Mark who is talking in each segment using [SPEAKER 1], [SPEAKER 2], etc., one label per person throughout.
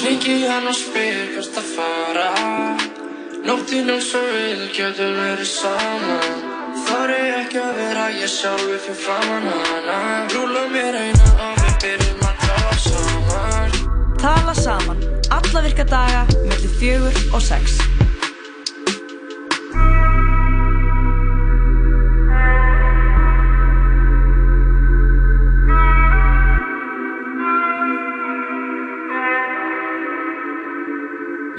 [SPEAKER 1] Lengi hann að spyr hvert að fara Nóttin eins og við getum verið saman Þar er ekki að vera ég sjálfur fyrir framan hana Rúla mér eina og við byrjum að tala saman
[SPEAKER 2] Tala saman. Alla virka daga millir fjögur og sex.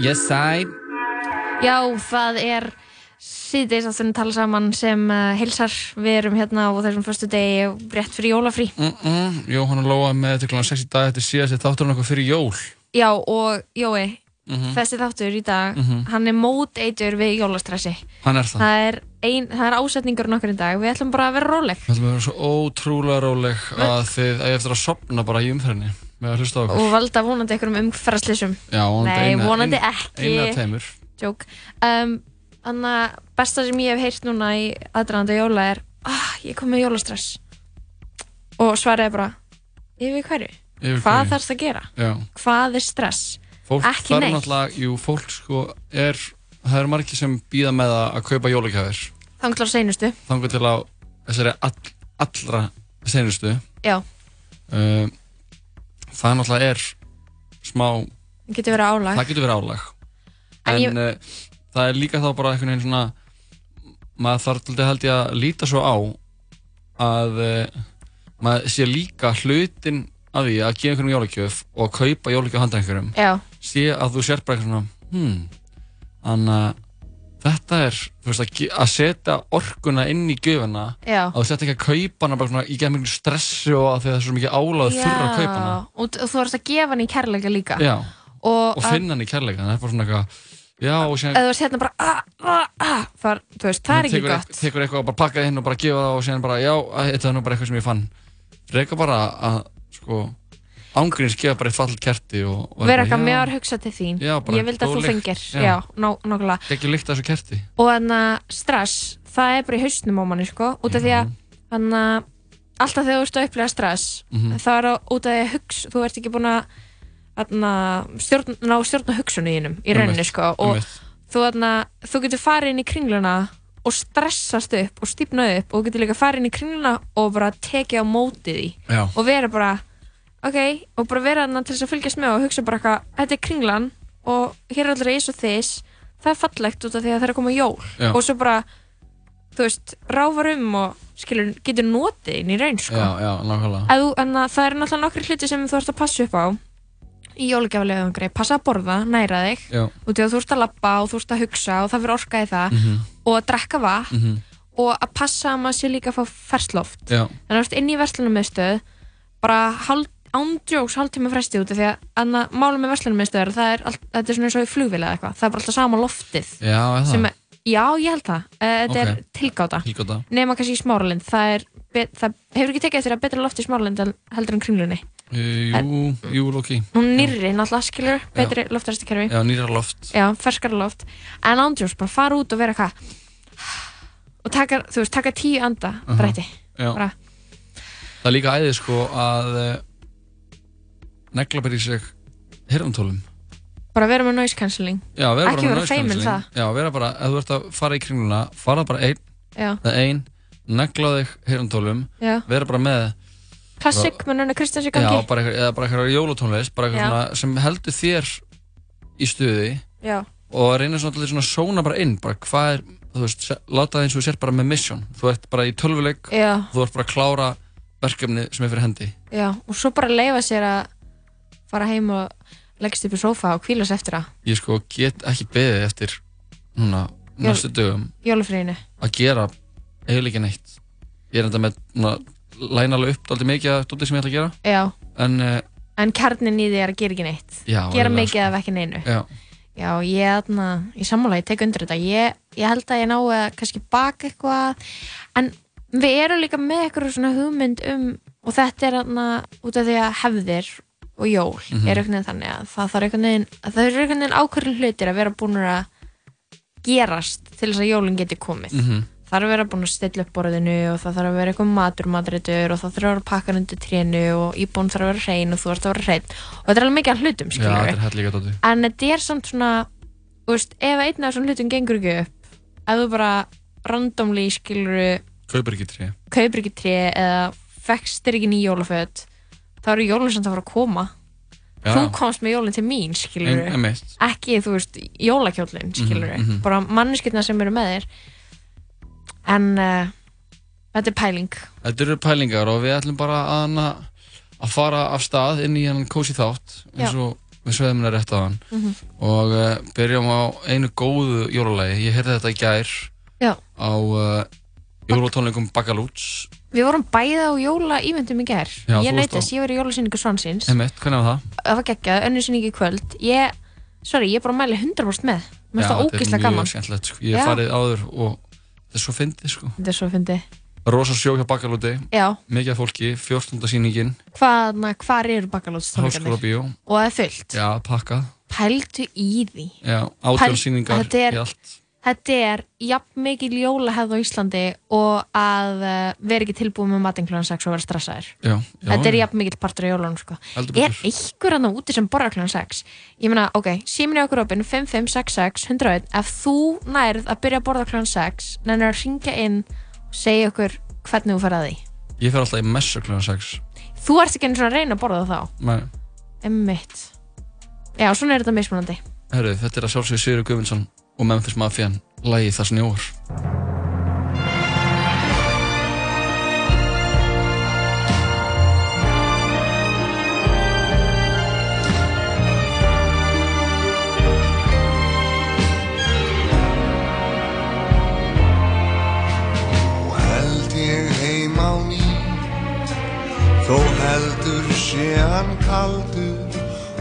[SPEAKER 3] Yes, I
[SPEAKER 4] Já, það er síðdeis að þenni tala saman sem uh, hilsar. Við erum hérna á þessum förstu degi rétt fyrir jólafrí.
[SPEAKER 3] mm -mm. Jóhanna Lóa með þetta klána 6 í dag Þetta er síðast þátturinn okkur fyrir jól
[SPEAKER 4] Já, og Jói,
[SPEAKER 3] Mhm.
[SPEAKER 4] þessi þáttur í dag,
[SPEAKER 3] Mhm.
[SPEAKER 4] hann er móteitur við jólastressi.
[SPEAKER 3] Hann er það
[SPEAKER 4] Það er, ein, það er ásetningurinn okkur í dag. Við ætlum bara að vera róleg.
[SPEAKER 3] Við ætlum að vera svo ótrúlega róleg að þið að ég eftir að sopna bara í umferðinni með að hlusta á okkur
[SPEAKER 4] Og valda vonandi einhverjum umferðarslýsum.
[SPEAKER 3] Já, vonandi
[SPEAKER 4] Nei,
[SPEAKER 3] eina-
[SPEAKER 4] vonandi
[SPEAKER 3] ein-
[SPEAKER 4] ekki.
[SPEAKER 3] Eina teimur
[SPEAKER 4] Jók. Um, Þannig að besta sem ég hef heyrt núna í aðdraðanda jóla er ah, ég kom með jólastress. Og svarið er bara, yfir hverju?
[SPEAKER 3] Yfir
[SPEAKER 4] Hvað
[SPEAKER 3] hverju?
[SPEAKER 4] þarfst að gera?
[SPEAKER 3] Já,
[SPEAKER 4] hvað er stress
[SPEAKER 3] fólk
[SPEAKER 4] ekki
[SPEAKER 3] þarf
[SPEAKER 4] neitt
[SPEAKER 3] náttúrulega Jú, fólk sko er Það eru margir sem býða með að að kaupa jólagjafir
[SPEAKER 4] þanglur seinustu
[SPEAKER 3] Þangur til að þessari all, allra senustu
[SPEAKER 4] já,
[SPEAKER 3] uh, Það náttúrulega er smá
[SPEAKER 4] það getur verið álag
[SPEAKER 3] það getur verið álag
[SPEAKER 4] En
[SPEAKER 3] en,
[SPEAKER 4] ég-
[SPEAKER 3] uh, það er líka þá bara einhvern veginn svona maður þarf til þetta held ég að líta svo á að uh, maður sé líka hlutin að því að gefa einhverjum jólagjöf og að kaupa jólagjöf handa einhverjum
[SPEAKER 4] já,
[SPEAKER 3] sé að þú sér bara eitthvað svona hmm, þannig að þetta er þú veist, að, ge- að setja orkuna inn í gjöfuna
[SPEAKER 4] já,
[SPEAKER 3] að þú setja ekki að kaupa hana bara svona í gefa miklu stressi og að því að það er svo mikið álag
[SPEAKER 4] já.
[SPEAKER 3] þurra að kaupa hana
[SPEAKER 4] og og þú varst að gefa hann í kærleika líka
[SPEAKER 3] Já,
[SPEAKER 4] og,
[SPEAKER 3] og
[SPEAKER 4] að-
[SPEAKER 3] finna hann í kærleika það er bara svona eitthvað já, og síðan
[SPEAKER 4] ef þú varst hérna bara ah, ah, ah, þar, þú veist, það er
[SPEAKER 3] Hún
[SPEAKER 4] ekki
[SPEAKER 3] tekur,
[SPEAKER 4] gott
[SPEAKER 3] tekur eitthvað og bara pakka það inn og bara gefa það og síðan bara já, æ, þetta er nú bara eitthvað sem ég fann reyka bara að sko ángurins gefa bara eitt fall kerti og, og
[SPEAKER 4] vera eitthvað
[SPEAKER 3] já,
[SPEAKER 4] með að hugsa til þín
[SPEAKER 3] Já, bara
[SPEAKER 4] ég vildi að
[SPEAKER 3] góð
[SPEAKER 4] þú
[SPEAKER 3] lykt,
[SPEAKER 4] fengir
[SPEAKER 3] já.
[SPEAKER 4] já, nó- nákvæmlega
[SPEAKER 3] ekki líkt þessu kerti
[SPEAKER 4] og þannig að stress það er bara í hausnum á manni sko út af því að þannig að alltaf þegar þú ert að upplega stress
[SPEAKER 3] Mhm.
[SPEAKER 4] þá er það út af því að hugsa þú ert ekki búin að þarna, stjórn, ná stjórna hugsunni þínum í rauninni
[SPEAKER 3] Einmitt,
[SPEAKER 4] sko og
[SPEAKER 3] einmitt.
[SPEAKER 4] þú, þarna, þú getur farið inn í kringluna og stressast upp og stípnað upp og þú getur líka farið inn í kringluna og bara tekið á móti því
[SPEAKER 3] já,
[SPEAKER 4] og vera bara ok, og bara vera þarna til þess að fylgjast með og hugsa bara eitthvað, þetta er kringlan og hér er allra ís og þess það er fallegt út af því að það er að koma jól
[SPEAKER 3] Já.
[SPEAKER 4] og svo bara, þú veist ráfar um og skilur, getur notið inn í raun, sko
[SPEAKER 3] já, já, nákvæmlega
[SPEAKER 4] Ef þú, en að það eru náttúrulega nokkri hluti sem þú ert að passa upp á í jólgjaflegangri, passa að borða, næra þig
[SPEAKER 3] já,
[SPEAKER 4] út af því að þú ert að labba og þú ert að hugsa og það fyrir orka í það
[SPEAKER 3] mhm,
[SPEAKER 4] og að drekka vatn
[SPEAKER 3] mhm,
[SPEAKER 4] og að passa að maður sé líka að fá fersloft
[SPEAKER 3] já,
[SPEAKER 4] þannig að þú ert inn í verslunarmiðstöð bara hald, ándjóks hálftíma fresti út af því að anna, málum með verslunarmiðstöðar það er, allt, þetta er svona eins og í flugvila eða eitthvað það er bara alltaf sama loftið
[SPEAKER 3] já, er
[SPEAKER 4] sem,
[SPEAKER 3] það
[SPEAKER 4] er, já, ég held það, Eh, þetta
[SPEAKER 3] Ok.
[SPEAKER 4] er tilgáta
[SPEAKER 3] tilgóta,
[SPEAKER 4] nema kannski í smáralind það, er, be- það hefur ekki tekið eftir að betra loft í smáralind en- heldur en kringlunni
[SPEAKER 3] jú, jú, Loki
[SPEAKER 4] hún nýrri náttúrulega skilur betri loftræstikerfi
[SPEAKER 3] já, nýra loft,
[SPEAKER 4] já, ferskara loft en ándjóks, bara fara út og vera eitthvað og taka, þú veist, taka tíu anda
[SPEAKER 3] Mhm.
[SPEAKER 4] bretti,
[SPEAKER 3] já
[SPEAKER 4] bara,
[SPEAKER 3] það er líka æðið sko að eh, negla bara í sig hirðantólum
[SPEAKER 4] bara vera með noise cancelling
[SPEAKER 3] já, vera bara
[SPEAKER 4] Ekki
[SPEAKER 3] með
[SPEAKER 4] vera
[SPEAKER 3] noise
[SPEAKER 4] feiminn
[SPEAKER 3] cancelling.
[SPEAKER 4] það.
[SPEAKER 3] já, vera bara, ef þú ert að fara í kringluna fara bara einn
[SPEAKER 4] já,
[SPEAKER 3] það er ein, negla á þig hirðantólum,
[SPEAKER 4] já
[SPEAKER 3] vera bara með
[SPEAKER 4] Klassik með Nönna Kristjáns í
[SPEAKER 3] já,
[SPEAKER 4] gangi
[SPEAKER 3] bara, eitthvað- eða bara eitthvað jólatónlist bara
[SPEAKER 4] Já.
[SPEAKER 3] eitthvað svona, sem heldur þér í stuði
[SPEAKER 4] Já,
[SPEAKER 3] og reyna svona til svona að sóna bara inn bara hvað er, þú veist, se- láta það eins og þú sér bara með mission, þú ert bara í tölvuleik
[SPEAKER 4] já,
[SPEAKER 3] þú ert bara að klára verkefni sem er fyrir hendi
[SPEAKER 4] já Og svo bara leifa sér að fara heim og leggst upp í sófa og hvíla sér eftir að
[SPEAKER 3] ég sko get ekki beðið eftir núna,
[SPEAKER 4] Jól-
[SPEAKER 3] næstu dögum
[SPEAKER 4] jólafriðinu
[SPEAKER 3] að gera eiginlega ekki neitt ég er enda með núna, læna alveg upp aldrei mikið að dóttir sem ég ætla að gera
[SPEAKER 4] Já,
[SPEAKER 3] en eh,
[SPEAKER 4] en kjarnin í því er að gera ekki neitt
[SPEAKER 3] já, sko.
[SPEAKER 4] Gera
[SPEAKER 3] eiginlega,
[SPEAKER 4] mikið af ekki neinu
[SPEAKER 3] já,
[SPEAKER 4] Já, ég þarna, í sammála, ég tek undir þetta ég, ég held að ég nái að kannski baka eitthvað En við erum líka með eitthvað svona hugmynd um Og þetta er þarna út af því að hefðir og jól mm
[SPEAKER 3] Mhm.
[SPEAKER 4] er einhvern veginn þannig að það þarf einhvern veginn að það er einhvern veginn ákvörðin hlutir að vera búnur að gerast til þess að jólinn geti komið
[SPEAKER 3] mhm,
[SPEAKER 4] þarf að vera búin að stilla upp borðinu og það þarf að vera eitthvað matur matreitur og það þarf að vera pakkar undir trénu og íbúin þarf að vera hrein og þú þarf að vera hrein og þetta er alveg mikið af hlutum
[SPEAKER 3] Já, þetta
[SPEAKER 4] skilur
[SPEAKER 3] er hell líka dóti
[SPEAKER 4] en þetta er samt svona þú veist, ef einn af svona hlutum gengur ekki upp ef þú bara randomly skilur
[SPEAKER 3] Kaupir ekki tré
[SPEAKER 4] kaupir ekki tré eða fekstir ekki ný jólaföt þá eru jólun samt að fara að koma þú
[SPEAKER 3] Já,
[SPEAKER 4] komst með jólun til mín skilur
[SPEAKER 3] en, en mist
[SPEAKER 4] ekki, þú veist, jólakjólinn skilur við,
[SPEAKER 3] mhm.
[SPEAKER 4] bara manneskirna sem eru með þér en uh, þetta er pæling
[SPEAKER 3] Þetta eru pælingar og við ætlum bara að, hana, að fara af stað inn í hann kósi þátt eins og við sögðum hennar rétt á hann
[SPEAKER 4] Mhm.
[SPEAKER 3] og uh, byrjum á einu góðu jólalagi, ég heyrði þetta í gær
[SPEAKER 4] Já.
[SPEAKER 3] á uh, jólatónleikum Bakalúts
[SPEAKER 4] við vorum bæða á jólaýmyndum í ger
[SPEAKER 3] Já, þú
[SPEAKER 4] ég
[SPEAKER 3] varst
[SPEAKER 4] neytist,
[SPEAKER 3] á-
[SPEAKER 4] ég var í jólasýningu Svansins
[SPEAKER 3] Emmett, hvernig var það?
[SPEAKER 4] það var geggjað, önnur sýningu í kvöld ég, sorry, ég er bara að mæli 100% með mér finnst það ógeðslega
[SPEAKER 3] Þetta er
[SPEAKER 4] gaman
[SPEAKER 3] mjög skemmtilegt, sko. ég hef
[SPEAKER 4] Já.
[SPEAKER 3] farið áður og þetta er svo fyndið sko
[SPEAKER 4] þetta er svo fyndi,
[SPEAKER 3] Rosa sjó hjá Bakalúti,
[SPEAKER 4] já,
[SPEAKER 3] mikið af fólki, 14. sýningin
[SPEAKER 4] hvað, na, hvar eru bakalótstónleikarnir
[SPEAKER 3] Háskóla bíó,
[SPEAKER 4] og það er fullt,
[SPEAKER 3] já, pakkað
[SPEAKER 4] pældu í því
[SPEAKER 3] Já, átjón
[SPEAKER 4] Pæl-
[SPEAKER 3] sýningar
[SPEAKER 4] þetta er-
[SPEAKER 3] í allt
[SPEAKER 4] þetta er jafn mikil jólahefð á Íslandi og að uh, vera ekki tilbúið með matinn kljóðan 6 og vera stressaðir.
[SPEAKER 3] já, já,
[SPEAKER 4] þetta er
[SPEAKER 3] já,
[SPEAKER 4] jafn mikil partur á jólunum sko.
[SPEAKER 3] heldur
[SPEAKER 4] Er
[SPEAKER 3] betur.
[SPEAKER 4] einhver annar úti sem borðar kljóðan 6? Ég meina, ok, síminni okkur opinn 5566 101 ef þú nærð að byrja að borða kljóðan 6 nennir að ringja inn og segja okkur hvernig þú fer að því.
[SPEAKER 3] Ég fer alltaf í messu kljóðan 6
[SPEAKER 4] Þú ert ekki einu svona að reyna að borða þá.
[SPEAKER 3] Nei,
[SPEAKER 4] Emmitt. Já, svona er þetta mismunandi.
[SPEAKER 3] herru, þetta er að sjálfsögðu Sigurður Guðvinsson og Memphis Mafian Lægi það snjóar
[SPEAKER 5] Og held ég heim á ný Þó heldur sé hann kaldur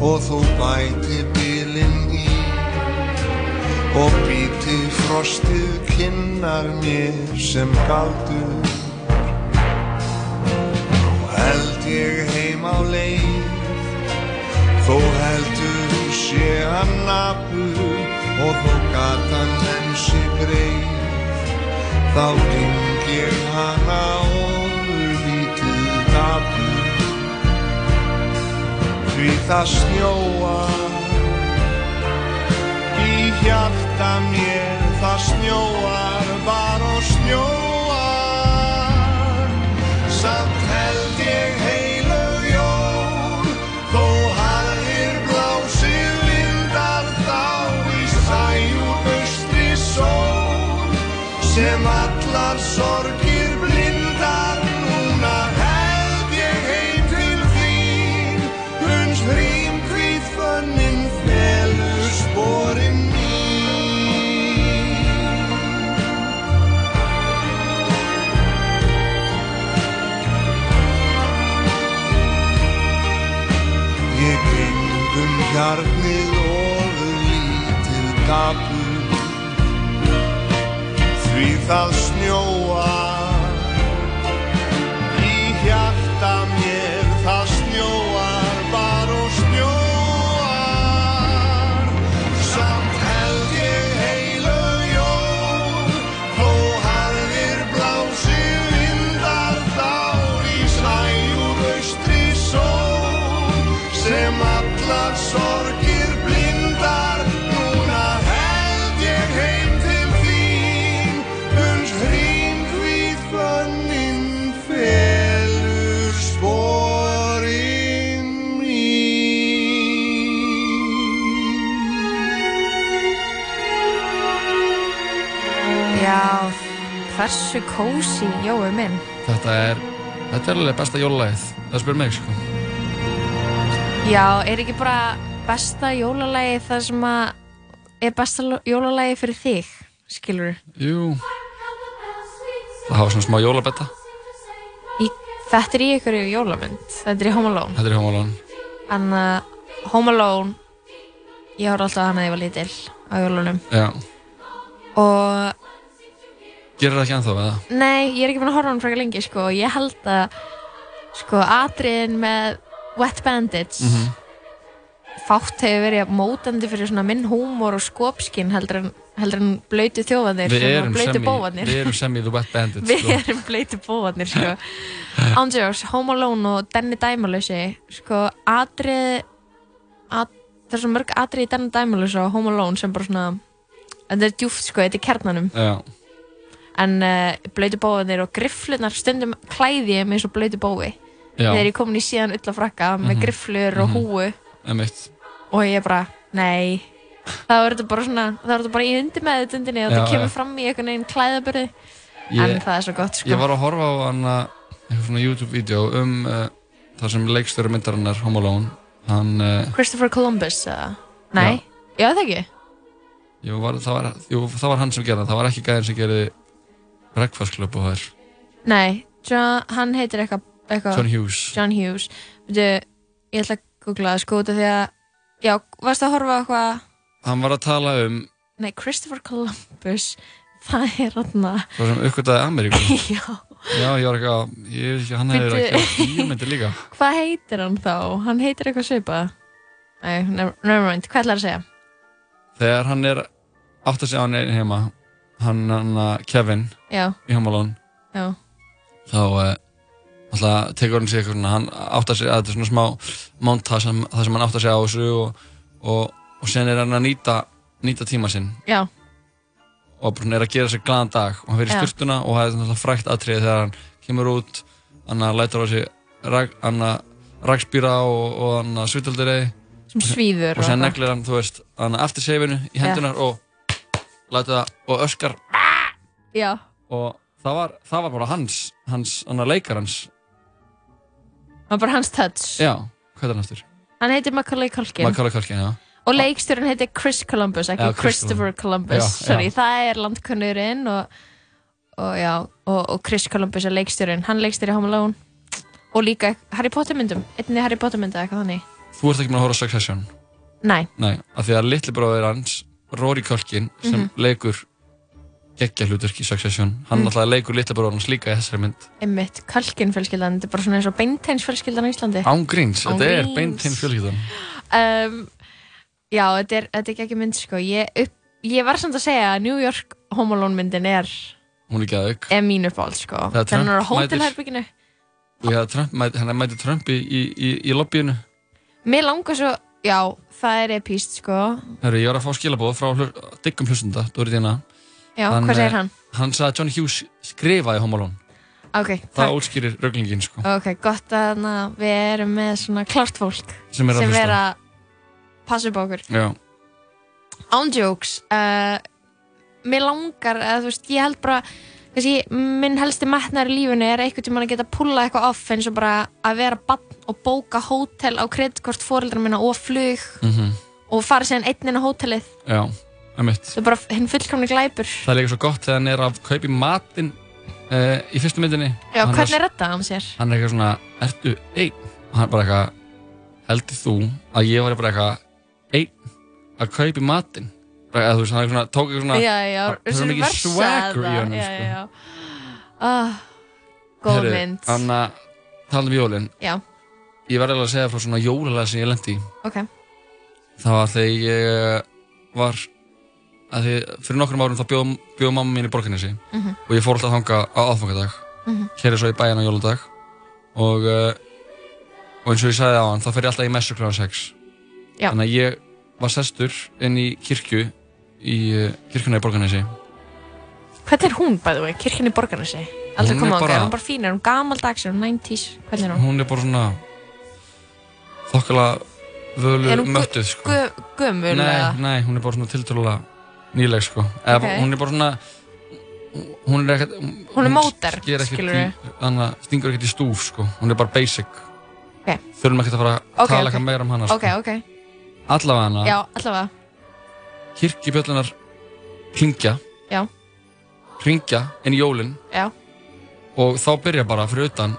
[SPEAKER 5] og þó bæti bílinn í og býti frostið kinnar mér sem galdur og held ég heim á leið þó heldur sé hann nabur og þó gatan hensi greið þá ring ég hana ofurlítið dapur því það snjóar í hjarta mér það snjóar bara og snjóar samt held ég heilög jól þó harðir blásir lindar þá í sæjúr austri sól sem allar sorgir blindar núna held ég heim til þín uns hrým hvíð fönnin felur sporin mín Ég gengum hjarnið ofur lítið dapur því það snjóar í hjarta mér það snjóar bara og snjóar samt held ég heilu jól þó harðir blásir vindar þá í sæjúr austri sól sem allar sorgir blindar núna held ég heim til þín uns hrým hvíð fönnin felur sporin mín
[SPEAKER 4] Já, hversu kósi jói minn.
[SPEAKER 3] Þetta er, þetta er alveg besta jólalagið Það spyr mig, sko
[SPEAKER 4] Já, er ekki bara besta jólalagi það sem að er besta lo- jólalagi fyrir þig, skilur
[SPEAKER 3] Jú Það hafa svona smá jólabetta
[SPEAKER 4] í, Þetta er í ykkur jólamynd, þetta er í Home Alone
[SPEAKER 3] Þetta er hjómalan
[SPEAKER 4] En uh, Home Alone, ég horf alltaf á hana þegar ég var lítil á jólunum
[SPEAKER 3] Já,
[SPEAKER 4] Og
[SPEAKER 3] gerir það ekki ennþá eða?
[SPEAKER 4] nei, ég er ekki búin að horfa á hann frekar lengi, sko og Ég held
[SPEAKER 3] Mhm.
[SPEAKER 4] að, sko, atriðin með Wet Bandits fátt hefur verið mótandi fyrir svona minn húmor og skopskinn heldur en, heldur en blöytu þjófanir
[SPEAKER 3] Við erum
[SPEAKER 4] blöytu
[SPEAKER 3] sem í,
[SPEAKER 4] bófanir
[SPEAKER 3] við erum sem í The Wet Bandit
[SPEAKER 4] Við
[SPEAKER 3] sko.
[SPEAKER 4] erum bleiti bóðarnir sko. Andrews, Home Alone og Denni Dæmalösi sko, atrið at, það er svo mörg atrið í Denni Dæmalösi og Home Alone sem bara svona þetta er djúft sko, þetta er kernanum
[SPEAKER 3] Já,
[SPEAKER 4] en uh, bleiti bóðarnir og grifflunar stundum klæði ég mig eins og bleiti bói þegar
[SPEAKER 3] já, Mhm.
[SPEAKER 4] ég komin í síðan ull að frakka með grifflur og húu
[SPEAKER 3] emitt
[SPEAKER 4] og ég bara, nei þá er þetta bara svona, þá er þetta bara í undir með og
[SPEAKER 3] Já,
[SPEAKER 4] það kemur
[SPEAKER 3] já.
[SPEAKER 4] fram í einhvern veginn klæðaburði en
[SPEAKER 3] ég,
[SPEAKER 4] það er svo gott sko
[SPEAKER 3] ég var að horfa á hana eitthvað svona YouTube-vídeó um uh, þar sem leikstöru myndarinnar Home Alone hann, uh,
[SPEAKER 4] Christopher Columbus eða? Nei, já, það ekki
[SPEAKER 3] jú, var, það, var, jú, það var hann sem gerði það, það var ekki gæðin sem gerði Breakfast Club og þær
[SPEAKER 4] Nei, John, hann heitir eitthvað eitthva,
[SPEAKER 3] John Hughes
[SPEAKER 4] John Hughes Veitu, Ég ætla að googla það sko út af því að Já, varstu að horfa á eitthvað
[SPEAKER 3] hann var að tala um
[SPEAKER 4] Nei, Christopher Columbus Það er hann
[SPEAKER 3] svo sem uppgötaði Ameríku
[SPEAKER 4] Já,
[SPEAKER 3] já, ég var eitthvað, ég veit ekki, hann hefur
[SPEAKER 4] Bíddu.
[SPEAKER 3] ekki bíómyndir líka
[SPEAKER 4] hvað heitir hann þá? Hann heitir eitthvað svipað Nei, never, never mind, hvað ætlar að segja?
[SPEAKER 3] þegar hann er átt að segja hann einn heima hann, hann uh, Kevin
[SPEAKER 4] Já,
[SPEAKER 3] í Home Alone
[SPEAKER 4] já,
[SPEAKER 3] þá uh, alltaf tekur hann sér eitthvað svona, hann átt að segja þetta er svona smá montage sem- það sem hann átt að segja á þessu og, og, og sen er hann að nýta, nýta tíma sinn
[SPEAKER 4] já,
[SPEAKER 3] og bara svona er að gera sér glaðan dag og hann fyrir
[SPEAKER 4] Já.
[SPEAKER 3] styrtuna og það er alltaf frækt atriði þegar hann kemur út hann að lætur á sig rak, hann að rakspýra og, og hann að svitalduregi
[SPEAKER 4] sem svíður
[SPEAKER 3] og sen
[SPEAKER 4] eitthvað.
[SPEAKER 3] neglir hann, þú veist, hann eftir seifinu í hendunar og lætur það og öskar
[SPEAKER 4] Já,
[SPEAKER 3] og það var, það var bara hans, hans, hann að leikar hans
[SPEAKER 4] það var bara hans touch
[SPEAKER 3] já, hvað er hann aftur?
[SPEAKER 4] Hann heitir Macaulay Culkin
[SPEAKER 3] Macaulay Culkin, já
[SPEAKER 4] Og leikstjórinn heitir Chris Columbus, ekki
[SPEAKER 3] Já,
[SPEAKER 4] Christopher
[SPEAKER 3] Christopher.
[SPEAKER 4] Columbus.
[SPEAKER 3] Já,
[SPEAKER 4] Sorry,
[SPEAKER 3] já.
[SPEAKER 4] það er landkunnurinn og, og, já, og, og Chris Columbus er leikstjórinn. Hann leikstjóri Home Alone og líka Harry Potter myndum. Einni Harry Potter mynda, eitthvað þannig.
[SPEAKER 3] Þú ert ekki með að horfa á Succession
[SPEAKER 4] Nei,
[SPEAKER 3] Nei, af því að litli bróðir hans Rory Culkin, sem
[SPEAKER 4] Mhm.
[SPEAKER 3] leikur geggja hlutverk í Succession hann alltaf leikur litli bróðir hans líka í þessari mynd
[SPEAKER 4] einmitt, Kalkin fjölskyldan, þetta er bara svona eins og beintens fjölskyldan á Íslandi.
[SPEAKER 3] Án gríns,
[SPEAKER 4] Án
[SPEAKER 3] þetta er
[SPEAKER 4] gríns.
[SPEAKER 3] beint hinn fjölskyldan
[SPEAKER 4] Um, já, þetta er, þetta er ekki mynd, sko. Ég, upp, ég var samt að segja að New York Home Alone myndin er,
[SPEAKER 3] Hún er ekki aðauk
[SPEAKER 4] er mín uppáhald, sko.
[SPEAKER 3] Þegar
[SPEAKER 4] Þegar hann er á
[SPEAKER 3] Trump mætir-
[SPEAKER 4] hótelherbygginu.
[SPEAKER 3] og ég, Trump, mæti- hann mæti Trump í, í, í, í lobbyinu
[SPEAKER 4] Mér langar svo, já, það er epíst, sko.
[SPEAKER 3] Herru, ég var að fá skilabóð frá hlur, diggum hlustunda, Dóri Dína
[SPEAKER 4] Já,
[SPEAKER 3] Hann,
[SPEAKER 4] hvað
[SPEAKER 3] eh,
[SPEAKER 4] segir hann?
[SPEAKER 3] Hann sagði að John Hughes skrifaði Home Alone
[SPEAKER 4] Ok,
[SPEAKER 3] Það
[SPEAKER 4] takk.
[SPEAKER 3] útskýrir röglingin sko
[SPEAKER 4] Ok, gott að na, við erum með svona klart fólk
[SPEAKER 3] sem er að
[SPEAKER 4] sem er
[SPEAKER 3] hlusta
[SPEAKER 4] að passa upp á okkur.
[SPEAKER 3] Já,
[SPEAKER 4] On jokes, uh, mér langar að þú veist, ég held bara, kannski minn helsti metnar í lífinu er einhvern tímann að geta pulla eitthvað off eins og bara að vera bann og bóka hótel á kreditkort fóreldra minna og flug
[SPEAKER 3] mm
[SPEAKER 4] og fara síðan einn inn á hótelið.
[SPEAKER 3] já, emitt
[SPEAKER 4] Það er bara hinn fullkomni glæpur.
[SPEAKER 3] Það er líka svo gott þegar hann er að kaupi matinn uh, í fyrstu myndinni
[SPEAKER 4] Já,
[SPEAKER 3] hann
[SPEAKER 4] hvernig
[SPEAKER 3] er?
[SPEAKER 4] reddaði hann sér?
[SPEAKER 3] Hann er eitthvað svona, ertu einn? Og hann er bara eitthvað, heldur þú að ég var bara eitthvað einn að kaupi matinn? Bara, eða þú veist, hann er svona, tók eitthvað svona
[SPEAKER 4] já, já,
[SPEAKER 3] það er svo mikið
[SPEAKER 4] reversa
[SPEAKER 3] swagger í
[SPEAKER 4] það,
[SPEAKER 3] honum,
[SPEAKER 4] já,
[SPEAKER 3] sko.
[SPEAKER 4] já, já. Ah, góð
[SPEAKER 3] Heyrðu,
[SPEAKER 4] mynd
[SPEAKER 3] Hann að tala um jólin
[SPEAKER 4] já,
[SPEAKER 3] Ég var alveg að segja frá svona jólalega sem ég lendi í
[SPEAKER 4] ok,
[SPEAKER 3] Það var þegar ég eh, var að því, fyrir nokkrum árum þá bjóð, bjóð mamma mín í borgarnesi og ég fór alltaf þangað á aðfangadag mm
[SPEAKER 4] Mhm.
[SPEAKER 3] svo í bæinn á jóladag og, uh, og eins og ég sagði á hann þá fer ég alltaf í messu kl. 6
[SPEAKER 4] Já.
[SPEAKER 3] þannig að ég var sestur inn í kirkju í uh, kirkjuna í borgarnesi
[SPEAKER 4] hvernig er hún bæðu vei, kirkjan í borgarnasi aldrei
[SPEAKER 3] Hún er
[SPEAKER 4] koma á,
[SPEAKER 3] bara-
[SPEAKER 4] bara... er hún bara fín, er hún gamaldags er hún 90s, hvernig er hún
[SPEAKER 3] hún er bara svona þokkala
[SPEAKER 4] er
[SPEAKER 3] völu
[SPEAKER 4] hún
[SPEAKER 3] möttuð sko.
[SPEAKER 4] gu, gömul
[SPEAKER 3] Nei,
[SPEAKER 4] eða?
[SPEAKER 3] nei, hún er bara svona tiltrúlega nýleg sko Eða,
[SPEAKER 4] Ok.
[SPEAKER 3] Hún er bara svona Hún er ekkert
[SPEAKER 4] Hún er modern,
[SPEAKER 3] sker ekkert
[SPEAKER 4] skilurðu.
[SPEAKER 3] í- Þannig að stingur ekkert í stúf sko Hún er bara basic
[SPEAKER 4] Ok.
[SPEAKER 3] Þurfum ekkert að fara að
[SPEAKER 4] Ok,
[SPEAKER 3] tala
[SPEAKER 4] ok.
[SPEAKER 3] eitthvað meira um hana
[SPEAKER 4] ok,
[SPEAKER 3] sko.
[SPEAKER 4] ok,
[SPEAKER 3] Allavega hana,
[SPEAKER 4] já, allavega
[SPEAKER 3] kirkjubjöllunar hringja
[SPEAKER 4] Já.
[SPEAKER 3] Hringja inn í jólin
[SPEAKER 4] já,
[SPEAKER 3] Og þá byrja bara fyrir utan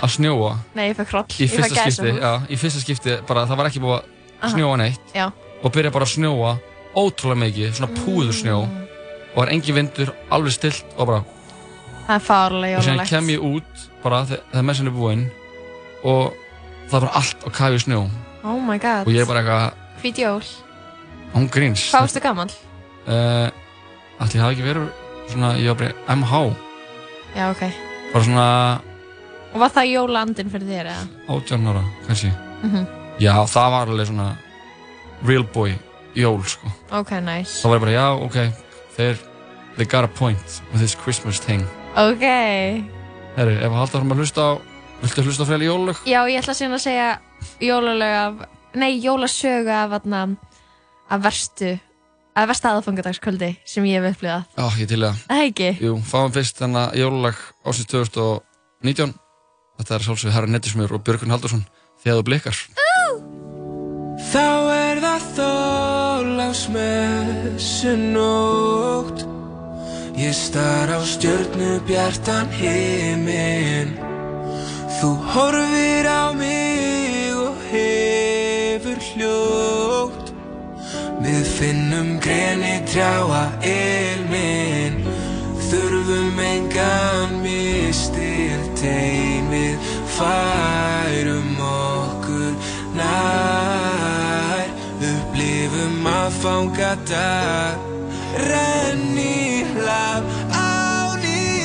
[SPEAKER 3] að snjóa
[SPEAKER 4] nei, ég fekk hroll
[SPEAKER 3] Í
[SPEAKER 4] ég fekk
[SPEAKER 3] fyrsta skipti,
[SPEAKER 4] gæsahúð.
[SPEAKER 3] já, í fyrsta skipti bara, Það var ekki búið að
[SPEAKER 4] Aha.
[SPEAKER 3] snjóa neitt
[SPEAKER 4] Já. Mm.
[SPEAKER 3] Og byrja bara að snjóa ótrúlega mikið Svona púðursnjó og var engi vindur, alveg stillt og bara,
[SPEAKER 4] það er fárlega
[SPEAKER 3] og síðan
[SPEAKER 4] jólalegt
[SPEAKER 3] kem ég út bara þe- þegar messin er búinn og það var allt á kafi í snjó
[SPEAKER 4] oh my god
[SPEAKER 3] og ég bara eitthvað,
[SPEAKER 4] Hvít jól,
[SPEAKER 3] Hún gríns
[SPEAKER 4] hvað varstu gamall?
[SPEAKER 3] uh, Allt ég hafi ekki verið svona, ég var bara MH
[SPEAKER 4] Já, ok.
[SPEAKER 3] Bara svona
[SPEAKER 4] Og var það jólandin fyrir þér eða?
[SPEAKER 3] 18 ára, kannski
[SPEAKER 4] Mhm.
[SPEAKER 3] Já, það var alveg svona real boy jól, sko
[SPEAKER 4] Ok, nice.
[SPEAKER 3] Þá var ég bara, já, ok, þeir they got a point with this Christmas thing
[SPEAKER 4] Ok.
[SPEAKER 3] Herri, ef að halda þar að hlusta á Viltu hlusta á fleiri jólulög?
[SPEAKER 4] Já, ég ætla síðan að segja jólalög af, nei, jólasögu af, atna, af verstu, af versta aðfangadagskvöldi sem ég hef upplifað.
[SPEAKER 3] Já, ég til í það
[SPEAKER 4] Það ekki?
[SPEAKER 3] Jú, fáum fyrst þennan jólulag ásins 2019 Þetta er sálsvið Herra Nettismjör og Björgun Haldursson Þegar þú blikar
[SPEAKER 1] Þá er það þólagsmessu nótt Ég star á stjörnu bjartan himin Þú horfir á mig og hefur hljótt Við finnum greni trjáa ilmin Þurfum engan mistir teimið Færum okkur nær Upplifum að fanga dag Renni hlaf á ný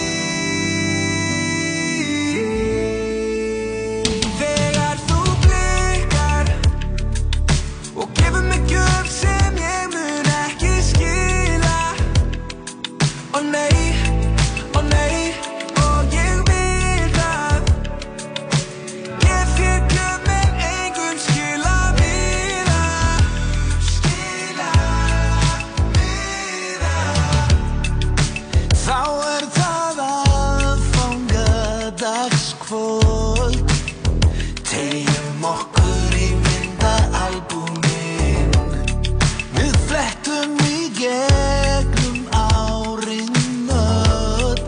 [SPEAKER 1] Þegar þú blikar og gefur mig gjöf sem ég mun ekki skila Ó nei, ó nei, og ég vil það Gef þér gjöf með engum skila miða Skila miða Þá er það að fanga dagskvöld Tegjum okkur í myndaalbumin Við flettum í gegnum árin öll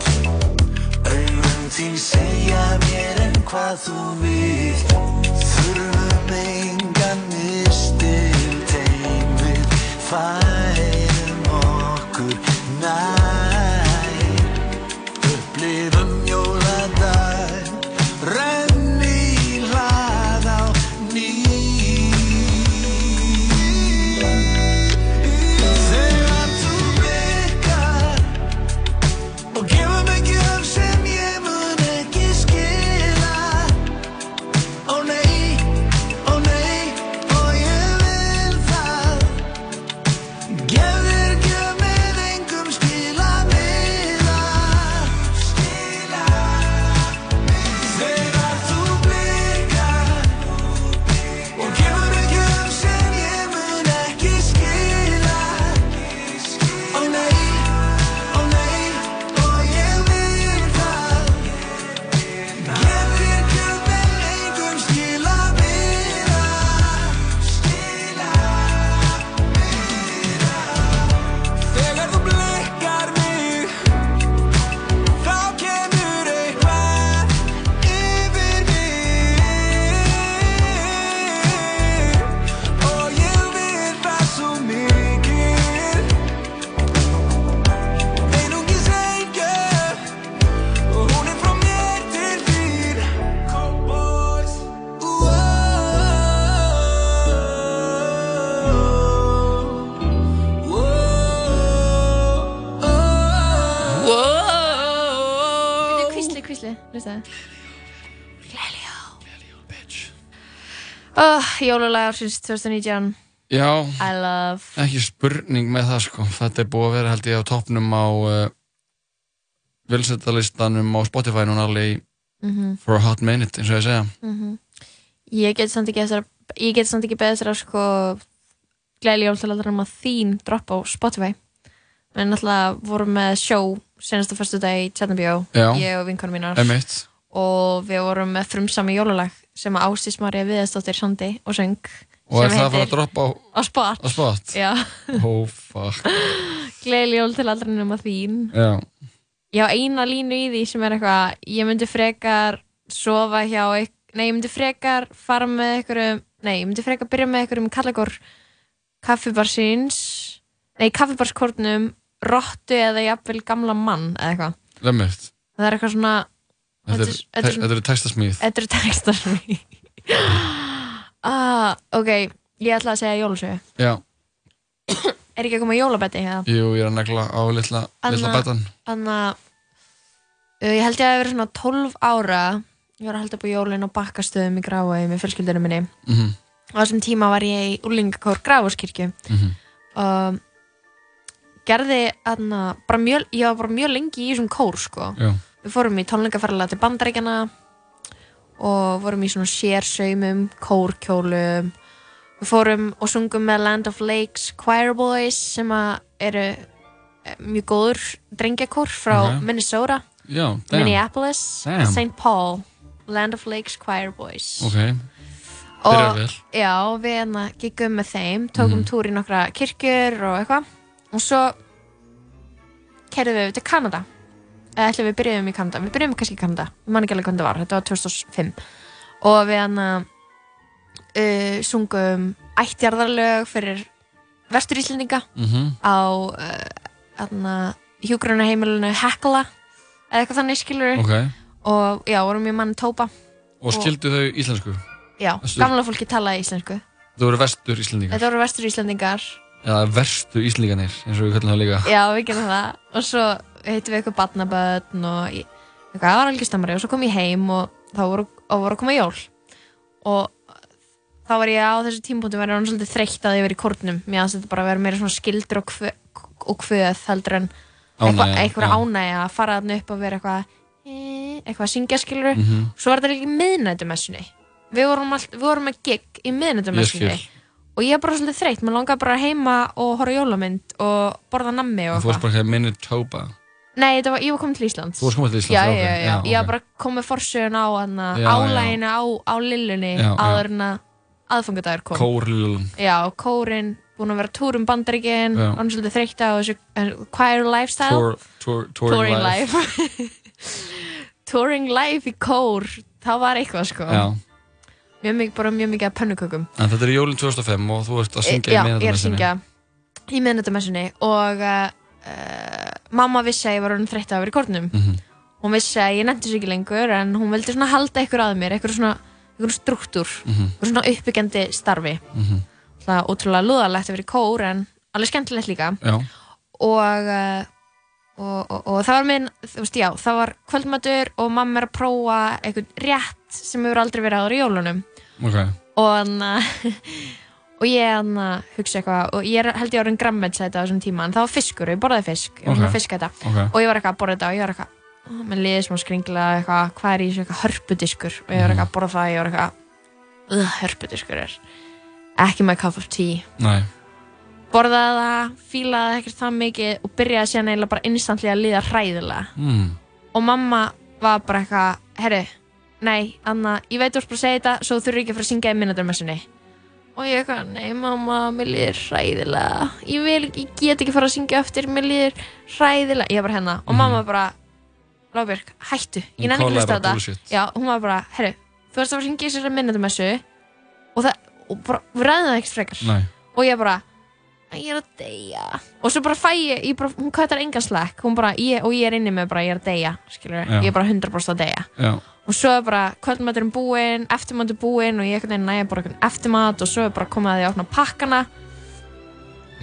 [SPEAKER 1] Augun þín segja mér en hvað þú vilt Þurfum engan mistil teim við Færum okkur nær upplifum jóladag renni hlað á ný Þegar þú blikar og gefur mig gjöf sem ég mun ekki skila Ó nei, ó nei, og ég vil það Gef þér gjöf með engum skila miða Skila miða Þegar þú blikar Og gefur mér gjöf sem ég mun ekki skila Ó nei, ó nei, og ég vil það Gef þér gjöf með engum skila miða Skila Þegar þú blikkar mig Þá kemur eitthvað yfir mig Og ég vil það svo mikið Einungis ein gjöf Og hún er frá mér til þín Cowboys Wow
[SPEAKER 4] Bíddu, Hvísli, hvísli, hlustaði. Oh, jólulag ársins 2019
[SPEAKER 3] Já,
[SPEAKER 4] I love
[SPEAKER 3] ekki spurning með það sko Þetta er búið að vera held ég á toppnum á uh, Vilsetalistanum á Spotify núna alveg í
[SPEAKER 4] Mhm.
[SPEAKER 3] For a hot minute, eins og ég segja
[SPEAKER 4] Ég get samt ekki þessar Ég get samt ekki beðið þessar sko Gleðli jól til allra maður þín Dropp á Spotify Við náttúrulega vorum með sjó Senasta fyrstu dag í Tjarnabjó
[SPEAKER 3] Já.
[SPEAKER 4] Ég og vinkonum mínar
[SPEAKER 3] Emitt
[SPEAKER 4] Og við vorum með frumsami jólulag Sem að Ásís Marja Viðastóttir Sandi og söng
[SPEAKER 3] Og er
[SPEAKER 4] sem
[SPEAKER 3] það að fara að
[SPEAKER 4] heitir
[SPEAKER 3] droppa á,
[SPEAKER 4] Á spot
[SPEAKER 3] á spot?
[SPEAKER 4] Já,
[SPEAKER 3] Oh fuck
[SPEAKER 4] gleðli jól til allra nema þín
[SPEAKER 3] Já,
[SPEAKER 4] ég á eina línu í því sem er eitthvað ég myndi frekar sofa hjá eitth- nei, ég myndi frekar fara með einhverjum, nei, ég myndi frekar byrja með einhverjum kallakor kaffibarsins nei, kaffibarskornum rottu eða jafnvel gamla mann eða eitthvað,
[SPEAKER 3] emitt
[SPEAKER 4] það er eitthvað svona
[SPEAKER 3] Þetta
[SPEAKER 4] Þetta er- þetta er
[SPEAKER 3] er- þetta er
[SPEAKER 4] svona-
[SPEAKER 3] textasmíð
[SPEAKER 4] þetta eru textar sem ég ah, ok, Ég ætla að segja jólasögu.
[SPEAKER 3] Já,
[SPEAKER 4] Er ekki að koma jólabetti hérna?
[SPEAKER 3] jú, ég er að negla á litla, litla
[SPEAKER 4] Anna-
[SPEAKER 3] betan
[SPEAKER 4] Þannig að uh, ég held ég að það verið svona 12 ára ég var að halda upp á jólin á bakkastöðum í Gráaði með fjölskyldunum minni
[SPEAKER 3] mm
[SPEAKER 4] og á þessum tíma var ég í úlingakór Gráaðskirkju
[SPEAKER 3] Mhm.
[SPEAKER 4] og gerði aðna, bara mjög, ég var bara mjög lengi í þessum kór sko.
[SPEAKER 3] Já,
[SPEAKER 4] við fórum í tónleikaferðalega til bandaríkjana og vorum í svona sérsaumum kórkjólum við fórum og sungum með Land of Lakes Choir Boys sem að eru eh, mjög góður drengjakór frá
[SPEAKER 3] Ok.
[SPEAKER 4] Minnesota
[SPEAKER 3] já, damn
[SPEAKER 4] Minneapolis,
[SPEAKER 3] Damn.
[SPEAKER 4] St. Paul Land of Lakes Choir Boys
[SPEAKER 3] Ok, byrjar
[SPEAKER 4] og
[SPEAKER 3] vel Mhm.
[SPEAKER 4] já, við hérna giggum með þeim tókum túr í nokkra kirkjur og eitthvað og svo kerðum við til Kanada eða ætlum við byrjuðum í Kanada, við byrjuðum kannski í Kanada við mann ekki alveg hvernig það var, þetta var 2005 og við hérna uh, sungum ættjarðarlög fyrir vestur Íslendinga
[SPEAKER 3] mm
[SPEAKER 4] á uh, hjúgrunarheimilinu Hekla eða eitthvað þannig skilur
[SPEAKER 3] Ok,
[SPEAKER 4] og já, vorum í mann tópa
[SPEAKER 3] og skildu þau íslensku?
[SPEAKER 4] já,
[SPEAKER 3] Vestur-
[SPEAKER 4] gamla fólki talaði íslensku
[SPEAKER 3] Þau voru vestur íslendingar
[SPEAKER 4] þetta voru vestur Íslendingar
[SPEAKER 3] Eða verstu íslendingarnir, eins og við kallum það líka
[SPEAKER 4] Já, við gerum það og svo heitum við eitthvað barnaböðn og ég- eitthvað, það var algjör stammari og svo kom ég heim og þá voru, og voru að koma jól og þá var ég á þessu tímpúntum verið hann svolítið þreytt að ég verið í kórnum mér að þetta bara að vera meira svona skildur og, kvö, og kvöð heldur en eitthvað,
[SPEAKER 3] Ánægja,
[SPEAKER 4] eitthvað
[SPEAKER 3] já.
[SPEAKER 4] ánægja að fara þarna upp og vera eitthvað eh, eitthvað að syngja skilur
[SPEAKER 3] Mhm.
[SPEAKER 4] svo var þetta líka í miðnættumessunni við vorum, all, við vorum að gig í miðnættumessunni
[SPEAKER 3] Ég skil.
[SPEAKER 4] og ég er bara svolítið þreytt maður langar bara heima og horfa á jólamynd og borða nammi og
[SPEAKER 3] Þú varst
[SPEAKER 4] eitthvað
[SPEAKER 3] bara hér Manitoba
[SPEAKER 4] nei, þetta var, ég var komin til Íslands
[SPEAKER 3] Þú varst komið til
[SPEAKER 4] já,
[SPEAKER 3] Íslands
[SPEAKER 4] já, já, já,
[SPEAKER 3] ok.
[SPEAKER 4] ég var bara komið forsögun á hana,
[SPEAKER 3] Já, já.
[SPEAKER 4] álæginu á, á lillunni
[SPEAKER 3] Já, já.
[SPEAKER 4] áður en að aðfangadagur kom
[SPEAKER 3] Kórlilum
[SPEAKER 4] já, kórin, búin að vera á túrum bandaríkin
[SPEAKER 3] Já.
[SPEAKER 4] hann svolítið þreytt á þessu eh, choir lifestyle
[SPEAKER 3] Tour, tour, touring
[SPEAKER 4] touring
[SPEAKER 3] life
[SPEAKER 4] life touring life í kór það var eitthvað sko
[SPEAKER 3] Já,
[SPEAKER 4] mjög mikið, bara mjög mikið að pönnukökum
[SPEAKER 3] en þetta er jólinn 2005 og þú ert að syngja
[SPEAKER 4] Eh, já,
[SPEAKER 3] í
[SPEAKER 4] ég er að
[SPEAKER 3] miðnættamessunni.
[SPEAKER 4] syngja í miðnættamessunni og uh, uh, mamma vissi að ég var orðin þreytt að vera í kórnum
[SPEAKER 3] Mhm.
[SPEAKER 4] hún vissi að ég nefndi sér ekki lengur en hún vildi svona halda ykkur að mér ykkur svona, ykkur struktúr
[SPEAKER 3] Mhm.
[SPEAKER 4] ykkur svona uppbyggjandi starfi
[SPEAKER 3] Mhm.
[SPEAKER 4] það er ótrúlega lúðalegt að vera í kór en alveg skemmtilegt líka
[SPEAKER 3] Já,
[SPEAKER 4] og, eh, og, og, og það var minn, þú veist, já, það var kvöldmatur og mamma er að prófa einhvern rétt sem hefur aldrei verið áður í jólunum
[SPEAKER 3] ok
[SPEAKER 4] og hann og ég hann hugsa eitthvað og ég er, held ég orðin grammets þetta á þessum tíma en það var fiskur og ég borðaði fisk, ég var okay.
[SPEAKER 3] Ok.
[SPEAKER 4] að fiska þetta
[SPEAKER 3] Ok,
[SPEAKER 4] og ég var eitthvað að borða þetta og ég var eitthvað "Ó, mér liði smá skringla eitthvað, hvað er í þessu eitthvað hörpudiskur og
[SPEAKER 3] Mhm.
[SPEAKER 4] ég var eitthvað að borða það og ég var eitthvað "Ugh, hörpudiskur er ekki my cup of tea
[SPEAKER 3] næ,
[SPEAKER 4] borðaði það, fílaði það ekkert það mikið og byrjaði síðan eiginlega bara instantlega að líða hræðilega
[SPEAKER 3] mm.
[SPEAKER 4] og mamma var bara eitthvað, herru nei, Anna, ég veit þú ert bara að segja þetta svo þurfi ekki að fara að syngja í minnatarmessunni og ég eitthvað, nei mamma, mér líður hræðilega ég vil ekki, ég get ekki fara að syngja aftur mér líður hræðilega, ég var hérna og mamma bara, Lábjörg, hættu
[SPEAKER 3] Mhm. Hún
[SPEAKER 4] ég nenni ekki að
[SPEAKER 3] kallaði
[SPEAKER 4] hlusta á
[SPEAKER 3] bara
[SPEAKER 4] þetta
[SPEAKER 3] bullshit.
[SPEAKER 4] Já, hún var bara, herru, þú ert að fara að syngja í sér minnatarmessu og það, og bara, við ræðum það ekkert frekar
[SPEAKER 3] næ
[SPEAKER 4] og ég bara "Æ, ég er að deyja og svo bara fæ ég, ég bara, hún kvættar engan slekk hún bara, ég, og ég er inni með bara ég er að deyja skilur,
[SPEAKER 3] Já.
[SPEAKER 4] ég er bara 100% að deyja
[SPEAKER 3] Já,
[SPEAKER 4] og svo er bara kvöldmaturinn búinn eftirmatur búinn og ég einhvern veginn næja bara einhvern eftirmat og svo er bara komið að ég opna pakkana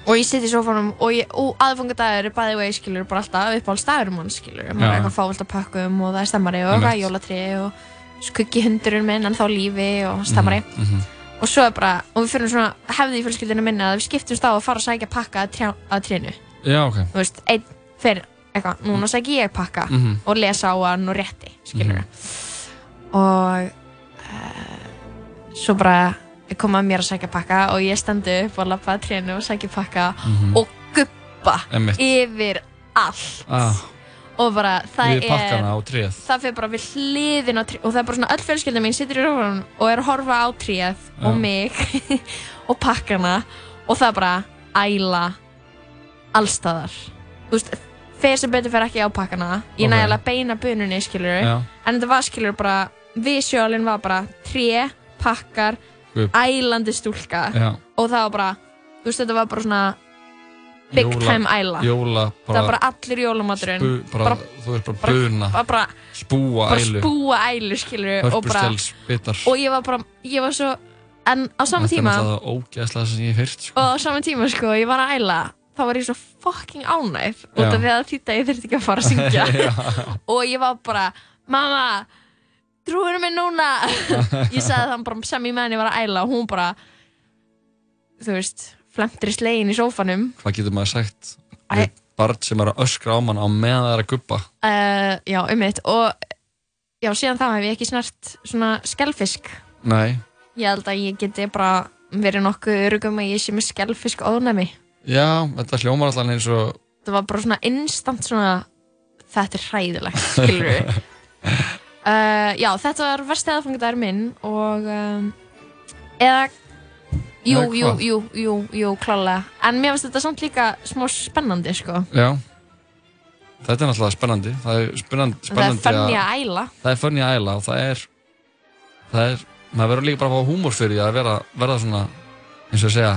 [SPEAKER 4] og ég sitt í sofanum og, ég- og aðfangadagur er bæði og ég skilur bara alltaf upp á staðurum hann skilur maður er
[SPEAKER 3] Já.
[SPEAKER 4] eitthvað fávilt að pakkum og það er stemmari og
[SPEAKER 3] Einmitt.
[SPEAKER 4] eitthvað jólatri og skuggi hundurinn minn en þá lífi og stemmari
[SPEAKER 3] mhm.
[SPEAKER 4] og svo er bara, og við fyrir svona hefði í fjölskyldinu minni að við skiptumst á að fara að sækja pakka að, trjá, að trénu,
[SPEAKER 3] já, ok
[SPEAKER 4] þú veist, einn fyrir eitthvað, núna sækja ég pakka
[SPEAKER 3] Mm. Mhm.
[SPEAKER 4] og lesa á hann og rétti, skilur og uh, svo bara koma mér að sækja pakka og ég stendu upp og lappa að trénu og sækja pakka
[SPEAKER 6] Mhm.
[SPEAKER 3] Mhm.
[SPEAKER 4] og guppa
[SPEAKER 3] Emmitt
[SPEAKER 4] yfir allt
[SPEAKER 3] ah,
[SPEAKER 4] og bara það
[SPEAKER 3] Við
[SPEAKER 4] er
[SPEAKER 3] pakkana á tréð
[SPEAKER 4] það fyrir bara við hliðin á tríð og það er bara svona öll fjölskylda mín situr í röfunum og er að horfa á tríð og
[SPEAKER 3] Já.
[SPEAKER 4] mig og pakkana og það er bara æla allstaðar þú veist, þeir sem betur fyrir ekki á pakkana
[SPEAKER 3] Ok.
[SPEAKER 4] ég okay. nægilega beina bununni skilur
[SPEAKER 3] Já,
[SPEAKER 4] en þetta var skilur bara visjólin var bara tré, pakkar
[SPEAKER 3] Gubb.
[SPEAKER 4] ælandi stúlka
[SPEAKER 3] já
[SPEAKER 4] og það var bara, þú veist þetta var bara svona big
[SPEAKER 3] Jóla-
[SPEAKER 4] time æla
[SPEAKER 3] Jóla,
[SPEAKER 4] það var
[SPEAKER 3] bara,
[SPEAKER 4] bara allir jólumaturinn
[SPEAKER 3] spu- bara, Þú ert bara buna
[SPEAKER 4] var bara
[SPEAKER 3] Spúa
[SPEAKER 4] bara
[SPEAKER 3] ælu
[SPEAKER 4] spúa ælu skilur og bara
[SPEAKER 3] Hörpustels bitar
[SPEAKER 4] og ég var bara, ég var svo en á
[SPEAKER 3] Þetta
[SPEAKER 4] sama
[SPEAKER 3] er
[SPEAKER 4] tíma
[SPEAKER 3] náttúrulega ógeðslega sem ég hef heyrt sko.
[SPEAKER 4] og á sama tíma sko, ég var að æla þá var ég svo fucking ánægð út
[SPEAKER 3] Já.
[SPEAKER 4] af því að þýta ég þurfti ekki að fara að syngja og ég var bara mamma, trúinu mig núna ég sagði þann bara sem ég meðan ég var að æla og hún bara þú veist, flemtri slegin í sófanum
[SPEAKER 3] Hvað getur maður sagt
[SPEAKER 4] Æ.
[SPEAKER 3] við barn sem er að öskra á mann á meðan það er að guppa
[SPEAKER 4] uh, já, ummitt og já, síðan þá hef ég ekki snart svona skelfisk
[SPEAKER 3] Nei,
[SPEAKER 4] ég held að ég geti bara verið nokkuð örugum að ég sé með skelfisk óðnæmi
[SPEAKER 3] já, þetta hljómar allan eins og
[SPEAKER 4] það var bara svona instant svona þetta er hræðilegt, skilur við uh, já, þetta var versti aðfangudagur minn og um, eða jú,
[SPEAKER 3] Eða
[SPEAKER 4] jú,
[SPEAKER 3] hvað?
[SPEAKER 4] jú, jú, jú, klálega en mér finnst þetta samt líka smá spennandi sko.
[SPEAKER 3] Já Þetta er náttúrulega spennandi Það er spennandi,
[SPEAKER 4] það er
[SPEAKER 3] spennandi
[SPEAKER 4] fenni að æla
[SPEAKER 3] það er fönni að æla og það er það er, maður verður líka bara að fá húmór fyrir því að vera, verða svona eins og að segja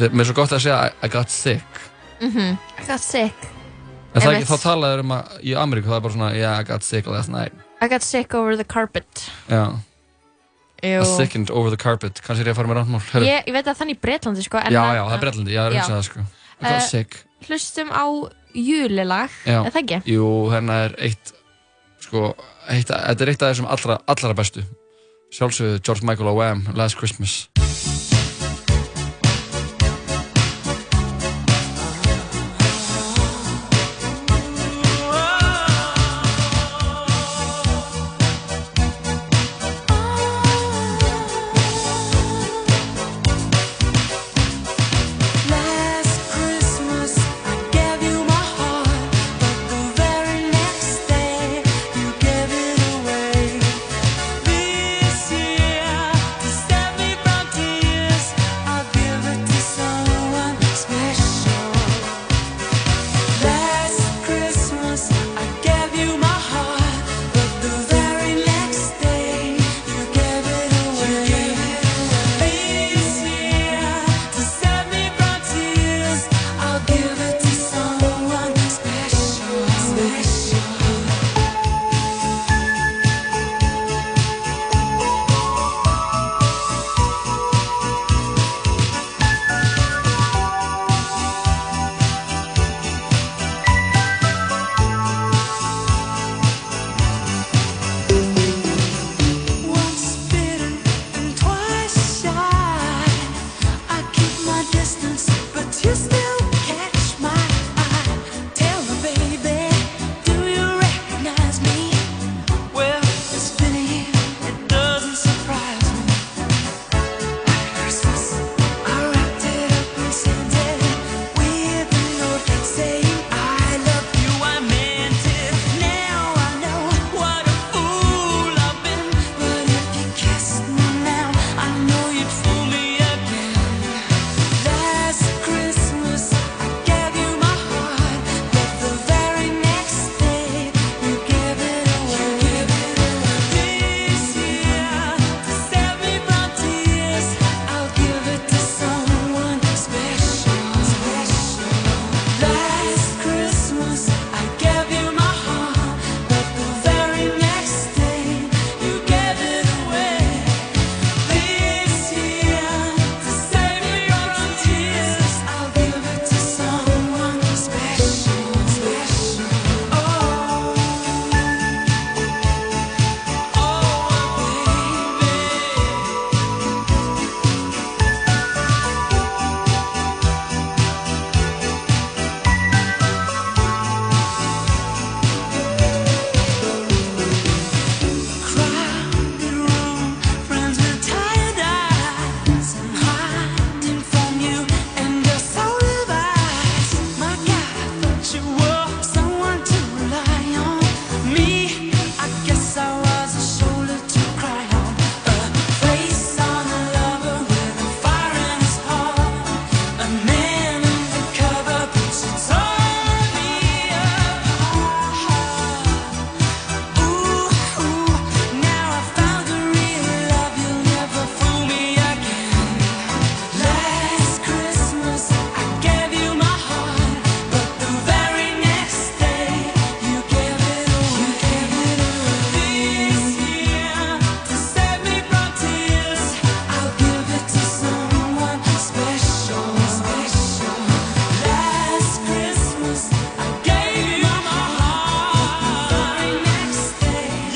[SPEAKER 3] þeir- mér er svo gott að segja I, I got sick
[SPEAKER 4] I got sick,
[SPEAKER 3] en það er
[SPEAKER 4] Mhm. Einmitt.
[SPEAKER 3] ekki, þá talaður um að í Ameríku það er bara svona yeah, I got sick last night
[SPEAKER 4] I got sick over the carpet
[SPEAKER 3] já,
[SPEAKER 4] Jú.
[SPEAKER 3] I sickened over the carpet kannski er ég að fara með rannmál yeah,
[SPEAKER 4] ég, ég veit að þannig í Breitlandi sko, en
[SPEAKER 3] já,
[SPEAKER 4] að-
[SPEAKER 3] já, það er brellandi, já, það er
[SPEAKER 4] Já.
[SPEAKER 3] eins og það sko I got
[SPEAKER 4] Eh,
[SPEAKER 3] sick,
[SPEAKER 4] hlustum á júlilag,
[SPEAKER 3] Já.
[SPEAKER 4] er það ekki?
[SPEAKER 3] jú, hérna er eitt sko, eitt, þetta er eitt af þessum allra, allra bestu sjálfsögðu George Michael og Wham Last Christmas
[SPEAKER 7] Last Christmas I gave you my heart, but the very next day you gave it away. This year to save me from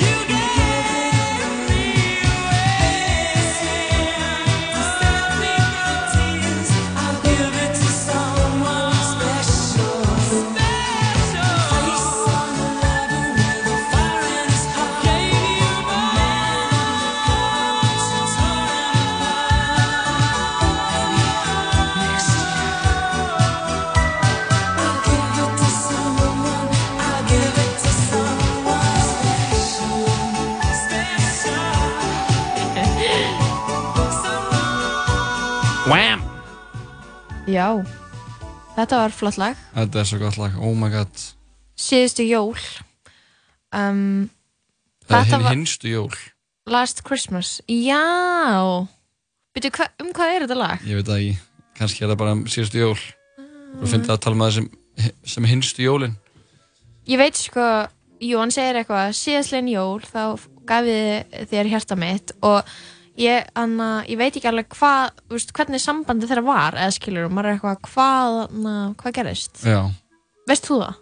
[SPEAKER 4] Já, þetta var flott lag
[SPEAKER 3] Þetta er svo gott lag, oh my god
[SPEAKER 4] Síðustu jól um,
[SPEAKER 3] Það er
[SPEAKER 4] Þetta
[SPEAKER 3] hinn
[SPEAKER 4] var-
[SPEAKER 3] hinstu jól
[SPEAKER 4] Last Christmas Já Býtu, hva, um hvað er þetta lag?
[SPEAKER 3] Ég veit það ekki, kannski er það bara um síðustu jól Þú finnst það að tala með það sem, sem hinstu jólin
[SPEAKER 4] Ég veit sko, jú, hann segir eitthvað síðastlegin jól, þá gaf ég þér hjarta mitt og ég, anna, ég veit ekki alveg hvað þú veist, hvernig sambandi þeirra var eða skilur, maður er eitthvað, hvað anna, hvað gerist?
[SPEAKER 3] Já,
[SPEAKER 4] Veist þú það?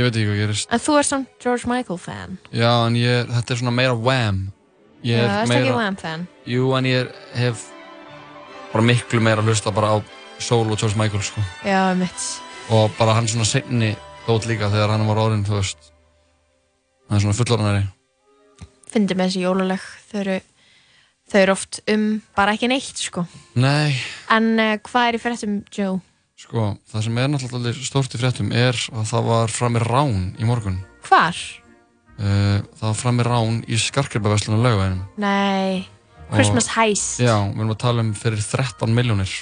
[SPEAKER 3] ég veit ekki hvað gerist
[SPEAKER 4] En þú er samt George Michael fan
[SPEAKER 3] Já, en ég, þetta er svona meira wham Ég
[SPEAKER 4] Já,
[SPEAKER 3] er
[SPEAKER 4] það er
[SPEAKER 3] meira,
[SPEAKER 4] ekki Wham fan
[SPEAKER 3] Jú, en ég er, hef bara miklu meira að hlusta bara á Soul og George Michael sko.
[SPEAKER 4] Já, mitt
[SPEAKER 3] og bara hann svona seinni dót líka þegar hann var orðin, þú veist hann er svona fullorðanari
[SPEAKER 4] Fyndi með þessi jóluleg þau eru, þau eru oft um bara ekki neitt, sko
[SPEAKER 3] Nei,
[SPEAKER 4] En uh, hvað er í fréttum Joe?
[SPEAKER 3] sko, það sem er náttúrulega alveg stórt í fréttum er að það var framir rán í morgun
[SPEAKER 4] Hvar?
[SPEAKER 3] uh, það var framir rán í skarkripaverslun á laugaðinum
[SPEAKER 4] Nei, Christmas Heist
[SPEAKER 3] Já, við erum að tala um fyrir 13 miljónir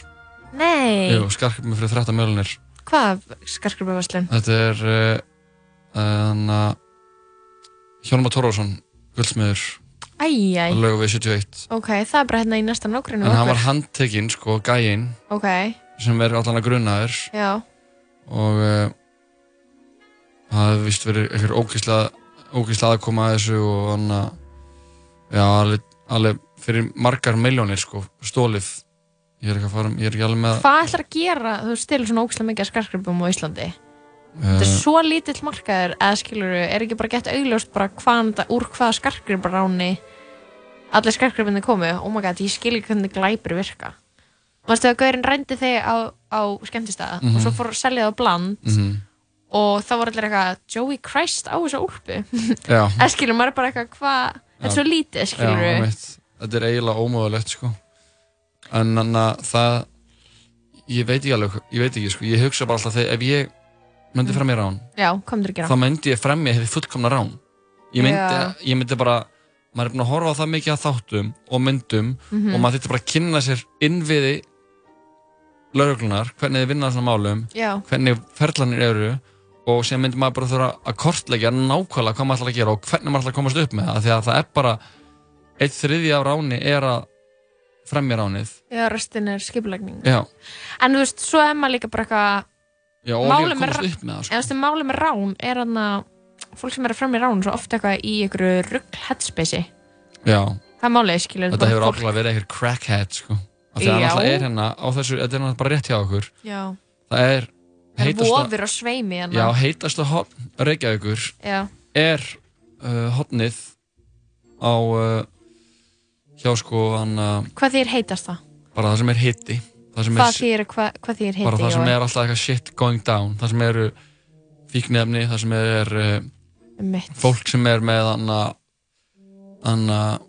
[SPEAKER 4] Nei,
[SPEAKER 3] Jú, skarkripum fyrir 13 miljónir
[SPEAKER 4] hvað skarkrubavarslun?
[SPEAKER 3] Þetta er uh, þannig að Hjónumar Tórósson, guldsmiður
[SPEAKER 4] Æjæ,
[SPEAKER 3] á laugavegi 71
[SPEAKER 4] ok, það er bara hérna í næsta nágrinu
[SPEAKER 3] en hann var handtekinn, sko, gæinn
[SPEAKER 4] Ok,
[SPEAKER 3] sem er allan að grunnaður
[SPEAKER 4] já,
[SPEAKER 3] og uh, það hefði vist verið einhver ógíslega ógíslega aðkoma að þessu og hann að já, alveg, alveg fyrir margar miljónir sko, stólið ég er ekki að fara, ég er ekki alveg með
[SPEAKER 4] hvað ætlar að gera þú stilur svona ógæslega mikið af skarkrubum á Íslandi Þetta er
[SPEAKER 3] uh,
[SPEAKER 4] svo lítill markaður eða skilur er ekki bara gett augljóst bara hvaðan þetta, úr hvaða skarkrubaráni allir skarkrubinni komu oh my god, ég skil ekki hvernig glæpir virka Manstu að gaurinn rændi þig á, á skemmtistaða og svo fór að selja það á bland
[SPEAKER 3] mhm,
[SPEAKER 4] og þá voru allir eitthvað Joey Christ á þessa úlpu
[SPEAKER 3] já,
[SPEAKER 4] eða skilur, maður er bara eitthvað hvað þetta er
[SPEAKER 3] Já.
[SPEAKER 4] svo lítið,
[SPEAKER 3] já,
[SPEAKER 4] skilur
[SPEAKER 3] mitt þetta er eiginlega ómögulegt sko en þannig að það ég veit ekki alveg, ég veit ekki sko ég hugsa bara alltaf þegar, ef ég myndi fram í rán
[SPEAKER 4] Já, komður að gera
[SPEAKER 3] þá myndi ég fremja hefði fullkomna rán ég myndi,
[SPEAKER 4] Já.
[SPEAKER 3] ég myndi bara maður er búin að horfa á það mikið að þáttum og myndum
[SPEAKER 4] Mhm.
[SPEAKER 3] og maður þýtti bara að kynna sér innviði lauruglunar, hvernig þið vinna svona málum
[SPEAKER 4] Já,
[SPEAKER 3] hvernig ferlanir eru og síðan myndi maður bara þurfa að kortleggja nákvæmlega hvað maður ætlar að gera og hvernig maður ætlar að komast upp með það því að það er bara eitt þriði af ráni er að fremja ránið
[SPEAKER 4] já, restin er skipulagning
[SPEAKER 3] já,
[SPEAKER 4] En þú veist, svo er maður líka bara eitthvað
[SPEAKER 3] já og
[SPEAKER 4] Málum
[SPEAKER 3] Málum
[SPEAKER 4] er
[SPEAKER 3] ég komast
[SPEAKER 4] ra-
[SPEAKER 3] upp með það
[SPEAKER 4] En
[SPEAKER 3] sko.
[SPEAKER 4] þú veist, málið með rán er hann að fólk sem er að fram í rán er svo ofta eitthvað í einhverju rugl headspacei
[SPEAKER 3] sko. já,
[SPEAKER 4] Það er málið, skilur
[SPEAKER 3] þetta
[SPEAKER 4] bara
[SPEAKER 3] hefur
[SPEAKER 4] fólk-
[SPEAKER 3] ákveðlega verið einhver crackhead sko. af því að
[SPEAKER 4] Já.
[SPEAKER 3] hann alltaf er hérna á þessu, þetta er náttúrulega bara rétt hjá okkur
[SPEAKER 4] Já,
[SPEAKER 3] það er
[SPEAKER 4] það er
[SPEAKER 3] heitasta,
[SPEAKER 4] vofir og sveimi hann
[SPEAKER 3] já, heitasta hotn Reykjavíkur
[SPEAKER 4] já,
[SPEAKER 3] er uh, hotnið á uh, hjá sko hann uh,
[SPEAKER 4] Hvað þýr heitast það?
[SPEAKER 3] bara það sem er hitti það sem
[SPEAKER 4] Hvað
[SPEAKER 3] er,
[SPEAKER 4] þýr, hvað, hvað þýr heiti?
[SPEAKER 3] bara það sem
[SPEAKER 4] Jói?
[SPEAKER 3] er alltaf eitthvað shit going down það sem eru fíknefni það sem er uh,
[SPEAKER 4] Einmitt.
[SPEAKER 3] fólk sem er með hann að hann að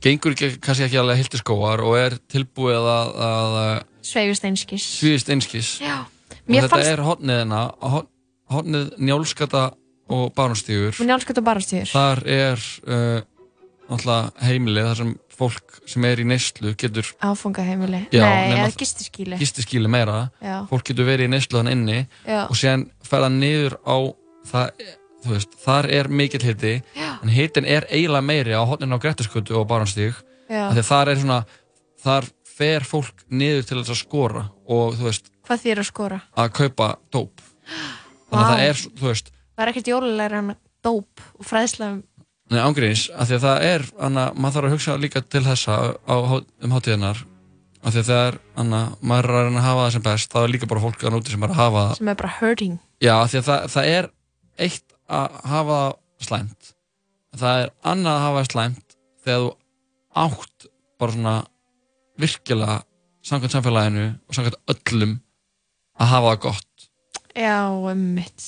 [SPEAKER 3] gengur ekki, kannski ekki alveg hilti skóar og er tilbúið að, að, að
[SPEAKER 4] Sveifist einskis
[SPEAKER 3] svíðist einskis
[SPEAKER 4] Já,
[SPEAKER 3] og
[SPEAKER 4] mér
[SPEAKER 3] þetta er
[SPEAKER 4] fannst
[SPEAKER 3] hérna, hotnið hennar hot, hotnið njálskata og barnstígur
[SPEAKER 4] Mér njálskvæmt og barastýr
[SPEAKER 3] þar er uh, náttúrulega heimilið þar sem fólk sem er í neyslu getur
[SPEAKER 4] Áfungaheimili
[SPEAKER 3] Já,
[SPEAKER 4] Nei,
[SPEAKER 3] nema
[SPEAKER 4] eða
[SPEAKER 3] það-
[SPEAKER 4] gistiskýli
[SPEAKER 3] gistiskíli meira
[SPEAKER 4] Já,
[SPEAKER 3] fólk getur verið í neyslu hann inni
[SPEAKER 4] já,
[SPEAKER 3] og síðan ferða niður á það, þú veist, þar er mikill hiti
[SPEAKER 4] Já.
[SPEAKER 3] en hitin er eiginlega meiri á hotninu á Grettiskutu og Barnstíg
[SPEAKER 4] já
[SPEAKER 3] af því að þar er svona þar fer fólk niður til þess að skora og þú veist,
[SPEAKER 4] Hvað þýr að skora?
[SPEAKER 3] að kaupa dóp þannig að
[SPEAKER 4] Vá.
[SPEAKER 3] það er, svo- þú veist,
[SPEAKER 4] Það er ekkert jólulegra en dóp og fræðsla um
[SPEAKER 3] Nei, ángríns, af því að það er anna, maður þarf að hugsa líka til þessa á, há- um hátíðinar af því að það er, anna, maður er að reyna að hafa það sem best það er líka bara fólk að núti sem er að hafa það
[SPEAKER 4] sem er bara hurting
[SPEAKER 3] já, af því að það, það er eitt að hafa það slæmt það er annað að hafa það slæmt þegar þú átt bara svona virkilega samkvæmt samfélaginu og samkvæmt öllum að hafa það gott
[SPEAKER 4] Já, mitt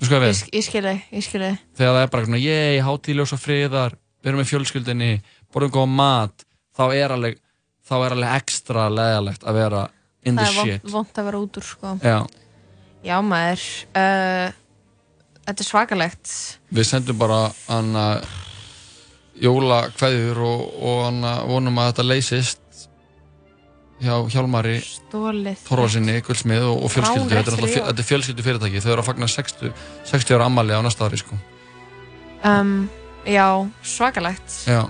[SPEAKER 3] Þú sko að
[SPEAKER 4] Ég,
[SPEAKER 3] við,
[SPEAKER 4] sk- ég skil þig, ég skil þig
[SPEAKER 3] þegar það er bara svona ég, hátíðljós og friðar, við erum með fjölskyldinni borðum góða mat þá er alveg, þá er alveg ekstra leðalegt að vera in
[SPEAKER 4] Það
[SPEAKER 3] the
[SPEAKER 4] er vont,
[SPEAKER 3] shit
[SPEAKER 4] vont að vera út úr sko
[SPEAKER 3] Já,
[SPEAKER 4] Já maður uh, Þetta er svakalegt
[SPEAKER 3] við sendum bara hana jóla kveður og, og hana vonum að þetta leysist hjá Hjálmari
[SPEAKER 4] stólið
[SPEAKER 3] Torfarsinni, Guldsmið og, og fjölskyldu þetta er,
[SPEAKER 4] Ránrekstri,
[SPEAKER 3] náttúrulega fjö-
[SPEAKER 4] já.
[SPEAKER 3] þetta er fjölskyldu fyrirtæki, þau eru að fagna 60, 60 ára ammali á næsta ári sko.
[SPEAKER 4] um, já, svakalegt
[SPEAKER 3] Já,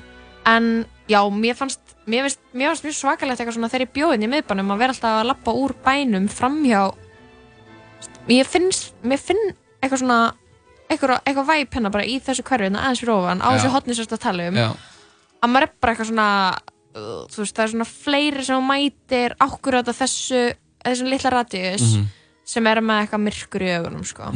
[SPEAKER 4] en já, mér fannst mér finnst mér fannst mjög svakalegt eitthvað svona þegar ég bjóðin í miðbænum að vera alltaf að lappa úr bænum framhjá ég finnst, mér finn eitthvað svona eitthvað, eitthvað væp hérna bara í þessu hverju hérna aðeins fyrir ofan á
[SPEAKER 3] Já.
[SPEAKER 4] þessu hotni sérst að tala um
[SPEAKER 3] já,
[SPEAKER 4] að maður er bara eitthvað svona uh, þú veist, það er svona fleiri sem þú mætir ákvörðu þetta þessu þessum litla radius
[SPEAKER 3] Mhm.
[SPEAKER 4] sem er með eitthvað myrkur í augunum sko.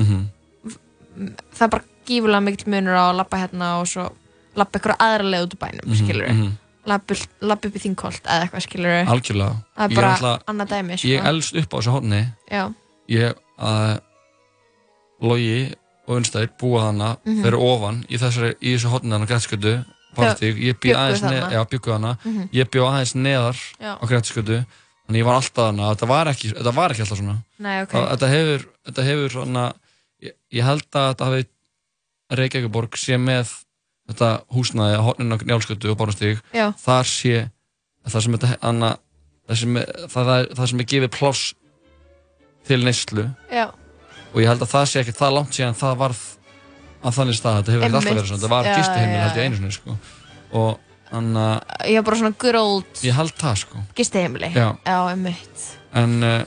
[SPEAKER 4] það er bara gífulega mikill munur á að labba hérna og svo labba eitthvað aðra leið út úr bænum, mm -hmm. skilur við mm
[SPEAKER 3] mhm.
[SPEAKER 4] labba upp í þingkolt eða eitthvað, skilur við
[SPEAKER 3] algjörlega
[SPEAKER 4] það er
[SPEAKER 3] Ég er
[SPEAKER 4] bara
[SPEAKER 3] alltaf,
[SPEAKER 4] annað dæmi sko.
[SPEAKER 3] ég elst upp á þessu hóðni
[SPEAKER 4] já,
[SPEAKER 3] ég að Logi og Unstæðir búa þarna
[SPEAKER 4] Mhm.
[SPEAKER 3] þeir eru ofan í, þessari, í þessu hóðni þarna Grætskötu Partík, ég
[SPEAKER 4] bjuggu
[SPEAKER 3] bjóð aðeins
[SPEAKER 4] þarna.
[SPEAKER 3] neðar, já, bjuggu þarna
[SPEAKER 4] Mhm.
[SPEAKER 3] ég bjóð aðeins neðar
[SPEAKER 4] já,
[SPEAKER 3] á Grætskötu þannig ég var alltaf þarna, þetta var ekki, þetta var ekki alltaf svona
[SPEAKER 4] nei, ok
[SPEAKER 3] okay. þetta hefur, þetta hefur svona, ég, ég held að þetta hafi Reykjavíkuborg sé með þetta húsnæði að horninu á njálskötu og bárnastík
[SPEAKER 4] já,
[SPEAKER 3] þar sé það sem þetta anna, það, sem, er- það, það, er- það sem er gefið pláss til neyslu
[SPEAKER 4] já,
[SPEAKER 3] og ég held að það sé ekki það langt síðan það varð að þannig stað þetta hefur ekki alltaf
[SPEAKER 4] Einmitt.
[SPEAKER 3] verið svona, þetta var
[SPEAKER 4] Já,
[SPEAKER 3] gistuheimil
[SPEAKER 4] já,
[SPEAKER 3] held
[SPEAKER 4] já.
[SPEAKER 3] ég einu sinni sko. og þannig að
[SPEAKER 4] ég er bara svona gróld
[SPEAKER 3] ég held það sko
[SPEAKER 4] gisteheimili,
[SPEAKER 3] já,
[SPEAKER 4] já, einmitt
[SPEAKER 3] en uh,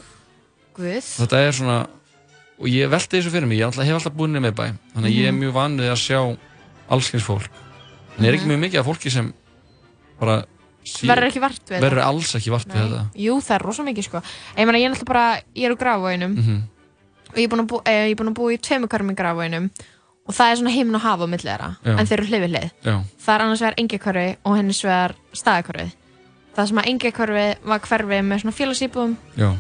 [SPEAKER 4] guð,
[SPEAKER 3] þetta er svona og ég velti þessu fyrir mig, ég alltaf, hef alltaf búin með bæ þannig að ég er
[SPEAKER 4] Mhm.
[SPEAKER 3] mjög vanið að sjá allskins fólk en ég er ekki mjög mikið af fólki sem bara sé,
[SPEAKER 4] Mhm. verður ekki vart við
[SPEAKER 3] verður alls ekki vart við þetta
[SPEAKER 4] Nei. Jú, það er rosa mikið sko Ég meina, ég er náttúrulega bara, ég er úr grafaunum
[SPEAKER 3] mm -hmm.
[SPEAKER 4] og ég er búin að bú- eh, ég er búin að búa í tveimur hverfum í grafaunum og það er svona heiminn og hafa á milli þeirra,
[SPEAKER 3] Já.
[SPEAKER 4] en þeir eru hlifið hlið
[SPEAKER 3] já,
[SPEAKER 4] Það er annars vegar engjakörfi og henni vegar staðakörfi Það sem að engjakörfi var hverfi með svona félagsýpum
[SPEAKER 3] já,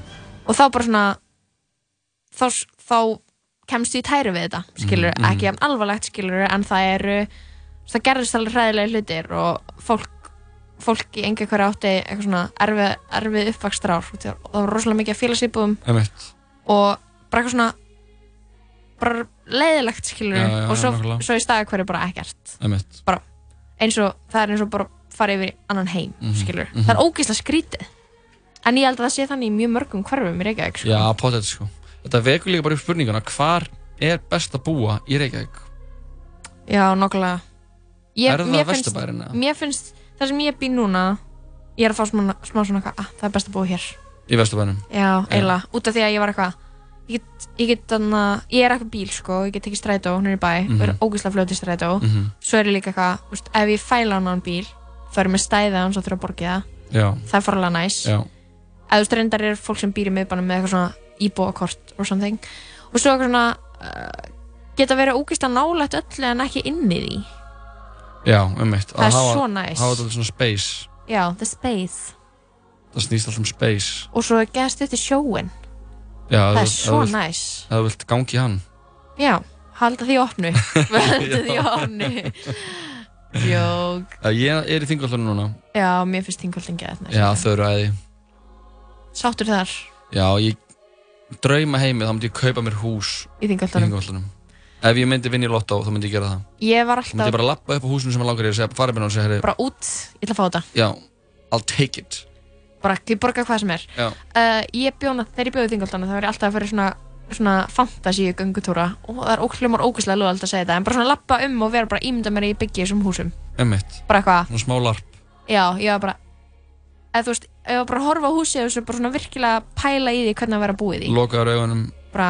[SPEAKER 4] og þá bara svona þá, s- þá kemstu í tæru við þetta skilur,
[SPEAKER 3] Mhm, mhm.
[SPEAKER 4] ekki jafn alvarlegt skilur en það eru, það gerðist alveg hræðilega hlutir og fólk fólk í enga hverja átti eitthvað svona erfið, erfið uppvakstrár og það var rosalega mikið af félagsýbúðum
[SPEAKER 3] emitt
[SPEAKER 4] og bara eitthvað svona bara leiðilegt skilur
[SPEAKER 3] Já, já,
[SPEAKER 4] og svo,
[SPEAKER 3] nákvæmlega.
[SPEAKER 4] svo í staði hverju bara ekkert
[SPEAKER 3] emitt,
[SPEAKER 4] eins og það er eins og bara fara yfir í annan heim
[SPEAKER 3] Mhm,
[SPEAKER 4] skilur,
[SPEAKER 3] mhm.
[SPEAKER 4] það er ógeðslega skrítið en ég held að það sé þannig í mjög mörgum hverfum í Reykjavík sko.
[SPEAKER 3] já, pottet sko þetta vekur líka bara upp spurninguna, hvar er best að búa í Reykjavík
[SPEAKER 4] Já, nokkulega ég,
[SPEAKER 3] er það
[SPEAKER 4] mér finnst-
[SPEAKER 3] vesturbærina?
[SPEAKER 4] Mér finnst, það sem ég bý núna Ég er að fá smá, smá svona eitthvað ah, Það er best að búa hér
[SPEAKER 3] í vesturbænum,
[SPEAKER 4] Já, eiginlega, út af því að ég var eitthvað Ég get, ég get anna, ég er eitthvað bíl sko Ég get tekið strætó, hún er í bæ
[SPEAKER 3] Mhm.
[SPEAKER 4] Og er ógeðslega fljóti strætó
[SPEAKER 3] mm
[SPEAKER 4] Svo er ég líka eitthvað, þú veist, ef ég fæla hann á bíl Þá er ég með stæða hann svo þurfa að borga það
[SPEAKER 3] já,
[SPEAKER 4] Það er farlega næs
[SPEAKER 3] já
[SPEAKER 4] eða þú veist, reyndar er fólk sem býr í miðbænum með eitthvað svona íbúakort or something og svo eitthvað svona uh, geta verið ógeðslega nálægt öllu en ekki inn í því
[SPEAKER 3] já, emitt,
[SPEAKER 4] það er svo næs
[SPEAKER 3] hafa þetta svona space
[SPEAKER 4] já, the space
[SPEAKER 3] það snýst alltaf um space
[SPEAKER 4] og svo gerst þetta sjóin
[SPEAKER 3] já,
[SPEAKER 4] það er
[SPEAKER 3] ef þú-
[SPEAKER 4] svo
[SPEAKER 3] ef þú-
[SPEAKER 4] næs
[SPEAKER 3] ef þú vilt gangi hann
[SPEAKER 4] já, halda því opnu halda því opnu jók
[SPEAKER 3] Já, ég er í þingallunum núna
[SPEAKER 4] já, mér finnst þingvöldin geða
[SPEAKER 3] Já,
[SPEAKER 4] þetta
[SPEAKER 3] þau eru æði
[SPEAKER 4] sáttur þar
[SPEAKER 3] Já, ég drauma heimið, þá myndi ég kaupa mér hús
[SPEAKER 4] í
[SPEAKER 3] í
[SPEAKER 4] þingvöldunum
[SPEAKER 3] þingallunum Ef ég myndi vinna í lottó, þá myndi ég gera það
[SPEAKER 4] ég var
[SPEAKER 3] Þá myndi
[SPEAKER 4] alltaf
[SPEAKER 3] ég bara lappa upp á húsinu sem ég langar í og segja, fara minna og segja, herri,
[SPEAKER 4] bara út ég ætla að fá þetta,
[SPEAKER 3] já, I'll take it
[SPEAKER 4] bara ekki borga hvað sem er
[SPEAKER 3] Já,
[SPEAKER 4] uh, ég bjóna, þegar ég bjóði þingaldana þá var ég alltaf að fyrir svona svona fantasíu göngutúra og það er óklumar ógæslega lúðald að segja þetta en bara svona lappa um og vera bara ímynda mér að ég byggja í þessum húsum
[SPEAKER 3] emmitt,
[SPEAKER 4] bara eitthvað,
[SPEAKER 3] svona smá larp
[SPEAKER 4] já, ég var bara eða þú veist, ég var bara að horfa á húsið og svo bara svona virkilega pæla í því hvernig að vera búið í
[SPEAKER 3] Lokaður augunum,
[SPEAKER 4] bara,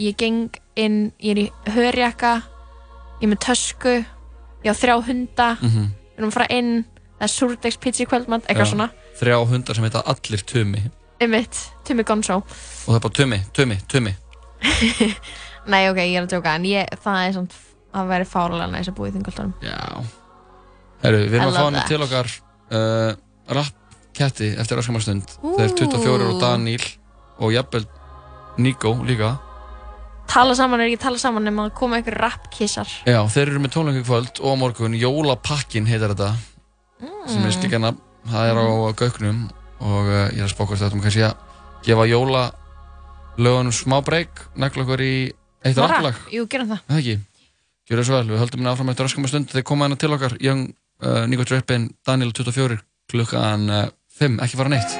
[SPEAKER 4] ég geng inn ég er í hörjaka ég er með tösku, ég á þrjá hunda
[SPEAKER 3] mm
[SPEAKER 4] við erum að fara inn, það er súrdegspizza í kvöldmatt eitthvað
[SPEAKER 3] Já.
[SPEAKER 4] svona,
[SPEAKER 3] þrjá hundar sem heita allir Tumi
[SPEAKER 4] ummitt, Tumi Gonzo
[SPEAKER 3] Og það er bara Tumi, Tumi, Tumi
[SPEAKER 4] Nei, ok, ég er að djóka, en ég, það er samt að vera fárlega næs að búa í þingaldunum.
[SPEAKER 3] Já Herru, við erum
[SPEAKER 4] I
[SPEAKER 3] að
[SPEAKER 4] love
[SPEAKER 3] fá hann
[SPEAKER 4] that.
[SPEAKER 3] til okkar uh, Rapp Ketti eftir öskamastund Það er
[SPEAKER 4] Ú.
[SPEAKER 3] 24 og Daníl og jafnvel Nico líka
[SPEAKER 4] Tala saman er ekki tala saman nema að koma ykkur rappkissar.
[SPEAKER 3] Já, þeir eru með tónleikum kvöld og á morgun Jólapakkin heitar þetta sem
[SPEAKER 4] Mm.
[SPEAKER 3] er slíka nafn, það er á Gauknum og uh, ég er að spókast þetta um kannski að gefa jóla lögunum smá breyk, negla okkur í eitt rappalag,
[SPEAKER 4] Jú, gerum það.
[SPEAKER 3] er það ekki? Gjör það svo vel, við höldum henni áfram eftir öskum stund þeir koma henni til okkar, eh, Young uh, Nico Drippin Daniel 24 klukkan uh, 5, eh, ekki fara neitt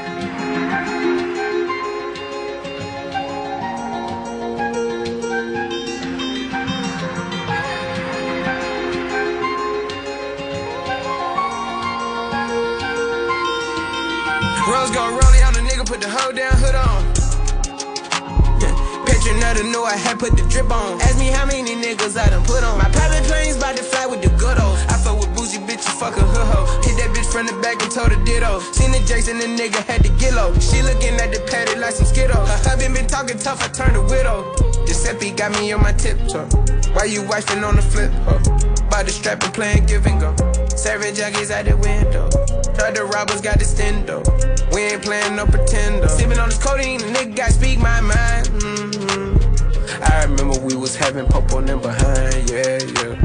[SPEAKER 8] Wheels go rolling on a nigga, put the whole damn hood on. Yeah. Picture another knew I had put the drip on. Ask me how many niggas I done put on. My private plane's about to fly with the good old. I fuck with bougie bitch, you fuck a hood hoe. Hit that bitch from the back and told her ditto. Seen the Jason, the nigga had to get low. She looking at the patty like some Skittle. Her husband been talking tough, I turned a widow. Giuseppe got me on my tiptoe. Why you wifing on the flip? Huh? By the strap and playing give and go. Serving juggies out the window. Heard the robbers got the stendo. We ain't playing no pretender. Sipping on this codeine, the nigga got speak my mind. Mm-hmm. hmm I remember we was having pop on them behind, yeah, yeah.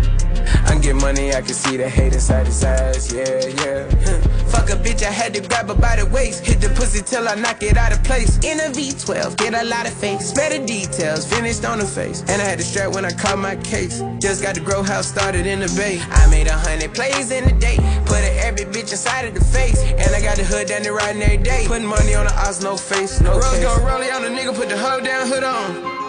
[SPEAKER 8] I get money, I can see the hate inside his eyes, yeah, yeah. Huh. Fuck a bitch, I had to grab her by the waist. Hit the pussy till I knock it out of place. In a V12, get a lot of face. Better details, finished on the face. And I had to strap when I caught my case. Just got the grow house started in the bay. I made a hundred plays in a day. Put a every bitch inside of the face. And I got the hood down there riding every day. Putting money on the odds, no face, no Rose case. go rolling on the nigga, put the hoe down, hood on.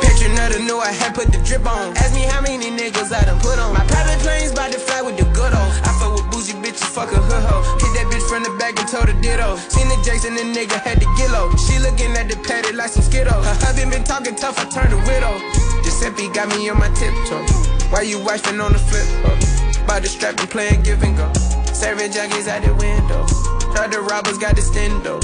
[SPEAKER 8] Picture another knew I had put the drip on. Ask me how many niggas I done put on. My private plane's about to fly with the good old. I fuck with bougie bitches, fuck a hood hoe. Hit that bitch from the back and told her ditto. Seen the Jason, the nigga had to get low. She looking at the patty like some skittle. Her husband been talking tough, I turned a widow. Giuseppe got me on my tiptoe. Why you wifing on the flip? Huh? By the strap and playing give and go. Serving juggies out the window. Heard the robbers got the stendo.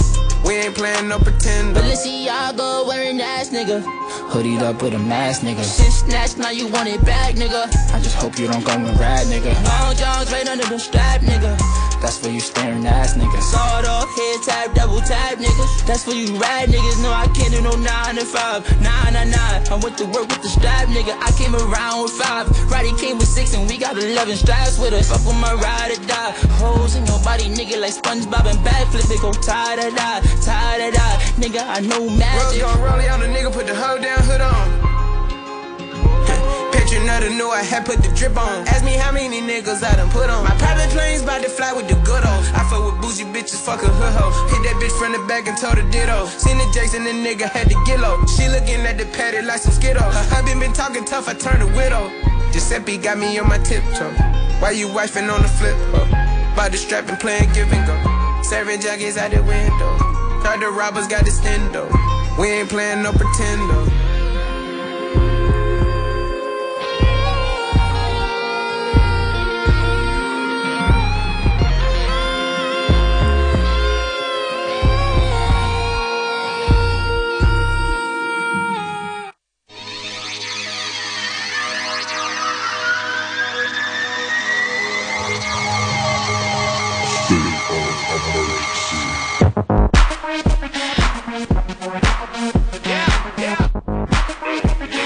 [SPEAKER 8] We ain't playing no pretender.
[SPEAKER 9] Balenciaga wearing ass nigga. Hooded up with a mask nigga. Shit snatched, now you want it back nigga. I just hope you don't go and ride nigga. Long John's right under the strap nigga. That's for you staring ass niggas. Sawed off head type, double type niggas. That's for you ride niggas. No, I can't do no nine to five. Nine, nine, nine. I went to work with the strap nigga. I came around with five. Roddy came with six and we got 11 straps with us. Fuck with my ride or die. Holes in your body nigga like SpongeBob and backflip. It go tie da da, tie da da. Nigga, I know
[SPEAKER 8] Rose
[SPEAKER 9] magic.
[SPEAKER 8] gon' roll it on the nigga, put the hoe down, hood on. Picture another knew I had put the drip on. Ask me how many niggas I done put on. My private plane's about to fly with the good old. I fuck with bougie bitches, fuck a hood hoe. Hit that bitch from the back and told her ditto. Seen the Jason, the nigga had to get low. She looking at the patty like some skittle. Her husband been talking tough, I turned a widow. Giuseppe got me on my tiptoe. Why you wifing on the flip? Huh? By the strap and playing give and go. Serving juggies out the window. Heard the robbers got the stendo. We ain't playing no pretender.
[SPEAKER 1] Yeah, yeah.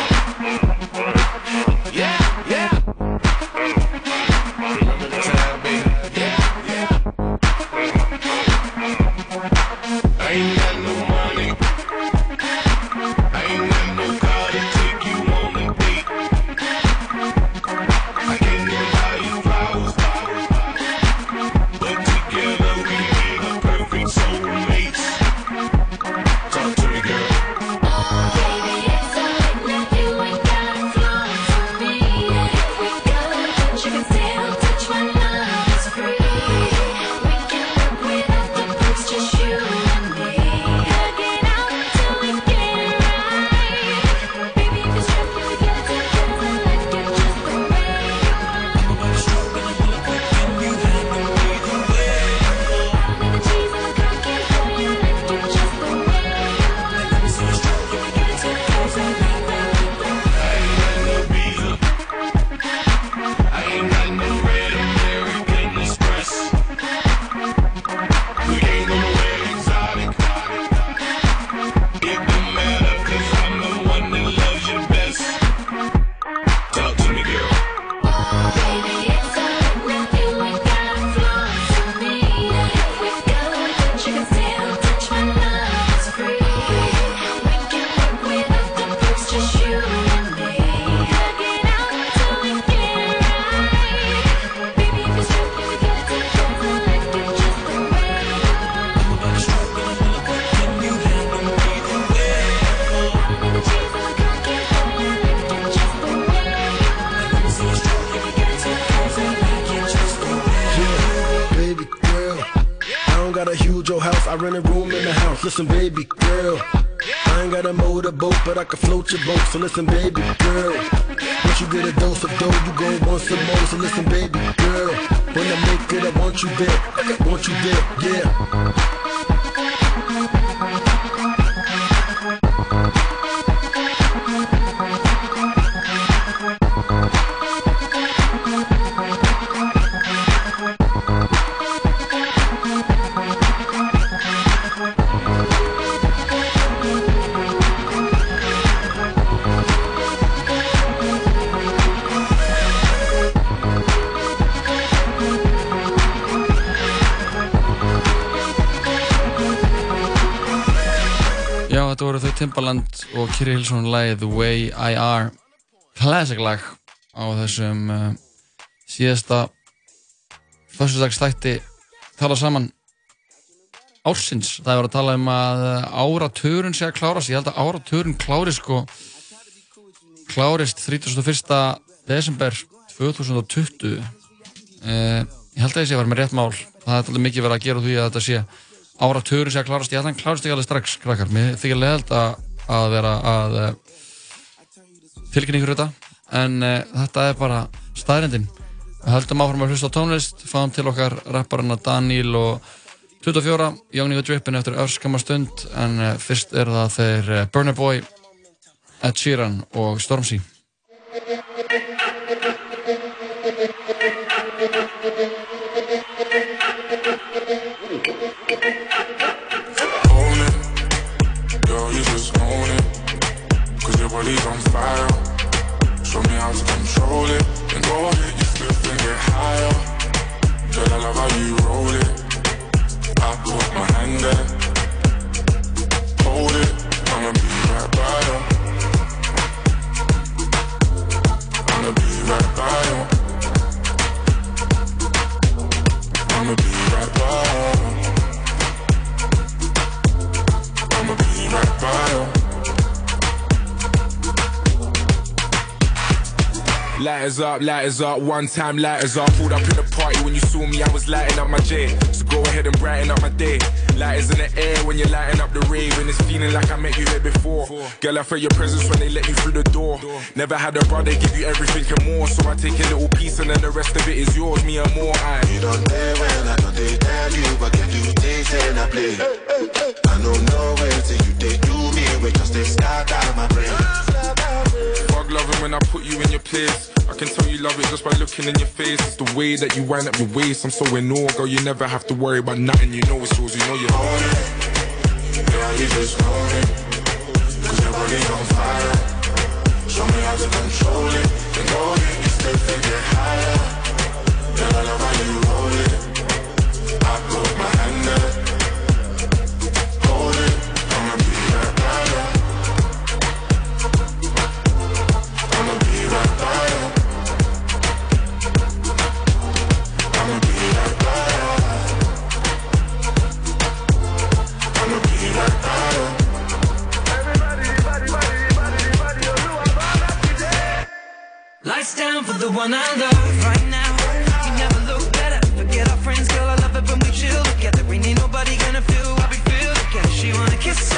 [SPEAKER 8] rent a room in the house. Listen, baby girl. I ain't got a motorboat, but I can float your boat. So listen, baby girl. Once you get a dose of dough, you gon' want some more. So listen, baby girl. When I make it, I want you there. Want you there, yeah.
[SPEAKER 3] Já, þetta voru þau Timbaland og Kiri Hilsson lagið The Way I Are Classic lag á þessum uh, síðasta föstudagsþætti tala saman ársins það var að tala um að áratörun sé að klárast, ég held að áratörun klárist sko klárist 31. desember 2020 uh, Eh, ég held að ég sé að vera með rétt mál það er alltaf mikið verið að gera úr því að þetta sé áratugurinn sé að klárast, ég held að hann klárist ekki alveg strax krakkar, mér þykir leðalt að, að vera að uh, fylgja ykkur þetta, en uh, þetta er bara staðrendin við höldum áfram að hlusta á tónlist, fáum til okkar rapparana Daniel og 24, Young Nigga Drippin eftir örskama stund, en uh, fyrst er það þeir uh, Burner Boy Ed Sheeran og Stormzy
[SPEAKER 10] own it. Girl, you just own it. Cause your body's on fire. Show me how to control it. And go ahead, you slip and get higher. Girl, I love how you roll it. I put my hand there. Hold it. I'ma be right by you. I'ma be right by you. I'ma be right by you. I'ma be right by you.
[SPEAKER 11] Lighters up, lighters up, one time lighters up. Pulled up in the party when you saw me, I was lighting up my J. So go ahead and brighten up my day. Lighters in the air when you're lighting up the rave, and it's feeling like I met you here before. Girl, I felt your presence when they let you through the door. Never had a brother give you everything and more, so I take a little piece and then the rest of it is yours, me and more. I.
[SPEAKER 12] You don't dare when I know they tell you I can do things and I play I don't know where till you they do me We just they start out my brain
[SPEAKER 11] Fuck loving when I put you in your place. I can tell you love it just by looking in your face. It's the way that you wind up your waist. I'm so in awe, girl. You never have to worry about nothing. You know it's yours. You know you're
[SPEAKER 10] Own it. Yeah, you just own it. Cause your body on fire. Show me how to control it. And go ahead, you stay and get higher. Girl, I love how you roll it. I put my hand there. Hold it. I'ma be right by you. I'ma be right by you. I'ma be right by you. I'ma be right by you.
[SPEAKER 1] Lights down for the one I love right now. You never look better. Forget our friends, girl. I love it when we chill together. Ain't need nobody gonna feel what we feel together. She wanna kiss, I,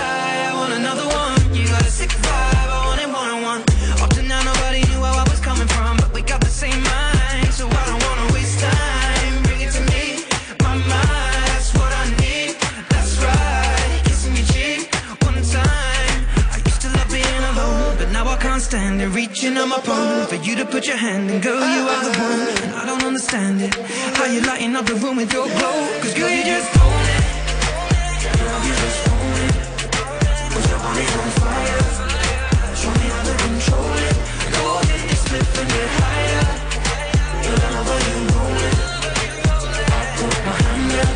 [SPEAKER 1] I want another one. You got a sick vibe, I want it one on one. Up to now, nobody knew where I was coming from, but we got the same mind, so I don't wanna waste time. Bring it to me, my mind, that's what I need. That's right, kissing your cheek one time. I used to love being alone, but now I can't stand it. Reaching on my phone for you to put your hand in, girl, you are the one. And I don't understand it, how you lighting up the room with your glow. Cause girl, you just own it.
[SPEAKER 10] Girl, you just own it. Cause your body's on fire. Show me how to control it. Go ahead, it's flipping it higher. Girl, I love how you roll it. I put my hand there.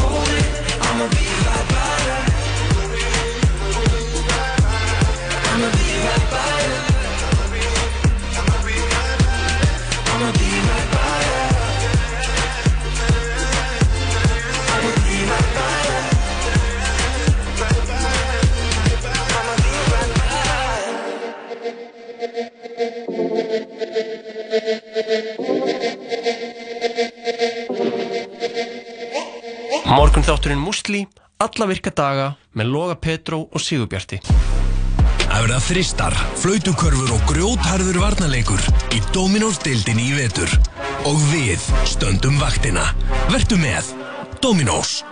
[SPEAKER 10] Hold it. I'ma be right by you. I'ma be right by you. I'ma be right by you.
[SPEAKER 13] Morgun þátturinn Musli, alla virka daga með Loga Petró og Sigurbjarti.
[SPEAKER 14] Það verða þristar, flautukörfur og grjótharður varnarleikur í Dominós-deildinni í vetur. Og við stöndum vaktina. Vertu með Dominós.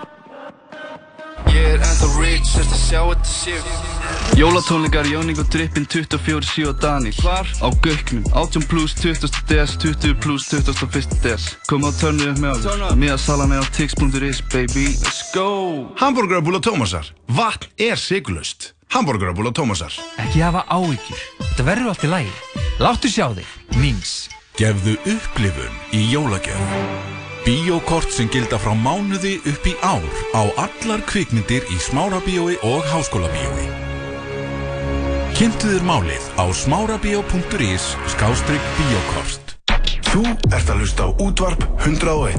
[SPEAKER 1] Ég er ennþá rich, sérst að sjá þetta séu
[SPEAKER 15] Jólatónleikar Jóník og Drippin 24-7 og Daniel Hvar? Á Gauknum 18 plus 20 DS 20 plus 21 DS Komum að törnu upp með okkur Miðasalan er á tix.is baby Let's go
[SPEAKER 16] Hamburgerabúla Tómasar. Vatn er sigurlaust. Hamburgerabúla Tómasar.
[SPEAKER 17] Ekki hafa áhyggjur. Þetta verður allt í lagi. Láttu sjá þig. Mings.
[SPEAKER 18] Gefðu upplifun í jólagjöf. Bíókort sem gilda frá mánuði upp í ár á allar kvikmyndir í smárabíói og háskólabíói. Kynntu þér málið á smárabíó.is skástrygg bíókort.
[SPEAKER 16] Þú ert að hlusta á útvarp 101.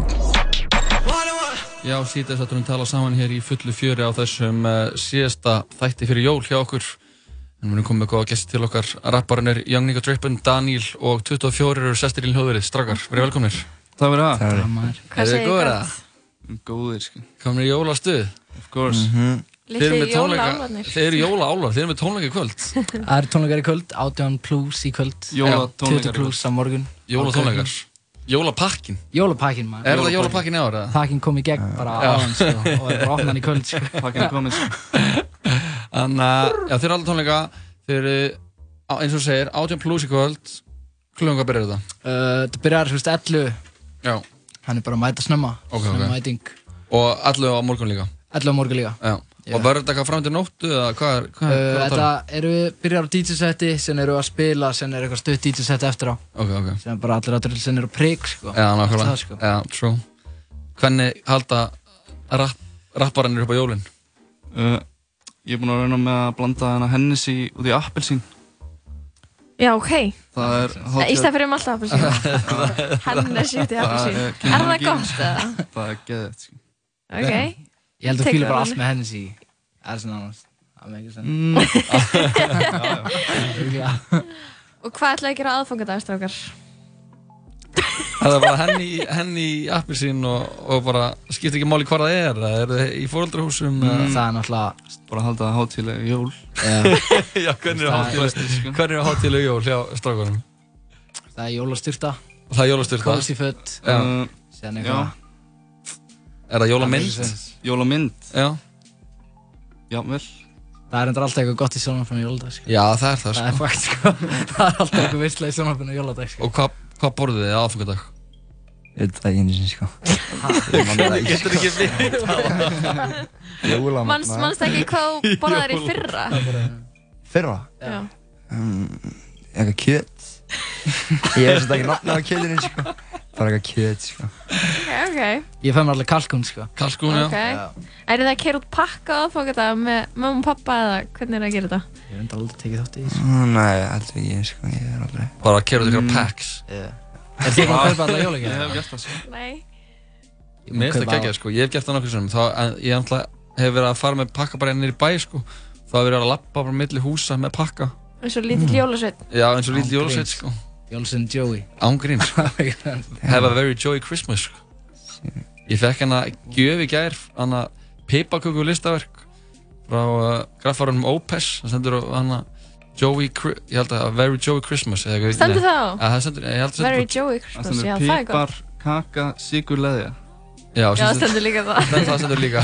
[SPEAKER 3] Já, síðan þetta erum við talað saman hér í fullu fjöri á þessum uh, síðasta þætti fyrir jól hjá okkur. En við erum komið með góða gesti til okkar. Rapparinn er Young Nico Drippin, Daniel og 24 eru sestir í hljóðverið. Strakar, verið velkomnir.
[SPEAKER 15] Það verður það.
[SPEAKER 3] Það
[SPEAKER 15] maður.
[SPEAKER 3] Er þið góður að?
[SPEAKER 15] Góðir sko.
[SPEAKER 3] Komnir í jólastuð?
[SPEAKER 15] Of course.
[SPEAKER 6] Mhm.
[SPEAKER 15] Mm
[SPEAKER 3] Þeir eru með
[SPEAKER 6] Litlir jólaálfarnir.
[SPEAKER 3] tónleika- Þeir eru jólaálar, þeir eru með tónleika í kvöld.
[SPEAKER 6] Það eru tónleikar í kvöld, 18 plus í kvöld
[SPEAKER 3] Jólatónleikar í
[SPEAKER 6] 20 plus á morgun
[SPEAKER 3] Jólatónleikar. Jólapakkin.
[SPEAKER 6] Jólapakkin maður
[SPEAKER 3] Er það jólapakkin í ára?
[SPEAKER 6] Pakkin kom í gegn bara
[SPEAKER 3] Já.
[SPEAKER 6] áðan sko, og er bara ofnan í kvöld sko.
[SPEAKER 3] Pakkin er kominn, Þannig að, já, þeir eru allir tónleika, þeir eru, á- eins og þú segir, 18 plus í kvöld. Klunga byrjar þetta.
[SPEAKER 6] Uh, Það byrjar fyrst 11
[SPEAKER 3] Já
[SPEAKER 6] Hann er bara að mæta snemma
[SPEAKER 3] Ok,
[SPEAKER 6] Snemma
[SPEAKER 3] ok.
[SPEAKER 6] mæting
[SPEAKER 3] Og allir á morgun líka.
[SPEAKER 6] 11 á morgun líka
[SPEAKER 3] Já. Og verður þetta eitthvað fram til nóttu eða hvað er, hvað
[SPEAKER 6] Uh,
[SPEAKER 3] er, hvað er
[SPEAKER 6] Þetta eru við byrjar á DJ seti sem eru að spila sem er eitthvað stutt DJ seti eftir á
[SPEAKER 3] Ok, ok.
[SPEAKER 6] sem er bara allir að drull sem eru prik sko.
[SPEAKER 3] Já, nákvæmlega.
[SPEAKER 6] Það, sko.
[SPEAKER 3] Já, true. Hvernig halda rapp, rapparannir upp á jólinn?
[SPEAKER 15] Uh, ég er búinn að reyna með að blanda hennar Hennessy út í appelsín.
[SPEAKER 4] Já, ok.
[SPEAKER 15] Það er
[SPEAKER 4] Í stað fyrir um alltaf appelsínu. Hann er sýtt í appelsínu. Er það gott eða?
[SPEAKER 15] Það er geðið, sko.
[SPEAKER 4] Ok.
[SPEAKER 6] Ég held að
[SPEAKER 4] Tekur
[SPEAKER 6] fíla bara
[SPEAKER 4] það
[SPEAKER 6] allt
[SPEAKER 4] þannig.
[SPEAKER 6] með henni sí Það er svona annars Það með ekki
[SPEAKER 15] Mm.
[SPEAKER 6] senn Já, já
[SPEAKER 4] Og hvað ætlaði að gera aðfangadagstrákar?
[SPEAKER 3] Er það bara henni, henni í appelsín og, og bara skiptir ekki máli hvað það er? eða Er það í fóröldrahúsum?
[SPEAKER 15] Mm, það
[SPEAKER 6] er náttúrulega...
[SPEAKER 15] Bara að halda það hátíðlega jól.
[SPEAKER 3] Já, hvernig er
[SPEAKER 15] Það er
[SPEAKER 3] hátíðleg,
[SPEAKER 15] flestir, sko.
[SPEAKER 3] hvernig er hátíðleg jól hjá strákunum?
[SPEAKER 6] Það er jólastyrta
[SPEAKER 3] Það er jólastyrta.
[SPEAKER 6] Kósi fött
[SPEAKER 3] Já.
[SPEAKER 6] Sen
[SPEAKER 15] Já.
[SPEAKER 6] eitthvað
[SPEAKER 3] Er það jólamynd?
[SPEAKER 15] Jólamynd?
[SPEAKER 3] Já.
[SPEAKER 15] Jafnvel.
[SPEAKER 6] Það er endur alltaf eitthvað gott í sjónarfinu jóladag sko.
[SPEAKER 3] Já, það er það,
[SPEAKER 6] Það er
[SPEAKER 3] sko.
[SPEAKER 6] fakt sko Það er alltaf eitthvað visslega í sjónarfinu jóladag sko.
[SPEAKER 3] Og hvað hva borðið þið aðfangadag?
[SPEAKER 19] Þetta er einu sinni sko Ég man það
[SPEAKER 3] Hvernig getur ekki
[SPEAKER 19] sko. Jólamatna.
[SPEAKER 4] Manst, manst ekki hvað þú borðaðir í fyrra?
[SPEAKER 19] Fyrra?
[SPEAKER 4] Já.
[SPEAKER 19] Um, eitthvað kjöt Ég veist þetta ekki nafnið á kjötinu sko Bara eitthvað kjöt sko
[SPEAKER 4] Ok, ok.
[SPEAKER 6] Ég fæ mér alltaf kalkún sko
[SPEAKER 3] Kalkún
[SPEAKER 4] Ok. Er það að kera út pakka á aðfangadag með mamma og pappa eða hvernig er það að gera þetta?
[SPEAKER 6] Ég hef enda aldrei tekið þátt í því
[SPEAKER 19] Mm, Nei, heldur ekki sko, ég er aldrei Mm.
[SPEAKER 3] Bara að keyra út ykkur packs?
[SPEAKER 6] Já Er þið ekki að kaupa alla jólagjöf?
[SPEAKER 15] Ég hef gert það, sko.
[SPEAKER 4] Nei.
[SPEAKER 3] Mér finnst það
[SPEAKER 6] Kaupa á-
[SPEAKER 3] geggjað sko, ég hef gert það nokkur sem þá, en ég náttúrulega hef verið að fara með pakka bara ennir í bæ sko þá hef ég verið að lappa bara milli húsa með pakka
[SPEAKER 4] Eins og lítill jólasveit.
[SPEAKER 3] Já, eins
[SPEAKER 6] Án
[SPEAKER 3] og lítið jólasveit
[SPEAKER 6] gríns.
[SPEAKER 3] sko
[SPEAKER 6] Jólasveit Joey
[SPEAKER 3] Ángrín sko Have a very joy Christmas sko Ég fekk hana gjöf í gær, hana pipaköku listaverk frá uh, graffarunum Opes það stendur á hana Joey, Chri- ég held að Very Joey Christmas eða eitthvað
[SPEAKER 4] Stendur
[SPEAKER 3] nei.
[SPEAKER 4] það á?
[SPEAKER 3] Já, það stendur, ég held að
[SPEAKER 4] Very
[SPEAKER 3] bara-
[SPEAKER 4] Joey Christmas, já það er
[SPEAKER 15] Pipar,
[SPEAKER 4] gott.
[SPEAKER 15] kaka, sigur leðja.
[SPEAKER 3] Já,
[SPEAKER 4] Já, það stendur líka það.
[SPEAKER 3] Stendur það stendur líka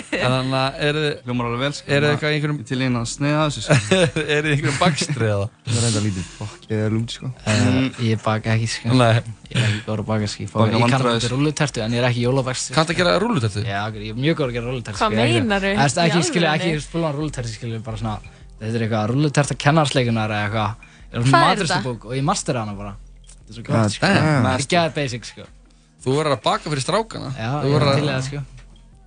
[SPEAKER 3] En þannig að eru þið
[SPEAKER 15] Hljómar alveg vel sko
[SPEAKER 3] Eru þið eitthvað í einhverjum
[SPEAKER 15] Til einn að sneiða þessu sko
[SPEAKER 3] Eru þið í einhverjum bakstri eða?
[SPEAKER 19] Það er enda lítið fokk, ég er lúnt sko
[SPEAKER 6] Eh, Ég baka ekki sko
[SPEAKER 3] Nei
[SPEAKER 6] Ég er ekki góður að baka sko Ég fá-
[SPEAKER 19] Baka
[SPEAKER 6] ég kann
[SPEAKER 19] vandræðis.
[SPEAKER 6] ekki rullutertu en ég er ekki jólabakst
[SPEAKER 3] Kanntu að gera rúllutertu?
[SPEAKER 6] Já, ok, ég er mjög góður að gera rúllutertu
[SPEAKER 4] Hvað meinarðu?
[SPEAKER 6] Það er
[SPEAKER 4] Í
[SPEAKER 6] ekki, skilja,
[SPEAKER 4] alvörunni?
[SPEAKER 6] ekki spilvæðan rúllutertu, skilja, bara svona Þetta er eitthvað rúlluterta kennarsleikunar eða eitthvað Ég er
[SPEAKER 4] Hvað
[SPEAKER 6] svona
[SPEAKER 4] er
[SPEAKER 6] maturinstabók og ég mastera hana bara Þetta er svo
[SPEAKER 3] God
[SPEAKER 6] gott, sko
[SPEAKER 3] Ah, damn.
[SPEAKER 6] Þetta er gæðið basic, sko
[SPEAKER 3] Þú verður að baka fyrir strákana Já,
[SPEAKER 6] ég er til í það, sko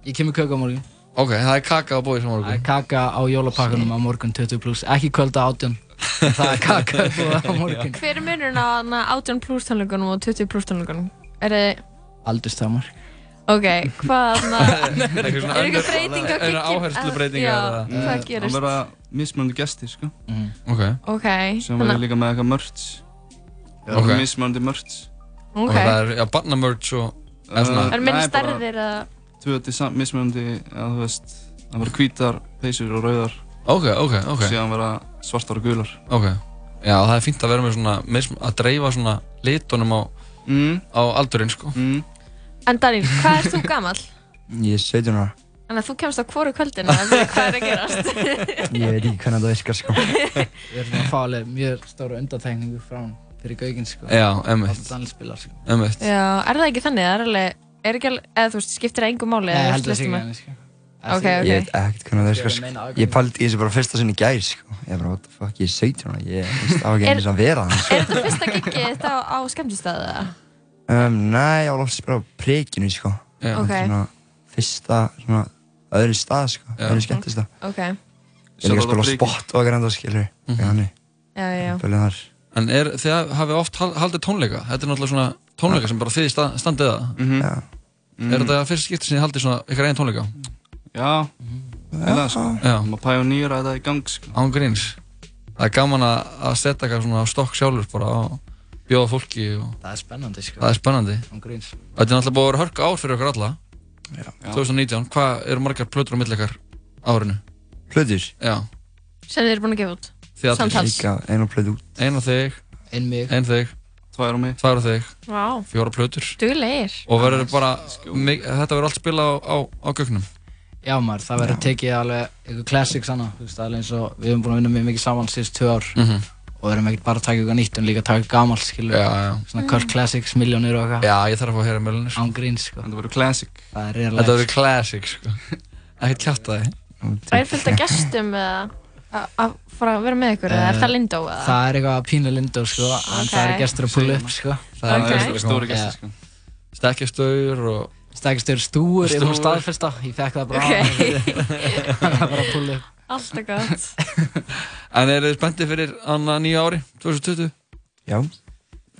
[SPEAKER 6] Ég kemur köku á morgun
[SPEAKER 3] Ok, það er kaka á bóði sem
[SPEAKER 6] Það er
[SPEAKER 3] morgun
[SPEAKER 6] kaka á jólapakkanum á morgun 20 pluss Ekki kvölda átjón Það er kaka á morgun
[SPEAKER 4] Hver er munurinn á þarna 18 pluss tónleikunum og 20 pluss tónleikunum? Er þið,
[SPEAKER 6] Aldurstamar
[SPEAKER 4] ok, hvað þarna?
[SPEAKER 15] Er
[SPEAKER 4] eitthvað svona Er einhver önnur- breyting á önnur giggi- áherslubreytingar Já, eða?
[SPEAKER 15] Mm,
[SPEAKER 4] hvað gerist?
[SPEAKER 15] Það verða mismunandi gestir sko
[SPEAKER 3] Ok
[SPEAKER 4] Ok,
[SPEAKER 15] Sem verður
[SPEAKER 4] þannig
[SPEAKER 15] líka með eitthvað mörts
[SPEAKER 3] Ok.
[SPEAKER 15] okay. Mismunandi mörts
[SPEAKER 4] Ok.
[SPEAKER 3] Og það er, já, barnamerch og eða svona
[SPEAKER 4] Það eru minni stærðir að
[SPEAKER 15] tvö til samt mismunandi að þú veist, það voru hvítar peysur og rauðar
[SPEAKER 3] Ok, ok, ok.
[SPEAKER 15] síðan vera svartar og gular
[SPEAKER 3] Ok, já það er fínt að vera með svona, með, að dreifa svona litunum á,
[SPEAKER 15] mm.
[SPEAKER 3] á aldurinn sko.
[SPEAKER 15] Mm.
[SPEAKER 4] En Daníl, hvað ert þú gamall?
[SPEAKER 19] Ég er 17 ára,
[SPEAKER 4] Þannig að þú kemst á hvoru kvöldinu að vita hvað er að gerast
[SPEAKER 19] ég veit ekki hvernig það virkar sko
[SPEAKER 6] Við erum að fá alveg mjög stóra undartekningu frá hann fyrir gaugin sko.
[SPEAKER 3] Já, emmitt.
[SPEAKER 6] Alltaf Daniel spilar sko.
[SPEAKER 3] Emmitt.
[SPEAKER 4] Já, er það ekki þannig? Það er alveg, er ekki alveg, eða þú veist, skiptir það engu máli?
[SPEAKER 6] Nei,
[SPEAKER 4] eða
[SPEAKER 6] heldur það
[SPEAKER 4] veistu
[SPEAKER 6] sig
[SPEAKER 4] maður?
[SPEAKER 6] ekki sko.
[SPEAKER 4] Ok, ok.
[SPEAKER 19] Ég veit ekkert hvernig
[SPEAKER 6] Ég
[SPEAKER 19] það
[SPEAKER 6] er að
[SPEAKER 19] virkar
[SPEAKER 6] meina
[SPEAKER 19] sko
[SPEAKER 6] aðgang.
[SPEAKER 19] Ég pældi í þessu bara fyrsta sinni í gær sko Ég er bara, what the fuck, ég er 17 ára, ég veist á ekki
[SPEAKER 4] Er-
[SPEAKER 19] eins að vera það sko
[SPEAKER 4] Er þetta fyrsta giggi þetta á, á skemmtistæðu eða?
[SPEAKER 19] um, Nei, ég var loftis bara á prekinu sko
[SPEAKER 4] Já. Ok.
[SPEAKER 19] Þetta er Svona fyrsta, svona öðru stað sko,
[SPEAKER 4] Já.
[SPEAKER 19] öðru skemmtist það
[SPEAKER 4] Ok,
[SPEAKER 19] Ég er líka
[SPEAKER 3] Svo var það
[SPEAKER 19] að spila á
[SPEAKER 3] Prikinu.
[SPEAKER 19] spot og eitthvað enda skilur mm -hmm. Þannig,
[SPEAKER 4] já, já.
[SPEAKER 19] bælið þar
[SPEAKER 3] En er, þið hafið oft hal- haldið tónleika, þetta er náttúrulega svona tónleika sem bara þið sta, standið að.
[SPEAKER 15] Mm
[SPEAKER 6] Mhm.
[SPEAKER 19] -hmm.
[SPEAKER 3] Er þetta fyrst skipti sem þið haldið svona ykkar einn tónleika?
[SPEAKER 15] Já, eða sko,
[SPEAKER 3] Já.
[SPEAKER 15] maður pæjonýra þetta í gang sko
[SPEAKER 3] Án gríns. Það er gaman að, að setja eitthvað svona á stokk sjálfur bara og bjóða fólki og
[SPEAKER 6] Það er spennandi sko.
[SPEAKER 3] það er spennandi.
[SPEAKER 6] Án gríns.
[SPEAKER 3] Þetta er náttúrulega búið að vera hörka ár fyrir okkur alla.
[SPEAKER 19] Já.
[SPEAKER 3] 2019, hvað eru margar plötur á milli ykkar á árinu?
[SPEAKER 19] Plötur?
[SPEAKER 3] Já.
[SPEAKER 4] Sem þið eru búin að gefa út?
[SPEAKER 3] Þið allir.
[SPEAKER 4] Samtals?
[SPEAKER 19] Líka einu plötu út
[SPEAKER 3] Ein á þig.
[SPEAKER 6] Ein mig.
[SPEAKER 3] Ein þig.
[SPEAKER 15] Tvær á mig.
[SPEAKER 3] Tvær á þig.
[SPEAKER 4] Vá.
[SPEAKER 3] Fjóra plötur.
[SPEAKER 4] Duglegir.
[SPEAKER 3] Og verður bara, mig, þetta verður allt spila á, á, á gögnum.
[SPEAKER 6] Já maður, það verður tekið alveg eitthvað classics annað, þú veist, alveg eins og við höfum búin að vinna mjög mikið saman síðust tvö ár
[SPEAKER 3] Mhm.
[SPEAKER 6] og við erum ekkert bara að taka eitthvað nýtt en líka að taka eitthvað gamalt, skilur
[SPEAKER 3] Já, já.
[SPEAKER 6] Svona
[SPEAKER 4] Mm.
[SPEAKER 6] Kurt Classics, miljónir og eitthvað.
[SPEAKER 3] Já, ég þarf að fá að heyra mjölunir.
[SPEAKER 6] Án gríns, sko. Þetta
[SPEAKER 15] verður classic.
[SPEAKER 6] Það er
[SPEAKER 3] Þetta
[SPEAKER 6] reyðarlega.
[SPEAKER 3] verður classic, sko. Ekki kjáta þig.
[SPEAKER 4] Það er fullt af gestum eða að- að fara að vera með ykkur eða er það Lindó eða?
[SPEAKER 6] Það er eitthvað að pína Lindó, sko, en það er
[SPEAKER 4] Ok.
[SPEAKER 6] gestur að pulla upp, sko.
[SPEAKER 3] Það eru Ok. gestir að koma. Stórir gestir,
[SPEAKER 6] sko.
[SPEAKER 3] Stekkjastaur og...
[SPEAKER 6] Stekkjastaur stúur, ég fór
[SPEAKER 3] Stúfur.
[SPEAKER 6] staðfesta, ég fekk það bara
[SPEAKER 4] Ok.
[SPEAKER 6] Hann er bara að pulla upp.
[SPEAKER 4] Alltaf gott.
[SPEAKER 3] En eru þið spenntið fyrir annað nýja ári, 2020?
[SPEAKER 19] Já.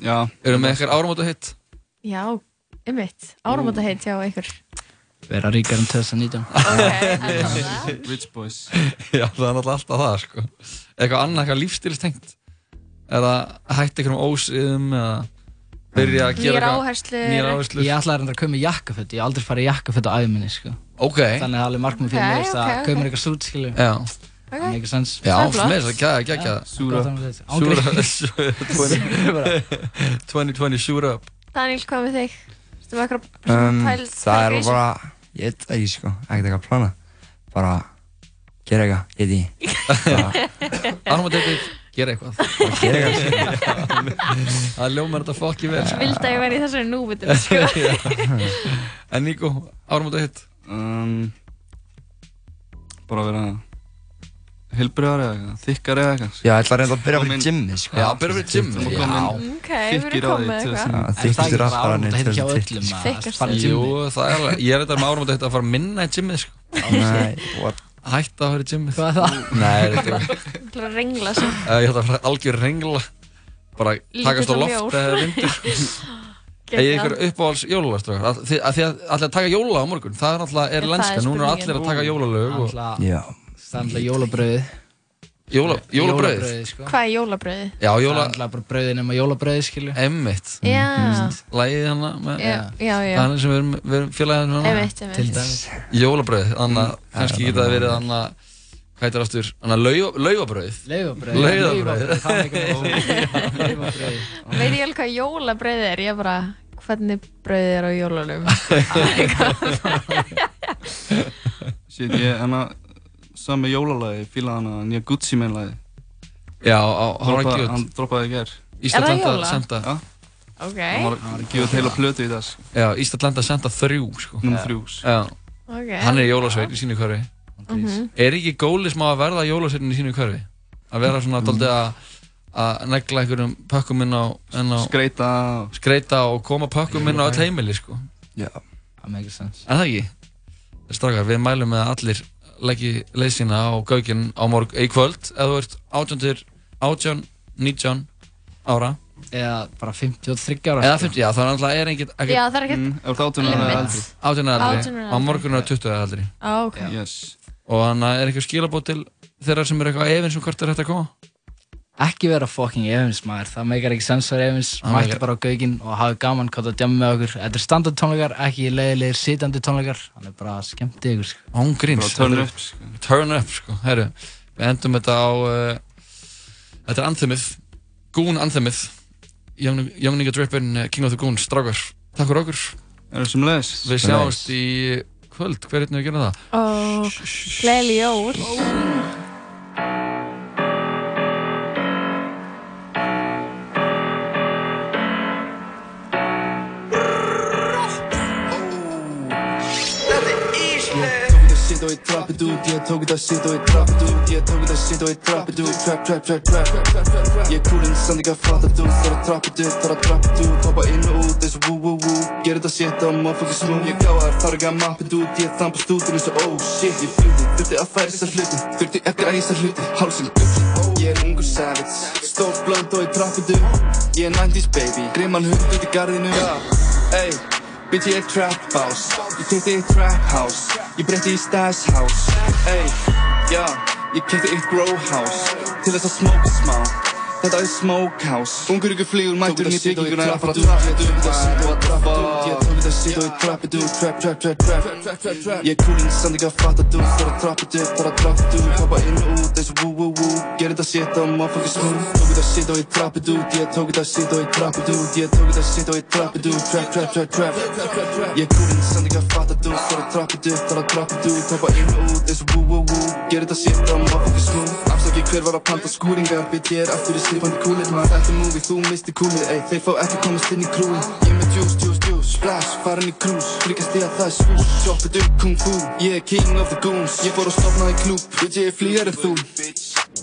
[SPEAKER 15] Já.
[SPEAKER 3] Eru með eitthvað áramóta hitt?
[SPEAKER 4] Já, ymmit. Áramóta heit hjá ykkur.
[SPEAKER 6] Vera ríkar um 2019.
[SPEAKER 15] Rich boys.
[SPEAKER 3] Já, það er náttúrulega alltaf það, sko. Eitthvað annað, eitthvað lífstilstengt. Eða hætti ykkur um ósiðum, eða byrja að gera
[SPEAKER 4] Mm. Nýjar
[SPEAKER 3] eitthvað...
[SPEAKER 4] áherslur.
[SPEAKER 3] Nýjar áherslur.
[SPEAKER 6] Ég ætlaði reyndar að kaupa mér jakkaföt, ég hef aldrei farið í jakkaföt á æðminni, sko.
[SPEAKER 3] Ok.
[SPEAKER 6] Þannig að það er alveg markmið fyrir
[SPEAKER 4] Ok,
[SPEAKER 6] mig, þú veist, að
[SPEAKER 4] ok, ok.
[SPEAKER 6] kaupa mér eitthvað sút, skilur.
[SPEAKER 3] Já.
[SPEAKER 6] Það er eitthvað sens.
[SPEAKER 3] Já, með þess að gæða, gæða, gæða. Súra. 2020, súra up.
[SPEAKER 4] Daniel, hvað með þig? Þú með eitthvað
[SPEAKER 19] um,
[SPEAKER 4] pæl-
[SPEAKER 19] Það er
[SPEAKER 4] pælgrísum?
[SPEAKER 19] bara, ég veit það ekki sko, ekkert eitthvað að plana Bara, gera eitthvað, ég veit ekki
[SPEAKER 3] Armand eitthvað, gera eitthvað
[SPEAKER 19] Bara gera eitthvað sko.
[SPEAKER 3] Það ljómar þetta fokki vel, sko.
[SPEAKER 4] Vildi að ég væri í þessari núvitum, sko.
[SPEAKER 3] Já. En Níko, áramóta hitt?
[SPEAKER 15] Um, bara vera heilbriðar eða eitthvað, þykkar eða eitthvað.
[SPEAKER 19] Já, ég ætla að reynda að byrja fyrir gymmið sko
[SPEAKER 15] Já, byrja fyrir gymmið.
[SPEAKER 19] Þú
[SPEAKER 15] Já.
[SPEAKER 19] komin-
[SPEAKER 4] Ok, við
[SPEAKER 15] Þykkir
[SPEAKER 4] erum
[SPEAKER 15] á því,
[SPEAKER 4] komið
[SPEAKER 15] tvö
[SPEAKER 4] eitthvað.
[SPEAKER 15] þúsund.
[SPEAKER 19] Já, þykkist þér alltaf
[SPEAKER 6] áramóta hitt hjá
[SPEAKER 19] neitt
[SPEAKER 6] öllum, að
[SPEAKER 4] Þykkast
[SPEAKER 6] fara í
[SPEAKER 3] Jú,
[SPEAKER 6] gymmið.
[SPEAKER 3] það er alveg, ég er þetta með áramóta hitt að fara minna í gymmið, sko.
[SPEAKER 19] Nei, what?
[SPEAKER 3] Hætta að fara í gymmið.
[SPEAKER 6] Hvað er það?
[SPEAKER 3] Nei, þetta er...
[SPEAKER 4] Þú ætlar að rengla svo.
[SPEAKER 3] Eh, Ég ætla að fara algjör rengla. Bara takast á
[SPEAKER 4] Lítill og
[SPEAKER 3] loft
[SPEAKER 4] mjór.
[SPEAKER 3] eða vindur. Eða ég ykkur uppáhalds jólalagströkk. Að því að þið allir að taka jóla á morgun, það er alltaf, er
[SPEAKER 6] Það er
[SPEAKER 3] lenska. Núna er allir
[SPEAKER 6] spurningin.
[SPEAKER 3] að taka jólalög og...
[SPEAKER 6] Alla-
[SPEAKER 19] Já.
[SPEAKER 6] Það er alltaf jólabröðið.
[SPEAKER 3] Jóla, jólabrauð?
[SPEAKER 6] sko.
[SPEAKER 4] Hvað er jólabröði?
[SPEAKER 3] Já, jóla...
[SPEAKER 6] Það er alltaf bara bröðið nema jólabröðið, skilju.
[SPEAKER 3] Emmitt.
[SPEAKER 4] Já.
[SPEAKER 3] Mm, Lægið hana hérna með...
[SPEAKER 4] Já, já, já.
[SPEAKER 3] Það er sem við erum, við erum félagið hana.
[SPEAKER 4] Einmitt, einmitt. Til dæmis.
[SPEAKER 3] Jólabröð, annað,
[SPEAKER 6] Mm.
[SPEAKER 3] kannski
[SPEAKER 6] Já,
[SPEAKER 3] geta það
[SPEAKER 6] það er
[SPEAKER 3] verið annað... Hvað heitir aftur? Annað laufa- laufabrauð.
[SPEAKER 6] Laufabrauð, já,
[SPEAKER 3] Laufabrauð.
[SPEAKER 6] laufabrauð, það er ekki nóg.
[SPEAKER 3] Laufabrauð.
[SPEAKER 4] Veit ég alveg hvað jólabröði er? Ég bara, hvernig bröði er á jólunum?
[SPEAKER 15] Shit, ég, hann að, saman með jólalagi, fíla hann að nýja Gucci menn lagi.
[SPEAKER 3] Já, á- hann var
[SPEAKER 15] Droppa-
[SPEAKER 3] cute.
[SPEAKER 15] Hann droppaði í gerð.
[SPEAKER 3] Ísland Er það lenda- jóla? senda.
[SPEAKER 15] Já.
[SPEAKER 4] Ok.
[SPEAKER 15] Hann var að gefa út heila plötu í dag, sko.
[SPEAKER 3] Já, Ísland lenda að senda þrjú, sko.
[SPEAKER 15] Númer þrjú, sko.
[SPEAKER 3] Já.
[SPEAKER 4] Ok.
[SPEAKER 3] Hann er jólasveit í sínu hverfi.
[SPEAKER 4] Mhm.
[SPEAKER 3] Er ekki góli smá að verða jólasveitin í sínu hverfi? Að vera svona daldið að að negla einhverjum pökkum inn á, inn á
[SPEAKER 15] skreita
[SPEAKER 3] skreita og koma pökkum inn á öll heimili sko
[SPEAKER 19] Já.
[SPEAKER 6] Það er ekki sens.
[SPEAKER 3] En það ekki? Strákar, við mælum með að allir leggji leysina á gaugin á morg í kvöld eða þú ert 18 til 18, 19 ára
[SPEAKER 6] Eða bara 53 ára.
[SPEAKER 3] eða
[SPEAKER 6] sko.
[SPEAKER 3] 50, já það er alltaf er ekkert
[SPEAKER 4] Já, það er ekkert Mm,
[SPEAKER 15] ef þú ert 18 ára eða limit. eldri.
[SPEAKER 3] 18 ára eða
[SPEAKER 4] 18 ára
[SPEAKER 3] eldri,
[SPEAKER 4] eða
[SPEAKER 3] á
[SPEAKER 4] eldri.
[SPEAKER 3] morgun er 20 eða eldri
[SPEAKER 4] Á, ok.
[SPEAKER 15] Yes.
[SPEAKER 3] og þannig að er eitthvað skilabót til þeirra sem eru eitthvað efinn sem hvort er hægt að koma
[SPEAKER 6] ekki vera fucking Evans maður, það meikar ekki sens að Evans
[SPEAKER 3] Það
[SPEAKER 6] mætti
[SPEAKER 3] meikar-
[SPEAKER 6] bara á gaugin og hafi gaman hvað það djama með okkur, þetta er standard tónleikar ekki leiðilegir sitjandi tónleikar hann er bara skemmt ykkur sko.
[SPEAKER 3] Án gríns
[SPEAKER 6] Bara turn
[SPEAKER 3] þetta er-
[SPEAKER 6] up,
[SPEAKER 3] Turn up sko Herru, Við endum þetta á uh, Þetta er anthemið Goon anthemið Jöfninga drippin uh, King of the Goons Strákar Takk fyrir okkur
[SPEAKER 15] Erum sem leis
[SPEAKER 3] Við sjáumst í kvöld Hver er við að gera það?
[SPEAKER 4] Ó, gleðileg jól
[SPEAKER 20] Ég tók þetta shit og ég droppið út Ég tók þetta shit og ég droppið út Ég tók þetta shit og ég droppið út Trap, trap, trap, trap Ég er kúlinn samt ekki að fatta þú Þar að droppið út, þar að droppið út Hoppa inn og út eins og wú, wú, wú Gerði þetta shit á motherfucking smooth Ég gáðar þar ekki að mappið út Ég þampast út eins og oh shit Ég flutti, þurfti að færa þessar hluti Þurfti eftir að þessar hluti Hálsinn Ég er ungur savage Stór blönd og ég droppið út Ég er 90s baby Grimman hund út í garðinu Ey, Bitch ég er trap house Ég kefti eitt trap house Ég breytti í stash house Ey, já, ég kefti eitt grow house Til þess að smoke smá Þetta er smoke house Ungur ykkur flýgur mætturinn í bygginguna er að fara að trappið út Það sem þú að trappa út Ég tók þetta shit og ég trappið út Trap, trap, trap, trap Ég er kúlinn samt ekki að fatta þú Það er að trappið út, það er að trappið út Hoppa inn og út eins og wú, wú, wú Gerði þetta shit á motherfucking smooth Tók þetta shit og ég trappið út Ég tók þetta shit og ég trappið út Ég tók þetta shit og ég trappið út Trap, trap, trap, trap Ég er kúlinn samt ekki að fatta þú Það er að trappið út, það er að trappið út Hoppa inn og út eins og wú, wú, wú Gerði þetta shit á motherfucking smooth Afsaki hver var að panta skúringar Bitch ég er aftur í slipandi kúlið maður Þetta movie, þú misti kúlið Ey, þeir fá ekki komast inn í krúið Ég er með juice, juice, juice Splash, farin í krús Fríkast ég að það er svús Choppið upp kung fu Ég er king of the goons Ég fór að stopna í klúb Bitch ég er flýjar en þú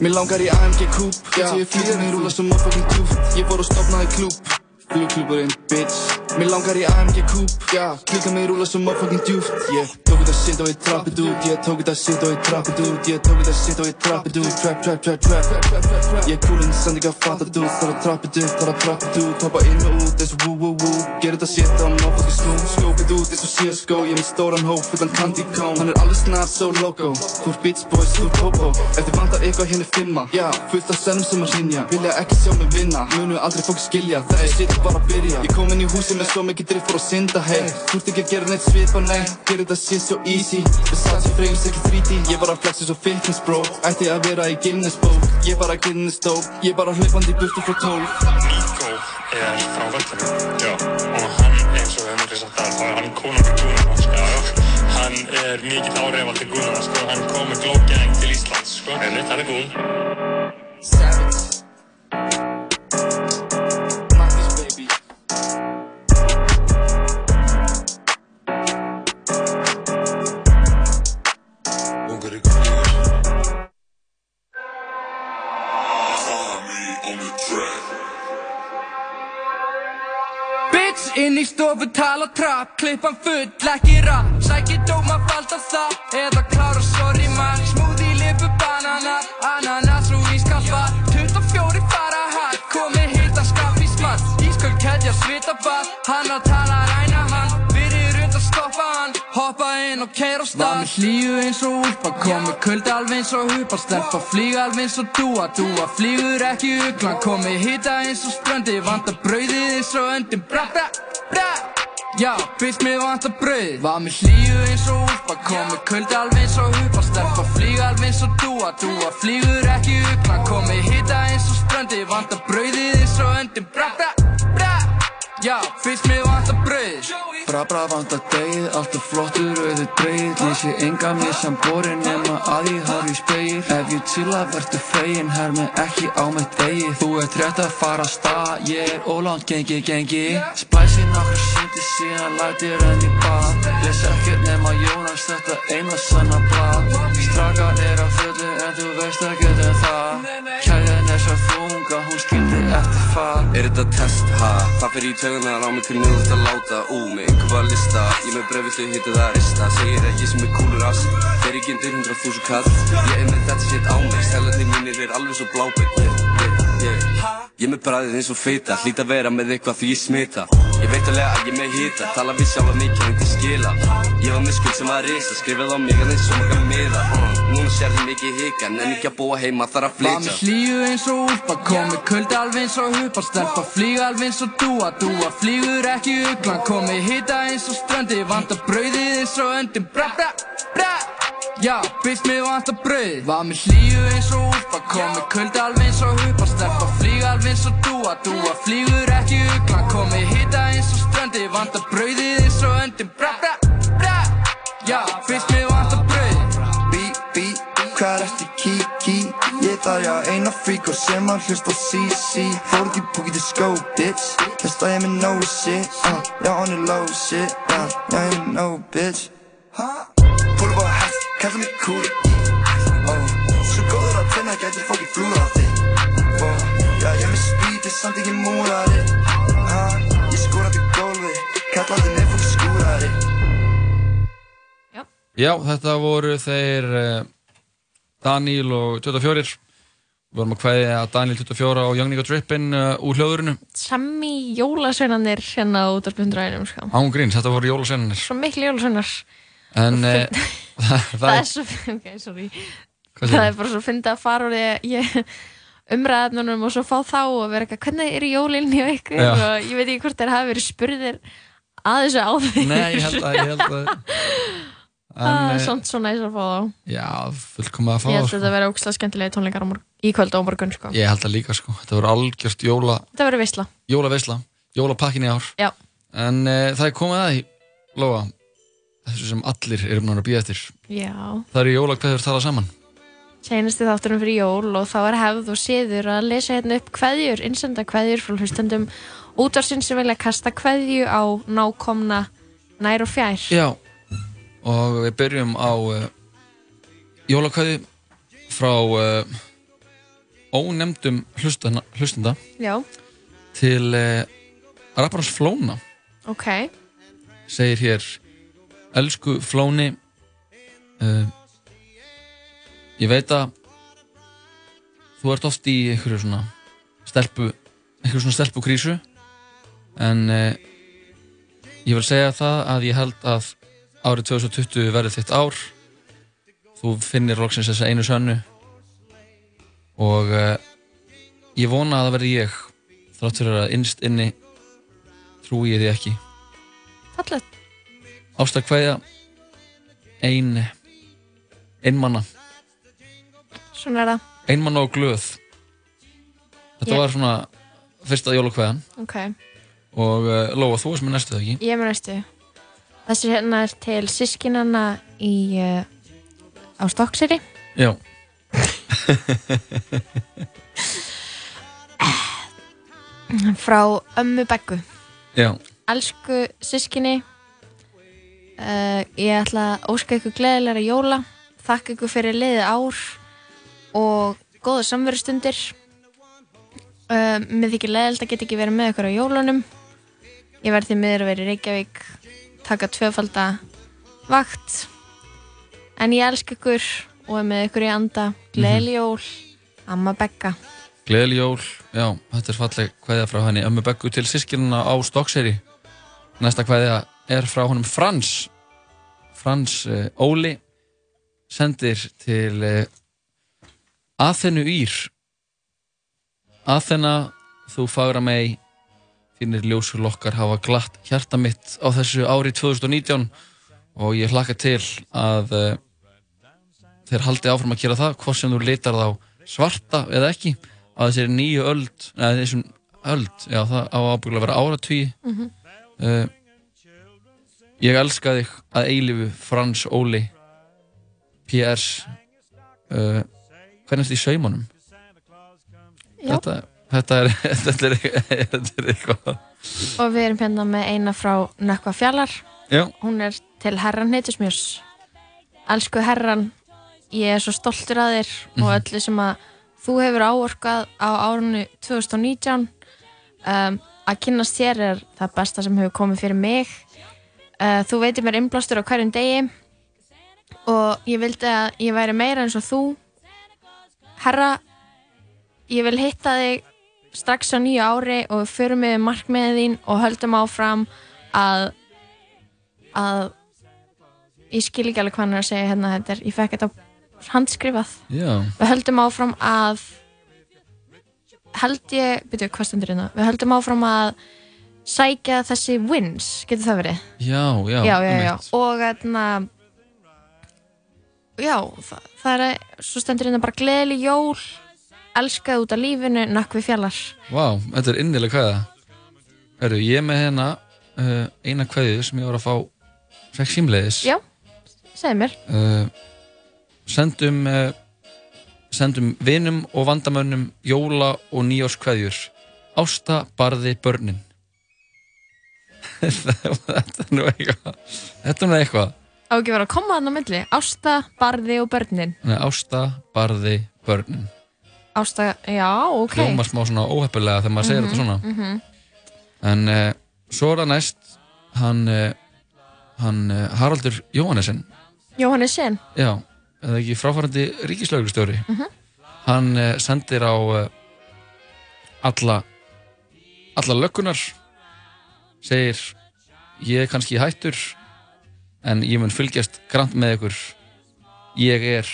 [SPEAKER 20] Mér langar í AMG kúp Bitch ég er flýjar en rúla sem um motherfucking kúp Ég fór að stopna í klúb Flugklúburinn, bitch Mér langar í AMG kúp Já, klíka mig rúla sem motherfucking djúft Ég tók þetta shit og ég trappið út Ég tók þetta shit og ég trappið út Ég tók þetta shit og ég trappið út Trap, trap, trap, trap Ég er kúlinn samt ekki að fatta þú Þar að trappið út, þar að trappið út Hoppa inn og út eins og wú, wú, wú Gerði þetta shit á motherfucking snú Skópið út eins og CSGO Ég er með stóran hó, fullan candy cone Hann er alveg snart, so loco Þú er bitch boys, þú er popo Ef þið vantar eitthvað henni fimma Já, fullt af sennum sem að hrinja Vilja ekki sjá mig vinna Munu aldrei fólk skilja Það er shit bara að byrja Ég kom inn í húsi með svo mikið drift fór að synda, hey Þú ert ekki að gera neitt svipa, nei Gerði þetta shit so easy Versace frames ekki 3D Ég bara flexi svo fitness bro Ætti að vera í Guinness bók Ég bara Guinness dope Ég bara hlaupandi í burtu frá tól
[SPEAKER 21] Nico er frá vellinu Já, og hann eins og við höfum ekki sagt það þá er hann konungur Gúnana sko, já, já. hann er mikill áreifaldi Gúnana sko, hann kom með Glow Gang til Íslands sko, en þetta er Gún
[SPEAKER 20] Savage. Magnus, baby.
[SPEAKER 22] Bitch inn í stofu tala trap Klippan full ekki rap Sæki dóma valda það Eða klára sorry man Smoothie lipu banana Ananas og ískalfa 24 fara hatt Komið hitt að skaffi smatt Ísköld keðja svita bað Hanna tala ræna hann Fyrir rönt að stoppa hann Hoppa inn og keira á stað Var með hlíu eins og úlpa Komið kuldi alveg eins og hupa Stelpa flýga alveg eins og dúa Dúa flýgur ekki uglan Komið hita eins og ströndi Vanda brauðið eins og öndin Bra, bra, bra Já, bitch, mér vantar brauð Var með hlíu eins og úlpa Komið kuldi alveg eins og hupa Stelpa flýga alveg eins og dúa Dúa flýgur ekki uglan Komið hita eins og ströndi Vanda brauðið eins og öndin Bra, bra, bra Já, bitch, mér vantar brauð
[SPEAKER 20] Bra bra vanda degið, allt er flottur auðu dreigið Lýsi enga mér sem borin nema að ég horf í spegil Ef ég chilla verður fegin, hermi ekki á með degið Þú ert rétt að fara af stað, ég er ólánt gengi gengi Splæsi nokkru sindi síðan lætir enn í bað Les ekkert nema Jónas þetta eina sanna blad Strakar er að fullu en þú veist ekkert en það Kæðin er svo þunga, hún skildi eftir far
[SPEAKER 23] Er þetta test, ha? Það fyrir í tögunar á mig til mér út að láta Ú, með einhverfa lista Ég með brefið þau hittu það að rista Segir ekki sem er kúlur ass Þeir ekki undir 100.000 kall Ég er með þetta shit á mig Stælarnir mínir er alveg svo blábætt yeah, yeah. yeah. Ég er með bræðið eins og fita Hlýt að vera með eitthvað því ég smita Ég veit alveg að ég er með hita Tala við sjálfa mikið en til skila Ég var með skuld sem var risa Skrifað á mig að þeim svo mörgum miða uh, Núna sér þið mikið hika En ekki að búa heima þar að
[SPEAKER 22] Var með
[SPEAKER 23] flytja
[SPEAKER 22] hlýju eins og úlpa Komi kuldi alveg eins og hupa Stelpa flýga alveg eins og dúa Dúa flýgur ekki uglan Komi hita eins og ströndi Vanda brauðið eins og öndin Bra bra bra Já, býst mig vanda brauð Var með hlýju eins og úlpa Komi kuldi alveg eins og hupa Stelpa flýga alveg eins og dúa Dúa flýgur ekki uglan Komi hita eins og ströndi Vanda brauðið eins og öndin Bra bra bra Já, býst mig vanda brauð
[SPEAKER 2] Bí, bí, hvað er eftir kí, kí Ég þarf já eina fríkur sem að hlusta á sí, sí Fór ekki púkið til skó, bitch Þess að ég er með no shit, uh, já on the low shit, já, já ég er með no bitch Púlu bara hægt, kallar mig cool oh, Svo góður að tenna gæti fólki flúða þig oh, Já ég er með spýti, samt ekki múrari uh, Ég skúraði gólfi, kallaði mig fólki skúrari
[SPEAKER 3] Já, þetta voru þeir eh, Daniel og 24 Við vorum að kveðja Daniel 24 og Young Nigga Drippin uh, úr hljóðurinu
[SPEAKER 4] Sami jólasveinanir hérna út af bundræðinum sko.
[SPEAKER 3] Án gríns, þetta voru jólasennir
[SPEAKER 4] Svo miklu jólasveinar
[SPEAKER 3] En uh, það,
[SPEAKER 4] Það er svo, ok, sorry
[SPEAKER 3] Hvað
[SPEAKER 4] Það
[SPEAKER 3] segirðu?
[SPEAKER 4] er bara svo fyndið að fara úr ég, ég umræðanunum og svo fá þá og vera eitthvað, hvernig eru jólinn hjá ykkur
[SPEAKER 3] Já.
[SPEAKER 4] og ég veit ekki hvort þeir hafi verið spurðir að þessu áður
[SPEAKER 3] Nei, ég held að, ég held að
[SPEAKER 4] Ah,
[SPEAKER 3] en, eh,
[SPEAKER 4] Samt svo næs að fá þá
[SPEAKER 3] Já, fullkomið að fá sko.
[SPEAKER 4] Ég held
[SPEAKER 3] það,
[SPEAKER 4] að þetta verið ógstlega skemmtilega tónleikar á morgun, í kvöld og á morgun sko.
[SPEAKER 3] sko. Ég held að líka sko, þetta voru algjört jóla,
[SPEAKER 4] Þetta verið veisla
[SPEAKER 3] jólaveisla Jólapakkin í ár
[SPEAKER 4] Já.
[SPEAKER 3] En uh, það er komið að því, Lóa Þessu sem allir eru búin að býja eftir
[SPEAKER 4] Já,
[SPEAKER 3] Það eru jólakveður tala saman
[SPEAKER 4] seinasti þátturum fyrir jól og þá er hefð og siður að lesa hérna upp kveðjur, innsenda kveðjur frá hlustendum útarsinn sem vilja kasta kveðju á nákomna nær og fjær
[SPEAKER 3] Já Og við byrjum á uh, jólakvæði frá uh, ónefndum hlustanda, hlustanda
[SPEAKER 4] Já,
[SPEAKER 3] til uh, rapparans Flóna
[SPEAKER 4] ok,
[SPEAKER 3] segir hér Elsku Flóni uh, Ég veit að þú ert oft í einhverju svona stelpu einhverju svona stelpu krísu en uh, ég vil segja það að ég held að árið 2020 verði þitt ár þú finnir loksins þessa einu sönnu og uh, ég vona að það verði ég þrátt fyrir að innst inni trúi ég því ekki
[SPEAKER 4] fallegt
[SPEAKER 3] ástakvæða ein einmanna
[SPEAKER 4] svona er það
[SPEAKER 3] einmanna og glöð þetta
[SPEAKER 4] Ég-
[SPEAKER 3] var svona fyrsta jólakvæðan
[SPEAKER 4] Ok,
[SPEAKER 3] og uh, Lóa, þú varst með næstu það ekki
[SPEAKER 4] ég er með næstu Þessi hérna er til sískinana í, uh, á Stokkseri
[SPEAKER 3] já
[SPEAKER 4] frá ömmu Beggu
[SPEAKER 3] já,
[SPEAKER 4] Elsku sískinni uh, Ég ætla að óska ykkur gleðilega jóla Þakka ykkur fyrir liðið ár Og góða samverustundir uh, Mér þykir leðild að geta ekki verið með ykkur á jólunum Ég verð því miður að vera í Reykjavík Taka tvöfalda vakt En ég elska ykkur Og er með ykkur í anda Gleðileg jól Amma Begga
[SPEAKER 3] gleðli jól já, þetta er falleg kvæða frá henni ömmu Beggu til sískiluna á Stokkseri næsta kvæða er frá honum Frans Frans uh, Óli sendir til uh, Aþenu Ír Aþena þú fagra mei þínir ljósur lokkar hafa glatt hjarta mitt á þessu ári 2019 og ég hlakka til að uh, þeir haldi áfram að gera það hvort sem þú litar þá svarta eða ekki að þessari nýju öld neða þessum öld, já það á ábyggulega að vera áratví
[SPEAKER 7] Mhm.
[SPEAKER 3] uh, ég elska þig að eilifu Frans Óli P.S. Uh, hvernig ertu í saumanum?
[SPEAKER 4] Já.
[SPEAKER 3] Þetta, þetta er þetta er, þetta er eitthvað
[SPEAKER 4] Og við erum hérna með eina frá Nökkva Fjallar
[SPEAKER 3] Já.
[SPEAKER 4] Hún er til herran heitusmjörs Elsku herran Ég er svo stoltur að þér og öllu sem að þú hefur áorkað á árunni 2019 um, Að kynnast þér er það besta sem hefur komið fyrir mig uh, Þú veitir mér innblástur á hverjum degi Og ég vildi að ég væri meira eins og þú Herra, ég vil hitta þig strax á nýju ári og við förum við markmiðið þín og höldum áfram að að ég skil ekki alveg hvað hann er að segja hérna þetta er, ég fekk þetta handskrifað
[SPEAKER 3] Já.
[SPEAKER 4] við höldum áfram að held ég, byrju, hvað stendur hérna við höldum áfram að sækja þessi wins, getur það verið
[SPEAKER 3] Já, já,
[SPEAKER 4] já, já, já.
[SPEAKER 3] einmitt.
[SPEAKER 4] og þarna já, það, það er svo stendur hérna bara gleðli jól elskaði út af lífinu, nökkvi fjallar
[SPEAKER 3] Vá, þetta er innileg kveða Herru, ég er með hérna uh, eina kveðið sem ég var að fá fekk símleiðis
[SPEAKER 4] já, segðu mér
[SPEAKER 3] uh, sendum uh, sendum vinum og vandamönnum jóla og nýjórskveðjur Ásta barði börnin Þetta er nú eitthvað Þetta er nú eitthvað
[SPEAKER 4] á ekki að vera að koma þannig á milli, ásta, barði og börnin
[SPEAKER 3] Nei, Ásta barði börnin
[SPEAKER 4] ásta, já, ok
[SPEAKER 3] Hljómar smá svona óheppilega þegar maður segir þetta svona
[SPEAKER 4] Mhm.
[SPEAKER 3] En uh, svo er það næst hann, uh, hann uh, Haraldur Jóhannesson
[SPEAKER 4] Jóhannes sen
[SPEAKER 3] já, eða ekki fráfærandi ríkislauglustjóri
[SPEAKER 4] Mhm.
[SPEAKER 3] hann uh, sendir á uh, alla alla löggunar segir ég er kannski hættur en ég mun fylgjast grant með ykkur ég er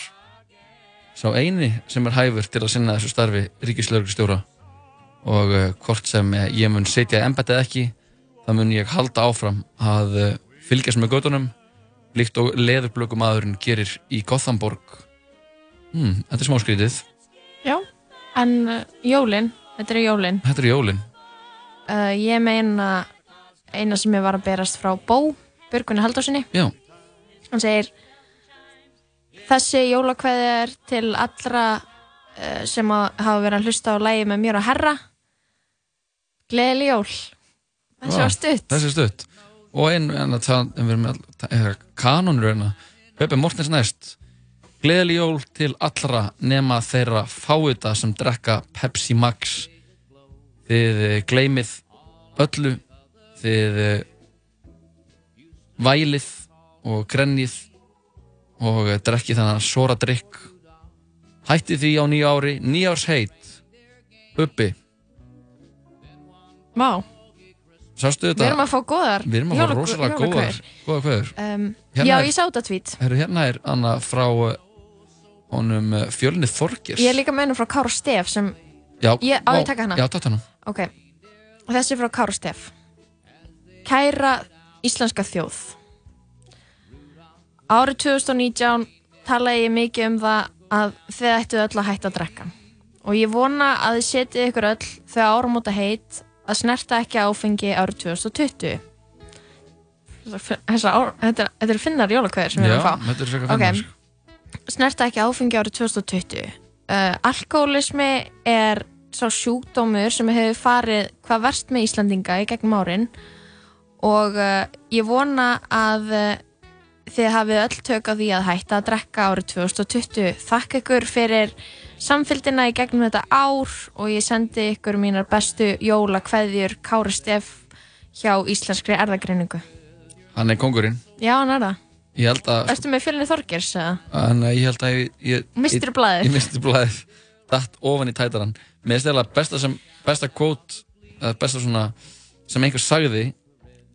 [SPEAKER 3] sá eini sem er hæfur til að sinna þessu starfi ríkislauglustjóra og uh, hvort sem eh, ég mun setja í embættið ekki, þá mun ég halda áfram að uh, fylgjast með gödunum líkt og leðurblöku maðurinn gerir í Gothenburg hmm, Þetta er smá skrítið
[SPEAKER 4] já, en uh, jólin þetta er jólin
[SPEAKER 3] Þetta er jólin
[SPEAKER 4] uh, ég meina eina sem ég var að berast frá Bó Björgunni Halldórsinni
[SPEAKER 3] Já.
[SPEAKER 4] hann segir þessi jólakveði er til allra uh, sem að hafa verið að hlusta á lægi með mér og herra gleðileg jól þessi
[SPEAKER 3] Vá,
[SPEAKER 4] var stutt
[SPEAKER 3] Þessi er stutt Og einn, en að tala, en við erum með all- ta- eh, kanonur hérna Pepe Mortens næst Gleðli jól til allra nema þeirra fáuta sem drekka Pepsi Max Þið eh, gleymið öllu Þið eh, vælið og grennið og eh, drekkið þannig sora drikk Hætti því á nýja ári, nýjárs heit Bubbi,
[SPEAKER 4] Vá,
[SPEAKER 3] sástu þetta?
[SPEAKER 4] við erum að fá góðar
[SPEAKER 3] Við erum að fá
[SPEAKER 4] jóla-
[SPEAKER 3] rosalega góðar
[SPEAKER 4] jólakveðjur.
[SPEAKER 3] Góðar kveður
[SPEAKER 4] um,
[SPEAKER 3] Hérna
[SPEAKER 4] já,
[SPEAKER 3] er-
[SPEAKER 4] ég sá þetta tvít
[SPEAKER 3] Herru, hérna er Anna frá uh, honum uh, Fjölni Þorgers
[SPEAKER 4] ég er líka með hennar frá Kára Stef sem
[SPEAKER 3] Já,
[SPEAKER 4] Ég- á,
[SPEAKER 3] vá,
[SPEAKER 4] ég taka hana?
[SPEAKER 3] Já, tát hana
[SPEAKER 4] Ok, og þessi er frá Kárastef Kæra íslenska þjóð Árið 2019 talaði ég mikið um það að þið ættu öll að hætta að drekka og ég vona að þið setið ykkur öll þegar áramóta heit að snerta ekki áfengi árið 2020 Þessa, ár- þetta, er- þetta er finnar jólakveður sem við erum að
[SPEAKER 3] Já,
[SPEAKER 4] fá
[SPEAKER 3] þetta er frekar
[SPEAKER 4] Ok.
[SPEAKER 3] finnar, sko.
[SPEAKER 4] snerta ekki áfengi árið 2020 uh, alkoholismi er sá sjúkdómur sem hefur farið hvað verst með Íslandinga í gegnum árin og uh, ég vona að uh, þið hafið öll tök á því að hætta að drekka árið 2020 þakka ykkur fyrir samfylgdina í gegnum þetta ár og ég sendi ykkur mínar bestu jóla kveðjur Kári Stef hjá Íslenskri erðagreiningu
[SPEAKER 3] Hann er kongurinn
[SPEAKER 4] Já, hann er það.
[SPEAKER 3] Ég held að
[SPEAKER 4] Ertu með fjölni Þorgers? eða?
[SPEAKER 3] hann, Ég held að ég, ég,
[SPEAKER 4] Mistirðu
[SPEAKER 3] ég-
[SPEAKER 4] blaðið?
[SPEAKER 3] Ég mistir blæðið Datt ofan í tætaran Mér finnst eða besta sem Besta kvót eða Besta svona Sem einhver sagði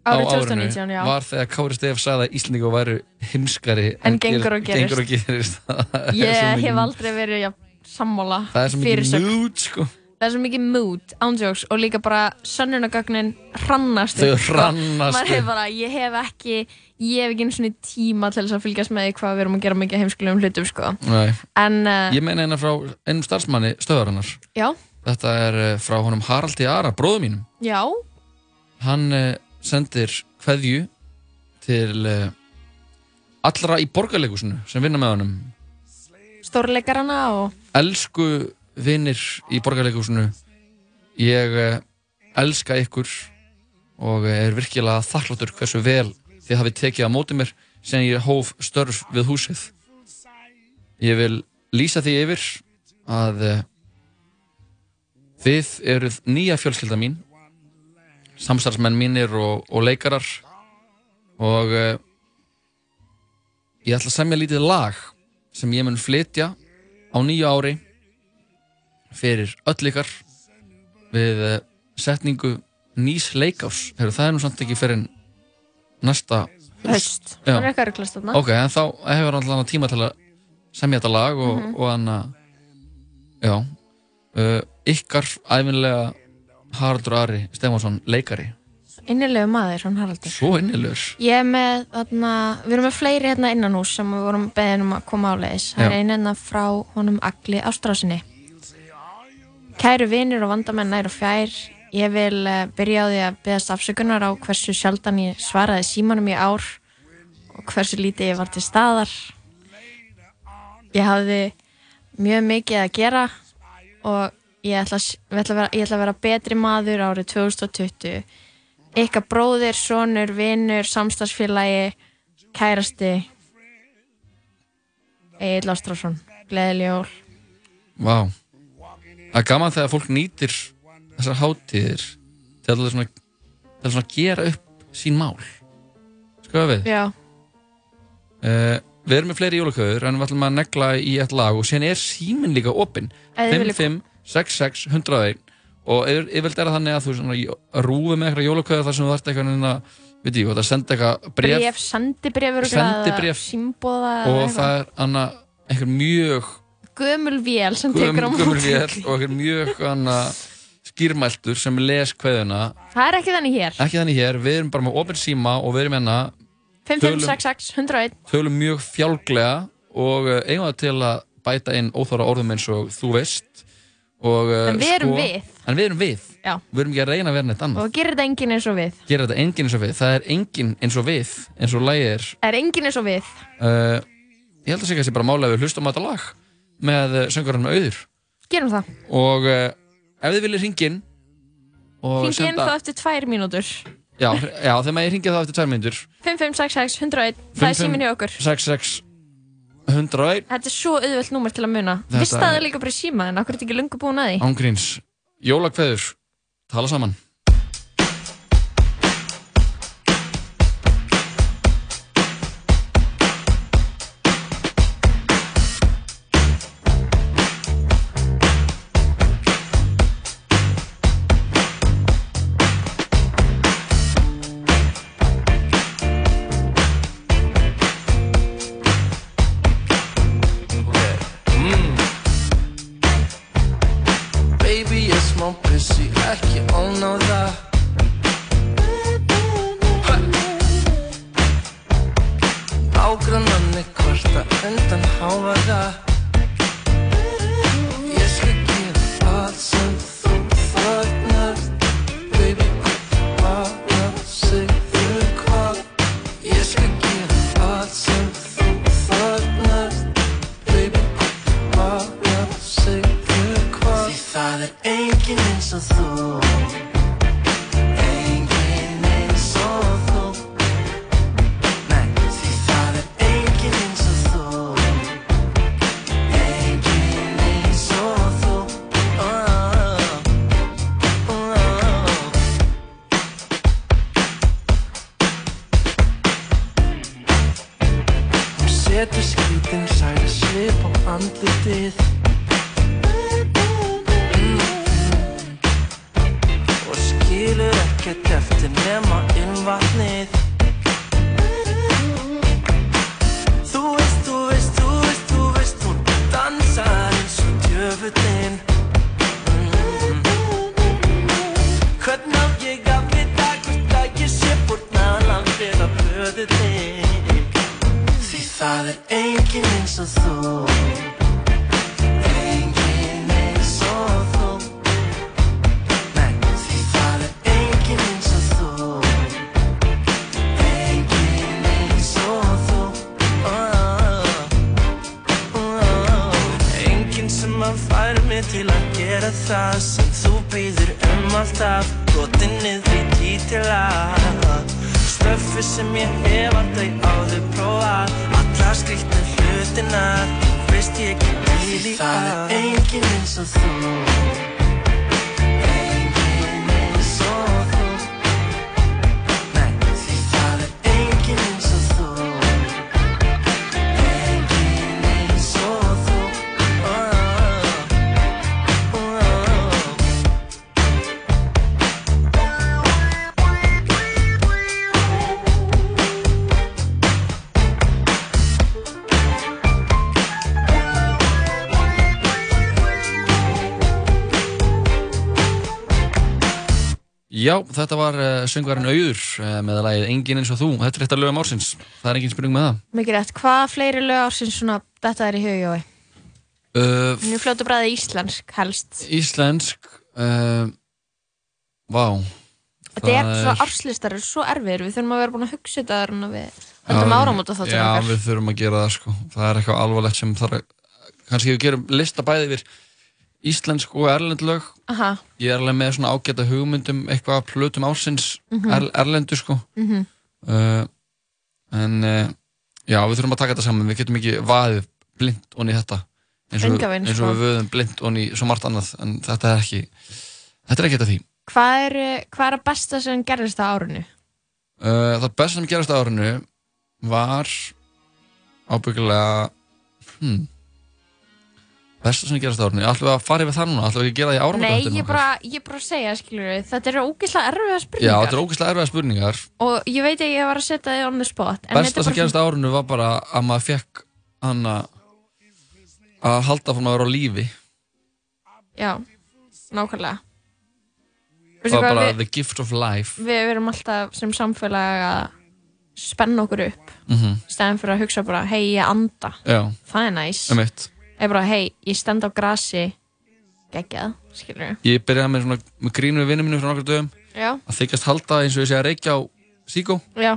[SPEAKER 3] á
[SPEAKER 4] Árið
[SPEAKER 3] árinu
[SPEAKER 4] 2019, já.
[SPEAKER 3] Var þegar Kári Stef sagði að Íslandingu væru heimskari
[SPEAKER 4] En gengur og gerist.
[SPEAKER 3] Gengur og gerist Það er
[SPEAKER 4] Ég
[SPEAKER 3] svo mikið-
[SPEAKER 4] hef aldrei verið ja, sammála
[SPEAKER 3] Það er svo mikið
[SPEAKER 4] fyrirsögn.
[SPEAKER 3] mood sko
[SPEAKER 4] Það er svo mikið mood, ándjóks og líka bara sönnunagögnin hrannast
[SPEAKER 3] Þau
[SPEAKER 4] upp, sko.
[SPEAKER 3] hrannast
[SPEAKER 4] Maður hefur
[SPEAKER 3] upp.
[SPEAKER 4] bara, ég hef ekki ég hef ekki einu svona tíma til þess að fylgjast með því hvað við erum að gera mikið heimskulegum hlutum sko.
[SPEAKER 3] Nei.
[SPEAKER 4] en uh,
[SPEAKER 3] Ég meina eina frá einum starfsmanni stöðarinnar
[SPEAKER 4] já,
[SPEAKER 3] Þetta er eh, frá honum Haraldi Ara, bróðu mínum.
[SPEAKER 4] já
[SPEAKER 3] Hann eh, sendir kveðju til eh, allra í borgarleikusinu sem vinna með honum.
[SPEAKER 4] stórleikarana og
[SPEAKER 3] Elsku vinnir í borgarleikusinu, ég eh, elska ykkur og eh, er virkilega þakkláttur hversu vel þið hafið tekið á móti mér sem ég hóf störf við húsið. Ég vil lýsa því yfir að eh, þið eruð nýja fjölskylda mín samstarfsmenn mínir og, og leikarar og uh, ég ætla að semja lítið lag sem ég mun flytja á nýju ári fyrir öll ykkar við eh, setningu nýs leikás Heru, það er nú samt ekki fyrir en næsta
[SPEAKER 4] Haust.
[SPEAKER 3] Já.
[SPEAKER 4] Hann er eitthvað ruglast þarna.
[SPEAKER 3] ok, en þá hefur hann allan tíma til að semja þetta lag og,
[SPEAKER 4] Mhm.
[SPEAKER 3] og hann að já uh, ykkar æfinlega Haraldur Ari Stefánsson leikari
[SPEAKER 4] Innilegu maður, hann Haraldur.
[SPEAKER 3] svo innilegur
[SPEAKER 4] Ég er með, þarna, við erum með fleiri hérna innan hús sem við vorum beðin um að koma áleiðis. Það er
[SPEAKER 3] Já.
[SPEAKER 4] einu hérna frá honum Agli Ástrásinni. Kæru vinir og vandamenn nær og fjær, ég vil eh, byrja á því að beðast afsökunar á hversu sjaldan ég svaraði símanum í ár og hversu lítið ég var til staðar. Ég hafði mjög mikið að gera og ég ætla, að s- ég ætla, að, vera, ég ætla að vera betri maður árið 2020 ykkar bróðir, sonur, vinur, samstagsfélagi, kærasti Egil Ástrásson, gleðileg jól
[SPEAKER 3] Vá Það er gaman þegar fólk nýtir þessar hátíðir til að, svona, til að svona gera upp sín mál Skoða við
[SPEAKER 4] Já,
[SPEAKER 3] uh, Við erum með fleiri jólaköður en við ætlum að negla í eitt lag og síðan er síminn líka opinn
[SPEAKER 4] Ef þið
[SPEAKER 3] 5,
[SPEAKER 4] viljið-
[SPEAKER 3] 5, 6, 6, 101 og yfir- yfirleitt er það þannig að þú svona í- rúfi með eitthvað jólaköður þar sem þú þarft eitthvað neina, veit ég, þú ert að senda eitthvað bref,
[SPEAKER 4] bref, sendibrefur
[SPEAKER 3] Sendibréf.
[SPEAKER 4] símbóða
[SPEAKER 3] og það er annað eitthvað mjög
[SPEAKER 4] gömul vél sem
[SPEAKER 3] göm-
[SPEAKER 4] tekur á móti
[SPEAKER 3] gömul vél og eitthvað mjög annað skýrmæltur sem les kveðuna
[SPEAKER 4] það er ekki þannig hér
[SPEAKER 3] ekki þannig hér, við erum bara með opinn síma og við erum hérna
[SPEAKER 4] 5566 101
[SPEAKER 3] tölum mjög fjálglega og eh, eigum það til að bæta inn óþára orðum eins og þú veist og, eh,
[SPEAKER 4] En við erum við.
[SPEAKER 3] en við erum við,
[SPEAKER 4] Já.
[SPEAKER 3] við erum ekki að reyna að vera neitt annað
[SPEAKER 4] og gerir þetta enginn eins og við
[SPEAKER 3] gera þetta enginn eins og við, það er enginn eins og við eins og lagið er
[SPEAKER 4] er enginn eins og við
[SPEAKER 3] uh, ég held að segja að sé bara mála að við hlustum á þetta lag með söngurinn með auður
[SPEAKER 4] gerum það,
[SPEAKER 3] og uh, ef þið viljið hringin og
[SPEAKER 4] hringi inn þá eftir tvær mínútur
[SPEAKER 3] já, já, þegar maður hringið þá eftir tvær myndur
[SPEAKER 4] 5566 101 það er síminn hjá okkur
[SPEAKER 3] 66 101
[SPEAKER 4] Þetta er svo auðvelt númer til að muna
[SPEAKER 3] Þetta
[SPEAKER 4] Vist að það
[SPEAKER 3] er-
[SPEAKER 4] er líka bara í síma en okkur er þetta ekki lungu búin að því
[SPEAKER 3] Ángríns, jólakveður, tala saman
[SPEAKER 1] Baby, ég er smá pissi, ekki óná það Ha! Ágrannanni kvarta undan háfa það Ég um skal gera allt sem þú þagnar Baby, bara segðu hvað Ég skal gera allt sem þú þagnar Baby, bara segðu hvað Því það er enginn eins og þú Enginn eins og þú Nei, því það er enginn eins og þú Enginn eins og þú Oh, oh, oh. Hún setur skrítin særa svip á andlitið Mm. Og skilur ekkert eftir nema ilmvatnið Þú veist, þú veist, þú veist, þú veist Hún dansar eins og djöfullinn Hvern á ég að vita hvort að ég sé búinn að landið að blöðu þig Því það er enginn eins og þú Enginn eins og þú Nei, því það er enginn eins og þú Enginn eins og þú Oh, oh. Enginn sem að færa mig til að gera það sem þú býður um alltaf Brotin niður í títila Stöffi sem ég hef aldrei áður prófað Allar skrýtna hlutina Veist ég ekki bíl í Það er enginn eins og þú Enginn eins og þú Nei, því það er enginn eins og þú Enginn eins og þú Oh, oh, oh, oh, oh.
[SPEAKER 3] Já, þetta var uh, söngvarinn Auður uh, með að lagið Engin eins og þú. Þetta er eitt af lögum ársins. Það er engin spurning með það.
[SPEAKER 4] Mikið rétt, hvað fleiri lög ársins svona þetta er í hugjói?
[SPEAKER 3] Uh,
[SPEAKER 4] Nú fljótu bræði íslensk helst.
[SPEAKER 3] Eh, íslensk, uh, vá.
[SPEAKER 4] Þetta er
[SPEAKER 3] það
[SPEAKER 4] svo árslistar, eru svo erfiðir, við þurfum að vera búin að hugsa þetta þar en að við höndum áramóta þáttum
[SPEAKER 3] Já,
[SPEAKER 4] okkar.
[SPEAKER 3] við þurfum að gera það sko. Það er eitthvað alvarlegt sem þarf að, kannski við gerum lista bæði yfir íslensk og erlend lög.
[SPEAKER 4] Aha,
[SPEAKER 3] Ég er alveg með svona ágæta hugmyndum, eitthvað af plötum ársins
[SPEAKER 4] Mhm.
[SPEAKER 3] er, erlendu sko.
[SPEAKER 4] mhm.
[SPEAKER 3] Uh, en uh, já, við þurfum að taka þetta saman. Við getum ekki vaðið blind onni í þetta. Eins og,
[SPEAKER 4] Engan veginn,
[SPEAKER 3] eins og
[SPEAKER 4] sko.
[SPEAKER 3] við vöðum blind onni í svo margt annað. En þetta er ekki, þetta er ekki þetta því.
[SPEAKER 4] Hvað er, hvað er að besta sem gerðist á árinu?
[SPEAKER 3] Uh, það besta sem gerast á árinu var ábyggilega hmm, besta sem gerast á árinu ætlum við að fara yfir það núna, ætlum við ekki að gera það í áramöndu
[SPEAKER 4] Nei, ég bara, ég bara segja, skilur við, þetta eru ógeðslega erfiða
[SPEAKER 3] Já,
[SPEAKER 4] spurningar
[SPEAKER 3] þetta er ógeðslega erfiða spurningar
[SPEAKER 4] og ég veit að ég var að setja þið on the spot en þetta
[SPEAKER 3] Besta
[SPEAKER 4] er
[SPEAKER 3] sem
[SPEAKER 4] bara
[SPEAKER 3] gerast á árinu var bara að maður fekk hann að að halda fór maður á lífi
[SPEAKER 4] Já, nákvæmlega
[SPEAKER 3] Það
[SPEAKER 4] Veistu
[SPEAKER 3] var
[SPEAKER 4] hvað,
[SPEAKER 3] bara
[SPEAKER 4] við,
[SPEAKER 3] the gift of life
[SPEAKER 4] við erum alltaf sem samfélag að spenna okkur upp
[SPEAKER 3] mm
[SPEAKER 4] í stæðan fyrir að hugsa bara, hei, ég anda
[SPEAKER 3] Já,
[SPEAKER 4] það er næs
[SPEAKER 3] um eitt
[SPEAKER 4] ég bara, hei, ég stend á grasi geggjað, skilur við
[SPEAKER 3] Ég byrjaði með svona með grínu við vinnum mínum fyrir nokkur dögum
[SPEAKER 4] Já,
[SPEAKER 3] að þykjast halda eins og ég sé að reykja á síkó
[SPEAKER 4] já,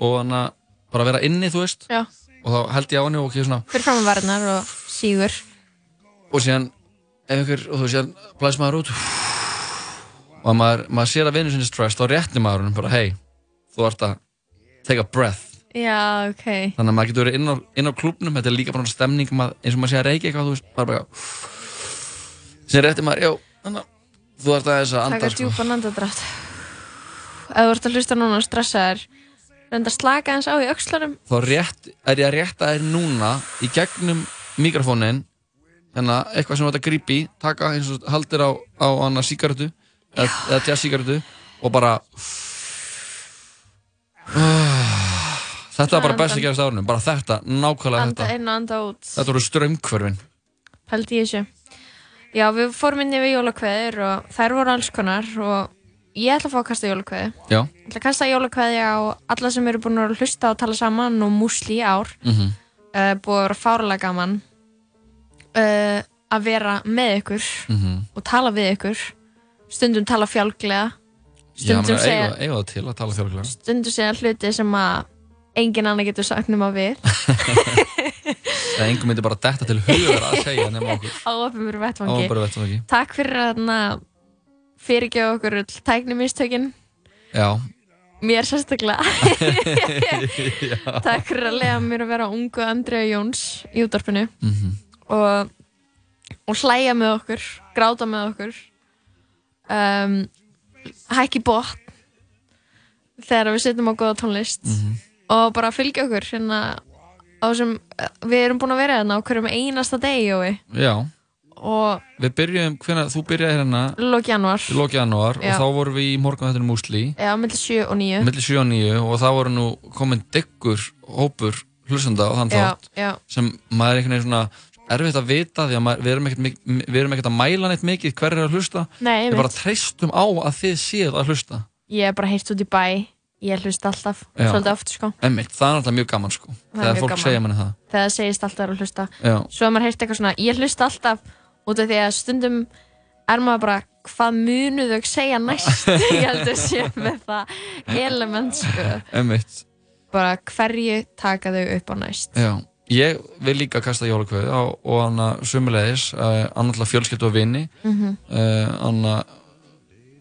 [SPEAKER 3] og hann að bara vera inni, þú veist
[SPEAKER 4] já
[SPEAKER 3] og þá held ég á henni og ekki svona
[SPEAKER 4] fyrir fram að varnar og sígur
[SPEAKER 3] og síðan ef ykkur, og þú veist, síðan blæs maður út og maður, maður sér að vinnu sinni stress þá réttir maður hún bara, hei þú ert að take a breath
[SPEAKER 4] Já, ok
[SPEAKER 3] þannig að maður getur verið inn á, inn á klubnum þetta er líka bara svona stemning maður, eins og maður sé að reykja eitthvað, þú veist, maður bara síðan réttir maður, já, þannig að þú ert aðeins að
[SPEAKER 4] taka
[SPEAKER 3] anda, sko
[SPEAKER 4] djúpan andadrátt ef þú ert að hlusta núna og stressa þér reynda að slaka eins á í öxlunum
[SPEAKER 3] þá rétt, er ég að rétta þér núna í gegnum mikrofónin þannig að eitthvað sem þú ert að grípi taka eins og haldir á, á annað síkartu eða, eða tjast síkartu og bara þetta var bara best að gerast árunum bara þetta, nákvæmlega
[SPEAKER 4] anda
[SPEAKER 3] þetta
[SPEAKER 4] inn og anda út
[SPEAKER 3] þetta voru strömmkvörfin
[SPEAKER 4] held ég þessu já, við fórum inn yfir jólakveðir og þær voru alls konar og ég ætla að fá að kasta jólakveði
[SPEAKER 3] já,
[SPEAKER 4] ég ætla að kasta jólakveði á alla sem eru búin að hlusta og tala saman og músli í ár
[SPEAKER 3] mhm,
[SPEAKER 4] uh, búið að vera fárlega gaman uh, að vera með ykkur
[SPEAKER 3] mhm
[SPEAKER 4] og tala við ykkur stundum tala fjálglega
[SPEAKER 3] Já,
[SPEAKER 4] stundum
[SPEAKER 3] maður
[SPEAKER 4] segja
[SPEAKER 3] eiga, eiga það til að tala þjóðlega
[SPEAKER 4] stundum segja hluti sem að engin annar getur sagt nema við
[SPEAKER 3] Það engum myndi bara detta til hugur að segja nema okkur
[SPEAKER 4] á
[SPEAKER 3] Það var
[SPEAKER 4] ofinveru
[SPEAKER 3] bara
[SPEAKER 4] vettvangi
[SPEAKER 3] vett og ekki
[SPEAKER 4] takk fyrir að þarna fyrirgefa okkur öll tæknimistökin
[SPEAKER 3] Já,
[SPEAKER 4] mér sérstaklega
[SPEAKER 3] Já.
[SPEAKER 4] takk fyrir að lega mér að vera ungu Andrea Jóns í útdarpinu
[SPEAKER 3] Mhm.
[SPEAKER 4] og, og hlæja með okkur gráta með okkur um, hækki bótt þegar við setjum á góða tónlist
[SPEAKER 3] Mhm.
[SPEAKER 4] og bara fylgja okkur hérna á sem við erum búin að vera hérna á hverjum einasta degi Jói
[SPEAKER 3] já
[SPEAKER 4] og
[SPEAKER 3] Við byrjum, hvenær, þú byrjaði hérna
[SPEAKER 4] lók janúar
[SPEAKER 3] í loki janúar
[SPEAKER 4] Já.
[SPEAKER 3] og þá vorum við í morgunvættinu Músli
[SPEAKER 4] Já, millir 7 og 9
[SPEAKER 3] millir 7 og 9 og það voru nú komin dykkur hópur hlustenda á þann
[SPEAKER 4] Já,
[SPEAKER 3] þátt
[SPEAKER 4] já.
[SPEAKER 3] sem maður er einhvern veginn svona erfitt að vita því að maður, við, erum ekkert, mik- við erum ekkert að mæla neitt mikið hver er að hlusta
[SPEAKER 4] Nei,
[SPEAKER 3] við
[SPEAKER 4] einmitt.
[SPEAKER 3] bara treystum á að þið séð að hlusta
[SPEAKER 4] Ég er bara heilt út í bæ Ég hlust alltaf,
[SPEAKER 3] Já.
[SPEAKER 4] svolítið oft sko
[SPEAKER 3] Einmitt, það er náttúrulega mjög gaman sko
[SPEAKER 4] Það er
[SPEAKER 3] þegar
[SPEAKER 4] mjög
[SPEAKER 3] fólk
[SPEAKER 4] gaman.
[SPEAKER 3] segja manni það
[SPEAKER 4] þegar það segist alltaf að hlusta
[SPEAKER 3] Já.
[SPEAKER 4] svo að maður heyrst eitthvað svona, ég hlusta alltaf út af því að stundum er maður bara, hvað munu þau segja næst ég held að sé með það element sko
[SPEAKER 3] Einmitt,
[SPEAKER 4] bara hverju taka þau upp á næst
[SPEAKER 3] já Ég vil líka kasta jólakveði á, og hann að sömulegis, uh, annarlega fjölskyldu og vini
[SPEAKER 4] Mhm.
[SPEAKER 3] hann að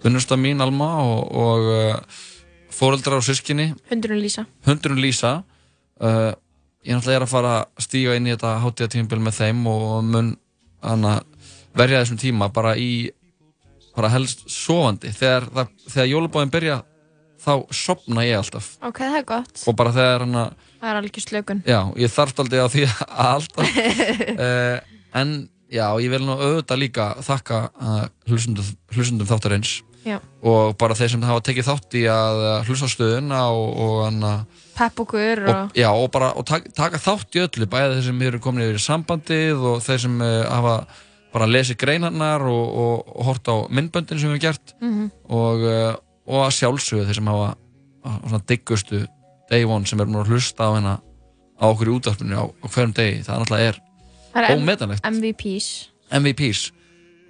[SPEAKER 3] unnusta mín Alma og, og uh, fóreldrar og sískinni
[SPEAKER 4] hundurinn Lísa
[SPEAKER 3] hundurinn Lísa uh, ég náttúrulega er að fara að stíga inn í þetta hátíðatímabil með þeim og mun hana, verja þessum tíma bara í bara helst sofandi þegar, það- þegar jólubáðin byrja þá sopna ég alltaf
[SPEAKER 4] ok, það er gott,
[SPEAKER 3] og bara þegar hana,
[SPEAKER 4] það er alveg slökun
[SPEAKER 3] já, ég þarft aldrei á því að alltaf uh, en já, ég vil nú auðvitað líka þakka uh, hlustundum, hlustundum þáttarins
[SPEAKER 4] Já.
[SPEAKER 3] og bara þeir sem hafa tekið þátt í að eh, hlusta á stöðuna og, og hana,
[SPEAKER 4] pepp okkur
[SPEAKER 3] og,
[SPEAKER 4] og,
[SPEAKER 3] já, og bara og taka, taka þátt í öllu, bæði þeir sem eru komin yfir í sambandið og þeir sem uh, hafa bara lesið greinarnar og, og, og hort á myndböndin sem við erum gert
[SPEAKER 4] Mhm.
[SPEAKER 3] og, uh, og að sjálfsögðu þeir sem hafa hafa svona diggustu day one sem er búin að hlusta á hérna á okkur í útvarpinu á, á hverjum degi það náttúrulega
[SPEAKER 4] Það
[SPEAKER 3] er
[SPEAKER 4] er M-
[SPEAKER 3] ómetanlegt
[SPEAKER 4] MVPs
[SPEAKER 3] MVPs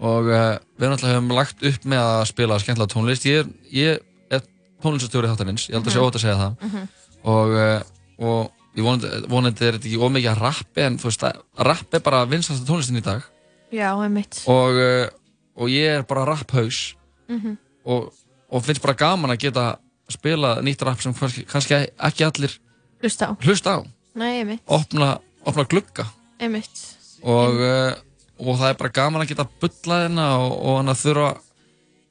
[SPEAKER 3] og uh, við náttúrulega höfum lagt upp með að spila skemmtilega tónlist ég, er- ég er tónlistastjóri þáttanins ég held að sé
[SPEAKER 7] Mhm.
[SPEAKER 3] ótt að segja það
[SPEAKER 7] Mhm.
[SPEAKER 3] og, uh, og ég vonandi, vonandi er þetta ekki ómikið að rappi en þú veist að rappi er bara vinstasta tónlistin í dag
[SPEAKER 4] Já, einmitt
[SPEAKER 3] og, uh, og ég er bara rapphaus
[SPEAKER 4] Mhm.
[SPEAKER 3] og, og finnst bara gaman að geta spila nýtt rapp sem kannski, kannski ekki allir
[SPEAKER 4] Hlusta á
[SPEAKER 3] hlusta á
[SPEAKER 4] Nei, einmitt,
[SPEAKER 3] opna, opna glugga
[SPEAKER 4] einmitt
[SPEAKER 3] og, uh, og það er bara gaman að geta bulla hérna og, og hann að þurfa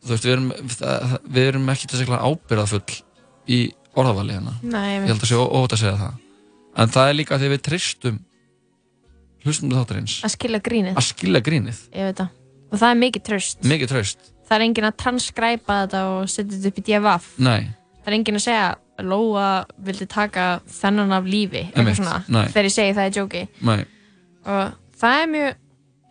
[SPEAKER 3] þú veist, við erum, það, við erum ekki til segla ábyrðafull í orðavali hérna
[SPEAKER 4] Nei, einmitt.
[SPEAKER 3] ég held að sé óhætt að segja það en það er líka þegar við tristum hlustum þáttarins
[SPEAKER 4] Að skila grínið
[SPEAKER 3] að skila grínið,
[SPEAKER 4] Ég veit það Og það er mikið tröst
[SPEAKER 3] mikið traust
[SPEAKER 4] Það er enginn að transkræpa þetta og setja þetta upp í DFF
[SPEAKER 3] nei,
[SPEAKER 4] Það er enginn að segja Lóa vildi taka þennan af lífi
[SPEAKER 3] Einmitt,
[SPEAKER 4] eitthvað svona,
[SPEAKER 3] nei.
[SPEAKER 4] Þegar ég segi það í jóki
[SPEAKER 3] nei
[SPEAKER 4] Og það er mjög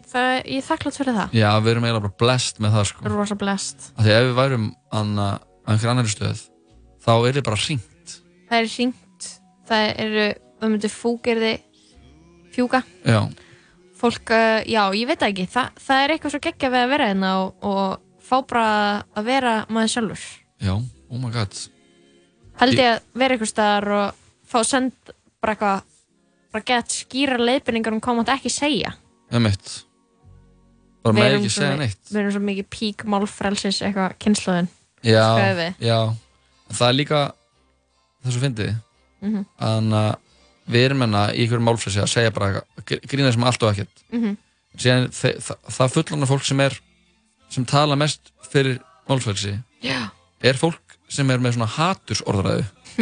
[SPEAKER 4] það er, Ég er þakklátt fyrir það
[SPEAKER 3] Já, við erum eiginlega bara blessed með það sko.
[SPEAKER 4] Rosa blessed.
[SPEAKER 3] Af Því ef við værum anna, á einhver annar stöð þá er þið bara hring
[SPEAKER 4] Það er hringt Það eru, það myndir fúgerði Fjúka
[SPEAKER 3] Já,
[SPEAKER 4] Fólk, uh, já, ég veit það ekki Þa, Það er eitthvað svo geggja við að vera hérna og, og fá bara að vera maður sjálfur
[SPEAKER 3] já, oh my god
[SPEAKER 4] held ég að vera eitthvað staðar og fá send bara eitthvað bara gett skýra leiðbyrningar um hvað maður ekki segja
[SPEAKER 3] Það er mitt Bara
[SPEAKER 4] Við
[SPEAKER 3] með
[SPEAKER 4] erum
[SPEAKER 3] ekki
[SPEAKER 4] svo
[SPEAKER 3] segja
[SPEAKER 4] mi-
[SPEAKER 3] neitt
[SPEAKER 4] við erum svo mikið pík málfrelsis eitthvað kynnslóðin
[SPEAKER 3] Já,
[SPEAKER 4] Sköfi.
[SPEAKER 3] já En Það er líka það er svo fyndið
[SPEAKER 4] Mhm.
[SPEAKER 3] Þannig að við erum enna í einhverjum málfræsi að segja bara eitthvað, gr- grína sem allt og ekkert
[SPEAKER 4] Mhm.
[SPEAKER 3] Síðan þe það, það fullana fólk sem er sem tala mest fyrir málfræsi
[SPEAKER 4] Já.
[SPEAKER 3] er fólk sem er með svona hatursorðræðu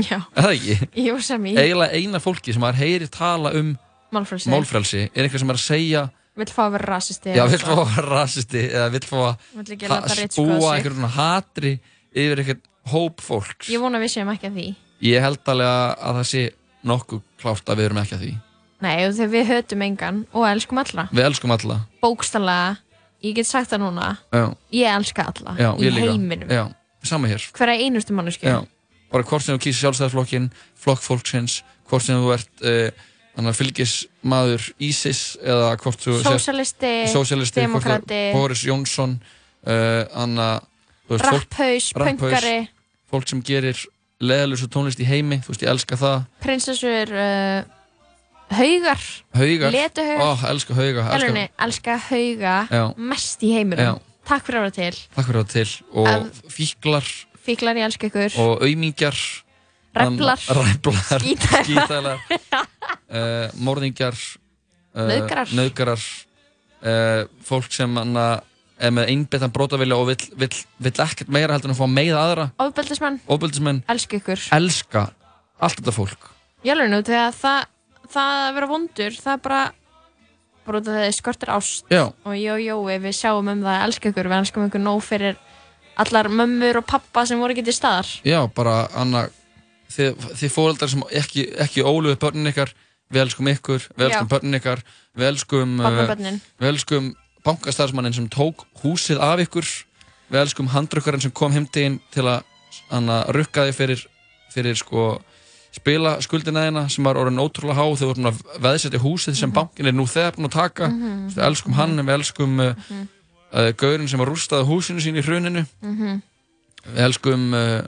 [SPEAKER 4] já,
[SPEAKER 3] Er það ekki?
[SPEAKER 4] Jú, sem í.
[SPEAKER 3] Eiginlega eina fólki sem maður heyri tala um
[SPEAKER 4] málfrelsi
[SPEAKER 3] málfrelsi er einhver sem er að segja
[SPEAKER 4] vill fá að vera rasisti
[SPEAKER 3] já, vill fá að vera rasisti eða vill fá
[SPEAKER 4] Vill ekki
[SPEAKER 3] að
[SPEAKER 4] láta
[SPEAKER 3] ha-
[SPEAKER 4] ritskoða
[SPEAKER 3] spúa
[SPEAKER 4] sig.
[SPEAKER 3] einhverjum hatri yfir einhvern hóp fólks
[SPEAKER 4] ég vona að við séum ekki að því
[SPEAKER 3] ég held alveg að það sé nokkuð klárt að við erum ekki að því
[SPEAKER 4] nei, og þegar við hötum engan og elskum alla
[SPEAKER 3] við elskum alla
[SPEAKER 4] bókstallega, ég get sagt það núna
[SPEAKER 3] já,
[SPEAKER 4] ég elska alla
[SPEAKER 3] já,
[SPEAKER 4] Ah, í
[SPEAKER 3] ég líka
[SPEAKER 4] heiminum
[SPEAKER 3] já, sama hér
[SPEAKER 4] hverja einustu mannesku
[SPEAKER 3] já, bara hvort sem þú kýr sjálfstæðarflokkin flokk fólksins, hvort sem þú ert uh, þannig að fylgis maður ISIS eða hvort þú sért-
[SPEAKER 4] Sósíalisti,
[SPEAKER 3] sósíalisti, hvort þú-
[SPEAKER 4] demókrati.
[SPEAKER 3] Boris Jónsson uh, annað þú veist, fólk-
[SPEAKER 4] rapphaus,
[SPEAKER 3] rapphaus,
[SPEAKER 4] pöngari
[SPEAKER 3] fólk sem gerir leðalusu tónlist í heimi þú veist, ég elska það
[SPEAKER 4] prinsessur uh, haugar,
[SPEAKER 3] haugar,
[SPEAKER 4] Letuhaugar.
[SPEAKER 3] Ó, elska hauga
[SPEAKER 4] elska, elska hauga
[SPEAKER 3] Já.
[SPEAKER 4] mest í heiminum
[SPEAKER 3] Já.
[SPEAKER 4] takk fyrir að vera til,
[SPEAKER 3] takk fyrir það til og
[SPEAKER 4] Af-
[SPEAKER 3] fíklar
[SPEAKER 4] fíklar ég elska ykkur
[SPEAKER 3] og aumingjar
[SPEAKER 4] Reblar.
[SPEAKER 3] ræflar
[SPEAKER 4] Skítælar.
[SPEAKER 3] skítælar uh, morðingjar uh,
[SPEAKER 4] Nauðgarar.
[SPEAKER 3] nauðgarar, uh, fólk sem anna, er með einbyttan brótavilja og vill, vill, vill ekkert meira heldur en að fá meða aðra
[SPEAKER 4] ofbeldismann,
[SPEAKER 3] ofbeldismenn
[SPEAKER 4] elska ykkur
[SPEAKER 3] elska allt þetta fólk
[SPEAKER 4] ég alveg nú, þegar það, það að vera vondur það er bara bara út af þegar skortir ást
[SPEAKER 3] Já.
[SPEAKER 4] og jó, jó, við sjáum um það, elska ykkur við elskum ykkur nóg fyrir allar mömmur og pappa sem voru ekki til staðar
[SPEAKER 3] já, bara anna, þið, þið fóreldar sem ekki, ekki óluðu börnin ykkar við elskum ykkur, við elskum
[SPEAKER 4] Já.
[SPEAKER 3] börnin ykkar við elskum, eh,
[SPEAKER 4] Barnabörnin.
[SPEAKER 3] við elskum bankastarfsmannin sem tók húsið af ykkur við elskum handrukkarinn sem kom heimtegin til að anna, rukka þig fyrir, fyrir sko, spila skuldina þeina sem var orðin ótrúlega há þau voru búin að veðsetja húsið sem bankin er nú þegar búin að taka
[SPEAKER 4] Mhm.
[SPEAKER 3] við elskum hann, við elskum uh, uh, gaurin sem var rústaði húsinu sín í hruninu
[SPEAKER 4] Mhm.
[SPEAKER 3] Við elskum uh,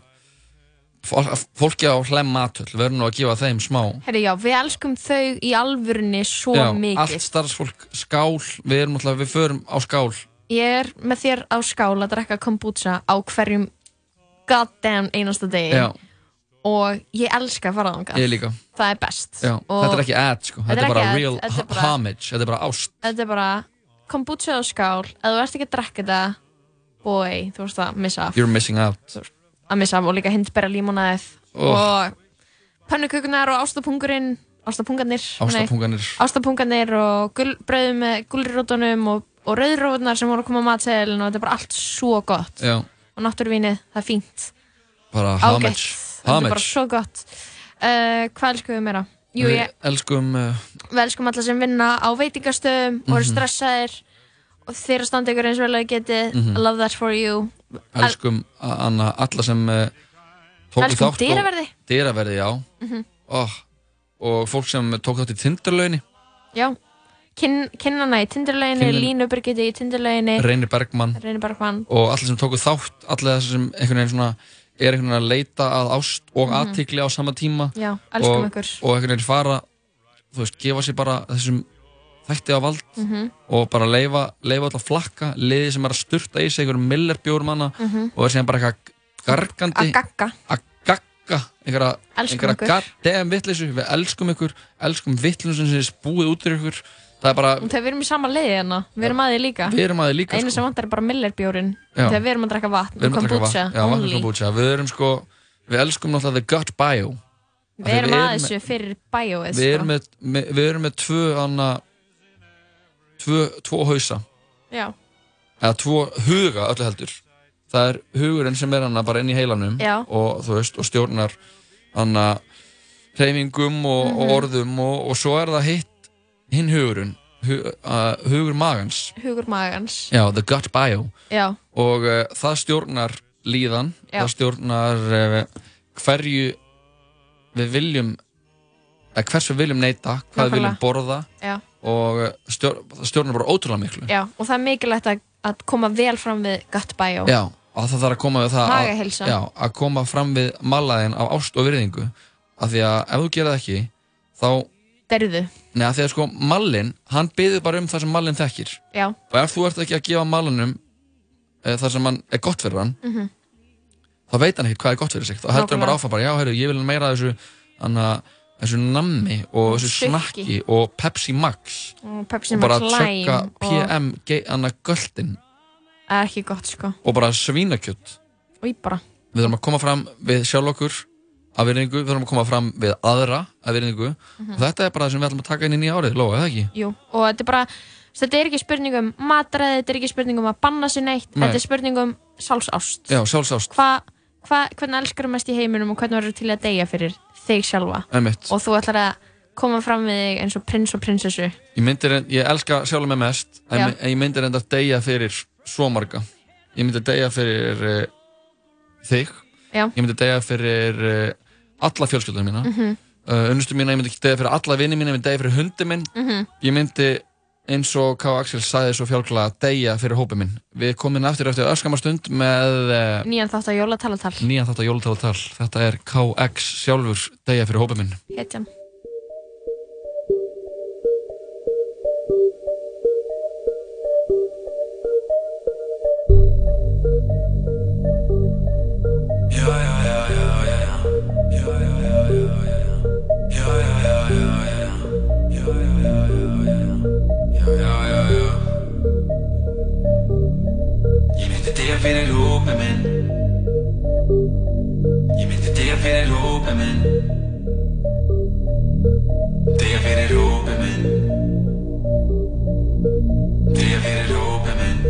[SPEAKER 3] fól- fólki á hlæm matöll, við erum nú að gefa þeim smá
[SPEAKER 4] Herri, já, við elskum þau í alvörunni svo
[SPEAKER 3] Já,
[SPEAKER 4] mikið
[SPEAKER 3] allt starfsfólk, skál, við erum alltaf, við förum á skál
[SPEAKER 4] Ég er með þér á skál að drekka kombucha á hverjum goddamn einasta degi
[SPEAKER 3] Já,
[SPEAKER 4] og ég elska að fara þangað
[SPEAKER 3] Ég líka.
[SPEAKER 4] Það er best
[SPEAKER 3] já.
[SPEAKER 4] Og
[SPEAKER 3] þetta er ekki ad sko, þetta er
[SPEAKER 4] ekki
[SPEAKER 3] bara
[SPEAKER 4] ad,
[SPEAKER 3] real
[SPEAKER 4] þetta er bara-
[SPEAKER 3] homage, þetta er bara ást
[SPEAKER 4] Þetta er bara kombucha á skál eða þú ert ekki að drekka þetta boy, þú veist að missa af
[SPEAKER 3] You're missing out
[SPEAKER 4] að missa af og líka hindbera límonæð
[SPEAKER 3] Oh.
[SPEAKER 4] og pönnukökunar og ástapungurinn ástapungarnir nei,
[SPEAKER 3] Ástapungarnir.
[SPEAKER 4] ástapungarnir og gul, brauð með gulrótunum og, og rauðrótunar sem voru að koma á matseðilin og þetta er bara allt svo gott
[SPEAKER 3] Já,
[SPEAKER 4] og náttúruvínið, það er fínt
[SPEAKER 3] bara
[SPEAKER 4] ágætt,
[SPEAKER 3] homage
[SPEAKER 4] þetta er bara
[SPEAKER 3] Homage
[SPEAKER 4] svo gott uh, hvað elskum við meira? Jú,
[SPEAKER 3] Við
[SPEAKER 4] ég,
[SPEAKER 3] elskum, uh,
[SPEAKER 4] við elskum alla sem vinna á veitingastöðum og eru
[SPEAKER 3] Mhm.
[SPEAKER 4] stressaðir þeir að standa ykkur eins vel og þið getið
[SPEAKER 3] Mhm.
[SPEAKER 4] I love that for you
[SPEAKER 3] Elskum a- Anna, alla sem uh, tóku þátt
[SPEAKER 4] Elskum
[SPEAKER 3] og-
[SPEAKER 4] dyraverði.
[SPEAKER 3] Dyraverði, já
[SPEAKER 4] Mhm.
[SPEAKER 3] oh, Og fólk sem tók þátt í Tinderlauginni
[SPEAKER 4] Já, Kinn, kinnana í Tinderlauginni,
[SPEAKER 3] Kinnin-
[SPEAKER 4] Línu Birgitti í Tinderlauginni
[SPEAKER 3] Reynir Bergmann
[SPEAKER 4] Eh. Reynir Bergmann
[SPEAKER 3] Og alla sem tóku þátt Alla þessar sem einhvern veginn svona Er einhvern veginn að leita að ást og mm
[SPEAKER 4] Mhm.
[SPEAKER 3] á sama tíma
[SPEAKER 4] Já, elskum
[SPEAKER 3] og,
[SPEAKER 4] ykkur.
[SPEAKER 3] Og einhvern veginn fara Þú veist, gefa sér bara þessum þætti á vald
[SPEAKER 1] Mm-hmm.
[SPEAKER 4] Mhm.
[SPEAKER 3] Og bara leifa, leifa alltaf flakka Liði sem er að sturta í sig einhverjum millarbjórum hana
[SPEAKER 4] Mhm.
[SPEAKER 3] Og er síðan bara eitthvað gargandi
[SPEAKER 4] Að gagga
[SPEAKER 3] gagga einhverja,
[SPEAKER 4] Elskum
[SPEAKER 3] einhverja
[SPEAKER 4] ykkur.
[SPEAKER 3] goddamn vitleysu við elskum ykkur, elskum vitleysun sem er spúið út fyrir ykkur það er bara,
[SPEAKER 4] Þegar við erum í sama liði hérna, við erum að því líka
[SPEAKER 3] Við erum að því líka, sko.
[SPEAKER 4] Einu sem vantar er bara millerbjórin
[SPEAKER 3] Já.
[SPEAKER 4] Þegar við erum að drekka vatn
[SPEAKER 3] við erum að taka vatn
[SPEAKER 4] og kombucha
[SPEAKER 3] já, vatn og
[SPEAKER 4] only.
[SPEAKER 3] kombucha, við erum sko við elskum náttúrulega the gut bio Af því
[SPEAKER 4] Við erum að
[SPEAKER 3] með-
[SPEAKER 4] þessu fyrir bæjóið sko.
[SPEAKER 3] við erum með, með, við erum með tvö anna, tvö, tvo hausa
[SPEAKER 4] Já,
[SPEAKER 3] eða tvo huga öllu heldur það er hugurinn sem er hann bara inn í heilanum
[SPEAKER 4] Já.
[SPEAKER 3] og þú veist, og stjórnar hann að hreyfingum og, og
[SPEAKER 4] Mhm.
[SPEAKER 3] orðum og, og svo er það hitt hinn hugurinn hu, uh, hugur magans
[SPEAKER 4] hugur magans
[SPEAKER 3] já, the gut bio
[SPEAKER 4] Já,
[SPEAKER 3] og uh, það stjórnar líðan
[SPEAKER 4] Já.
[SPEAKER 3] það stjórnar uh, hverju við viljum eða hvers við viljum neyta hvað við viljum
[SPEAKER 4] Nákvæmlega.
[SPEAKER 3] borða
[SPEAKER 4] já,
[SPEAKER 3] og eh, stjór, það stjórnar bara ótrúlega miklu
[SPEAKER 4] já Og það er mikilvægt að, að koma vel fram við gott bæjó
[SPEAKER 3] Já, og það þarf að koma við það
[SPEAKER 4] Magaheilsa.
[SPEAKER 3] að, já, að koma fram við malaðin af ást og virðingu af því að ef þú gerir það ekki þá,
[SPEAKER 4] Derðu,
[SPEAKER 3] neða því að sko mallin, hann byður bara um það sem mallin þekkir
[SPEAKER 4] já
[SPEAKER 3] og ef þú ert ekki að gefa malinum e, það sem hann er gott fyrir hann
[SPEAKER 4] mm
[SPEAKER 3] þá veit hann ekkert hvað er gott fyrir sig þá heldur hann bara
[SPEAKER 4] Nákvæmlega.
[SPEAKER 3] áfram bara, já, heyrðu, ég vil meira af þessu, hana, þessu nammi og þessu
[SPEAKER 4] Sukki.
[SPEAKER 3] snakki og Pepsi Max
[SPEAKER 4] Og Pepsi
[SPEAKER 3] og bara
[SPEAKER 4] Max Lime
[SPEAKER 3] tjögga
[SPEAKER 4] og-
[SPEAKER 3] PM, og... anna göltin
[SPEAKER 4] Það er ekki gott sko
[SPEAKER 3] og bara svínakjött
[SPEAKER 4] Og ég bara,
[SPEAKER 3] við þurfum að koma fram við sjálf okkur af virðingu, við þurfum að koma fram við aðra af virðingu
[SPEAKER 4] Mhm.
[SPEAKER 3] og þetta er bara það sem við ætlum að taka inn í nýja árið, Lóa, eða ekki?
[SPEAKER 4] jú Og þetta er bara, þetta er ekki spurning um matræði Þetta er ekki spurning um að banna sér neitt
[SPEAKER 3] Nei.
[SPEAKER 4] Þetta er spurning um sjálfsást
[SPEAKER 3] Já, sjálfsást,
[SPEAKER 4] hva, hva, hvernig elskar mest í heiminum og hvernig verður til að deyja fyrir þig sjálfa
[SPEAKER 3] emitt
[SPEAKER 4] og þú ætlar að koma fram við þig eins og prins og prinsessu
[SPEAKER 3] ég, myndi reynd- ég elska sjálf mig mest en
[SPEAKER 4] Já.
[SPEAKER 3] ég- en ég myndi reynda að deyja fyrir svo marga ég myndi deyja fyrir uh, þig
[SPEAKER 4] Já.
[SPEAKER 3] ég myndi deyja fyrir uh, alla fjölskyldunum mína mm
[SPEAKER 4] Mhm.
[SPEAKER 3] unnustu mína, ég myndi deyja fyrir alla vini mína ég myndi deyja fyrir hundi minn
[SPEAKER 4] Mhm.
[SPEAKER 3] ég myndi eins og K. Axel sagði svo fjálkla deyja fyrir hópi minn við komum aftur eftir öskamastund með uh,
[SPEAKER 4] nýjan þátt að jólatalatal
[SPEAKER 3] nýjan þetta jólutálatal þetta er KX sjálfur deyja fyrir hópi minn
[SPEAKER 4] hetjan
[SPEAKER 7] Ég myndi deyja fyrir lúpa minn Ég myndi deyja fyrir lúpa minn Deyja fyrir lúpa minn Deyja fyrir lúpa minn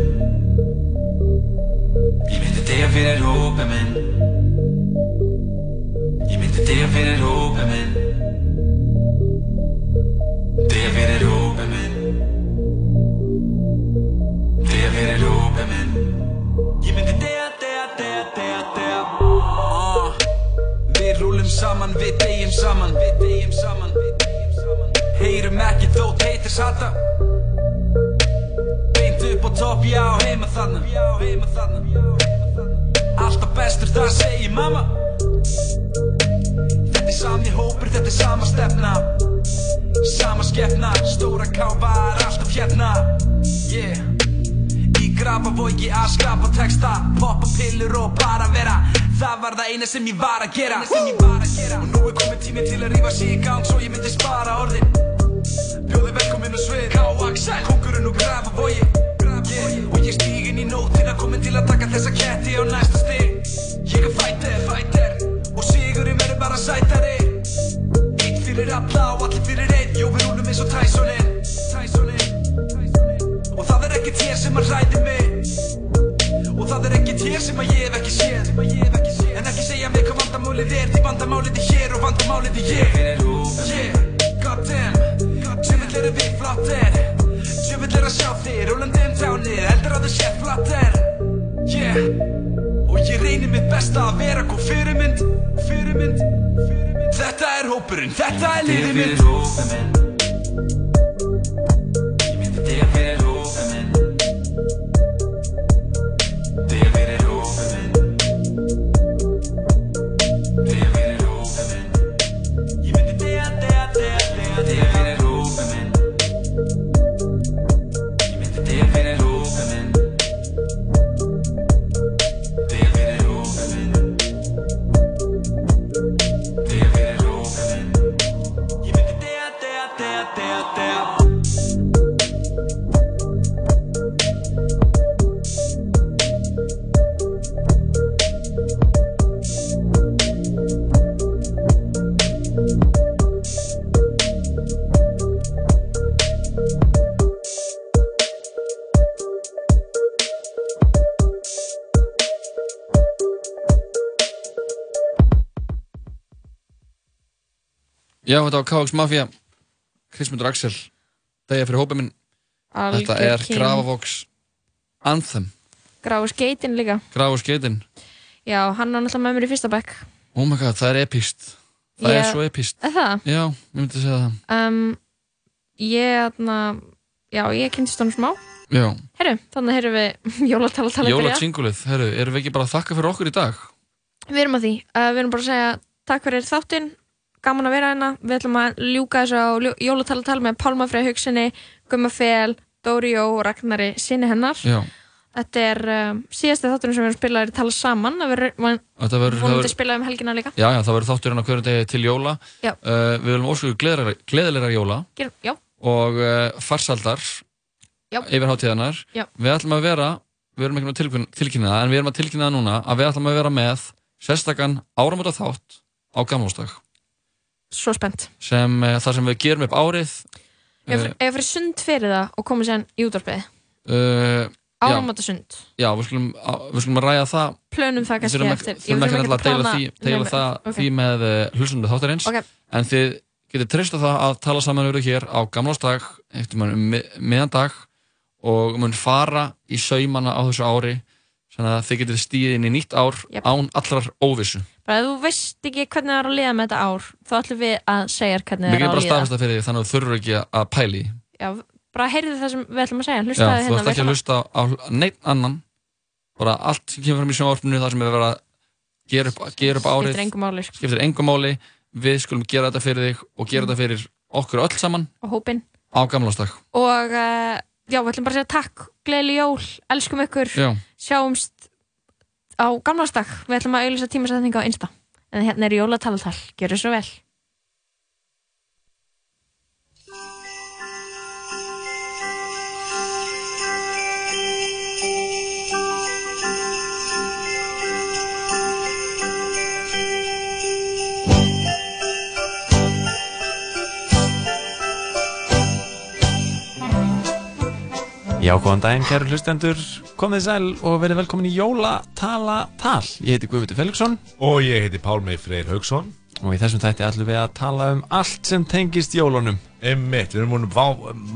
[SPEAKER 7] Ég myndi deyja fyrir lúpa minn Ég myndi deyja fyrir lúpa minn Deyja fyrir lúpa minn Deyja fyrir lúpa minn Ég myndi deyja, deyja, deyja, deyja, deyja Ah. Við rúlum saman, við deyjum saman Við deyjum saman, við deyjum saman Heyrum ekki þó teitir sata Beint upp á topp, já, heima þarna Já, heima þarna Alltaf bestur, það segir mamma Þetta er sami hópur, þetta er sama stefna Sama skefna, stóra kávar, alltaf hérna Yeah Í grafavogi að skrapa texta Poppa pillur og bara vera Það var það eina sem ég var að gera, sem ég var að gera. Og nú er komið tími til að rífa sig í gang Svo ég myndi spara orðin Bjóði velkominn og svið K. Axel, kongurinn og grafavogi yeah. Og ég stíg inn í nótina Kominn til að taka þessa ketti á næsta stig Ég er fighter, fighter Og sigurinn verður bara sætari Eitt fyrir alla og allir fyrir einn Jó, við rúlum eins og Tysonin Tysonin Og það er ekkert hér sem að hræði mig Og það er ekkert hér sem að ég hef ekki séð Sem að ég hef ekki séð En ekki segja mér hvað vandamálið er Því vandamálið er hér og vandamálið er ég Fyrir rúf Yeah, goddamn Tjöfull eru við flottir Tjöfull er að sjá þig Rólandi um tjánir að sé flatter Yeah Og ég reyni mitt besta að vera góð fyrirmynd Fyrirmynd Fyrirmynd Þetta er hópurinn, þetta er liðið mitt
[SPEAKER 23] Þetta er fyrir hópinn minn Þetta er fyrir hópinn minn Þetta er fyrir hópinn minn Þetta er fyrir hópinn minn Ég myndi deyja, deyja, deyja, deyja Þetta er fyrir hópinn minn Ég myndi deyja fyrir hópinn minn Þetta er fyrir hópinn minn Þetta er fyrir hópinn minn
[SPEAKER 3] Já, þetta var KX Mafia Kristmundur Axel Dæja fyrir hópið minn
[SPEAKER 4] Algjör
[SPEAKER 3] Þetta er
[SPEAKER 4] king.
[SPEAKER 3] Grafavox Anthem
[SPEAKER 4] Gráu skeitin líka
[SPEAKER 3] Grafavox geitin
[SPEAKER 4] Já, hann var náttúrulega með mér í fyrsta bekk
[SPEAKER 3] Oh my god, það er epíst Það er
[SPEAKER 4] Ég-
[SPEAKER 3] svo epíst
[SPEAKER 4] Er það?
[SPEAKER 3] Já, ég myndi að segja það
[SPEAKER 4] um, Ég, þarna Já, ég kynntist honum smá
[SPEAKER 3] Já,
[SPEAKER 4] Herru, þannig heyrðum við jólatala tala
[SPEAKER 3] Jóla Tjingulið, herru, erum við ekki bara að þakka fyrir okkur í dag?
[SPEAKER 4] Við erum að því, uh, við erum bara að segja Takk fyrir þáttinn, gaman að vera hérna Við ætlum að ljúka þessu á jólatala tala með Pálma Frey Hugsinni, Gumma Fel Dóri Jó og Ragnari sinni hennar
[SPEAKER 3] Já,
[SPEAKER 4] Þetta er um, síðasti þátturinn sem við erum að spila er tala saman Það verður von-
[SPEAKER 3] þetta verður það
[SPEAKER 4] vonandi
[SPEAKER 3] verður-
[SPEAKER 4] að spila um helgina líka
[SPEAKER 3] Já, já, það verður þátturinn á hverjum degi til jóla
[SPEAKER 4] Já.
[SPEAKER 3] uh, Við viljum óskuðu gleðilegra, gleðilegra jóla
[SPEAKER 4] Gerum- Já,
[SPEAKER 3] og uh, farsaldar
[SPEAKER 4] Já.
[SPEAKER 3] yfir hátíðanar
[SPEAKER 4] Já.
[SPEAKER 3] Við ætlum að vera, við erum ekki að tilkynna það en við erum að tilkynna það núna að við ætlum að vera með sérstakann áramóta þátt á gamlástak
[SPEAKER 4] svo spennt
[SPEAKER 3] sem, uh, þar sem við gerum upp árið Eh.
[SPEAKER 4] Ef ef ég fyrir sund fyrir það og komið sér í útvarpið
[SPEAKER 3] uh,
[SPEAKER 4] Áramóta sund,
[SPEAKER 3] Já, já við, skulum, á- við skulum að ræða það
[SPEAKER 4] plönum það
[SPEAKER 3] Við
[SPEAKER 4] kannski
[SPEAKER 3] þurfum ekki-
[SPEAKER 4] eftir
[SPEAKER 3] þurfum ekki
[SPEAKER 4] Ég-
[SPEAKER 3] alltaf
[SPEAKER 4] við
[SPEAKER 3] að deila
[SPEAKER 4] plana-
[SPEAKER 3] því, deila
[SPEAKER 4] Nei,
[SPEAKER 3] það,
[SPEAKER 4] ok.
[SPEAKER 3] því með uh, hlustundu þáttarins
[SPEAKER 4] Ok.
[SPEAKER 3] en þið getur treyst á það að tala saman yfir hér á gamlásdag eftir mann um mið- miðjan dag og mun fara í saumana á þessu ári þannig að þið getur stíð inn í nýtt ár
[SPEAKER 4] Jep.
[SPEAKER 3] án allrar óvissu
[SPEAKER 4] bara ef þú veist ekki hvernig það er að liða með þetta ár þá ætlum við að segja þér
[SPEAKER 3] við
[SPEAKER 4] hvernig
[SPEAKER 3] getum
[SPEAKER 4] það er
[SPEAKER 3] bara
[SPEAKER 4] að liða
[SPEAKER 3] staðfesta fyrir því þannig að þú þurfur ekki að pæli
[SPEAKER 4] Já, bara heyrðu það sem við ætlum að segja
[SPEAKER 3] Já,
[SPEAKER 4] hlustaðu
[SPEAKER 3] þú ert
[SPEAKER 4] hérna
[SPEAKER 3] ekki
[SPEAKER 4] við
[SPEAKER 3] að
[SPEAKER 4] ætlum
[SPEAKER 3] hlusta á neitt annan bara allt sem kemur fram í sjónvarpinu þar sem við verðum að gera upp, gera upp árið
[SPEAKER 4] Skiptir engu máli, sko. Mhm.
[SPEAKER 3] skiptir engu máli. við skulum gera þetta fyrir þig og gera þetta fyrir okkur öll saman
[SPEAKER 4] og hópinn
[SPEAKER 3] á gamlásdag
[SPEAKER 4] og uh, já, við ætlum bara að segja takk gleðli jól, elskum ykkur
[SPEAKER 3] Já.
[SPEAKER 4] sjáumst á gamlastak við ætlum að auðvitað tímasetninga á Insta en hérna er jólatalatal, gjörðu svo vel
[SPEAKER 24] Já, góðan daginn, kæru hlustendur, komið sæl og verið velkomin í Jólatalatal. Ég heiti Guðmundur Felixson
[SPEAKER 25] Og ég heiti Pálmi Freyr Haugsson
[SPEAKER 24] og í þessum þætti ætlum við að tala um allt sem tengist jólunum.
[SPEAKER 25] Einmitt, við erum múin vá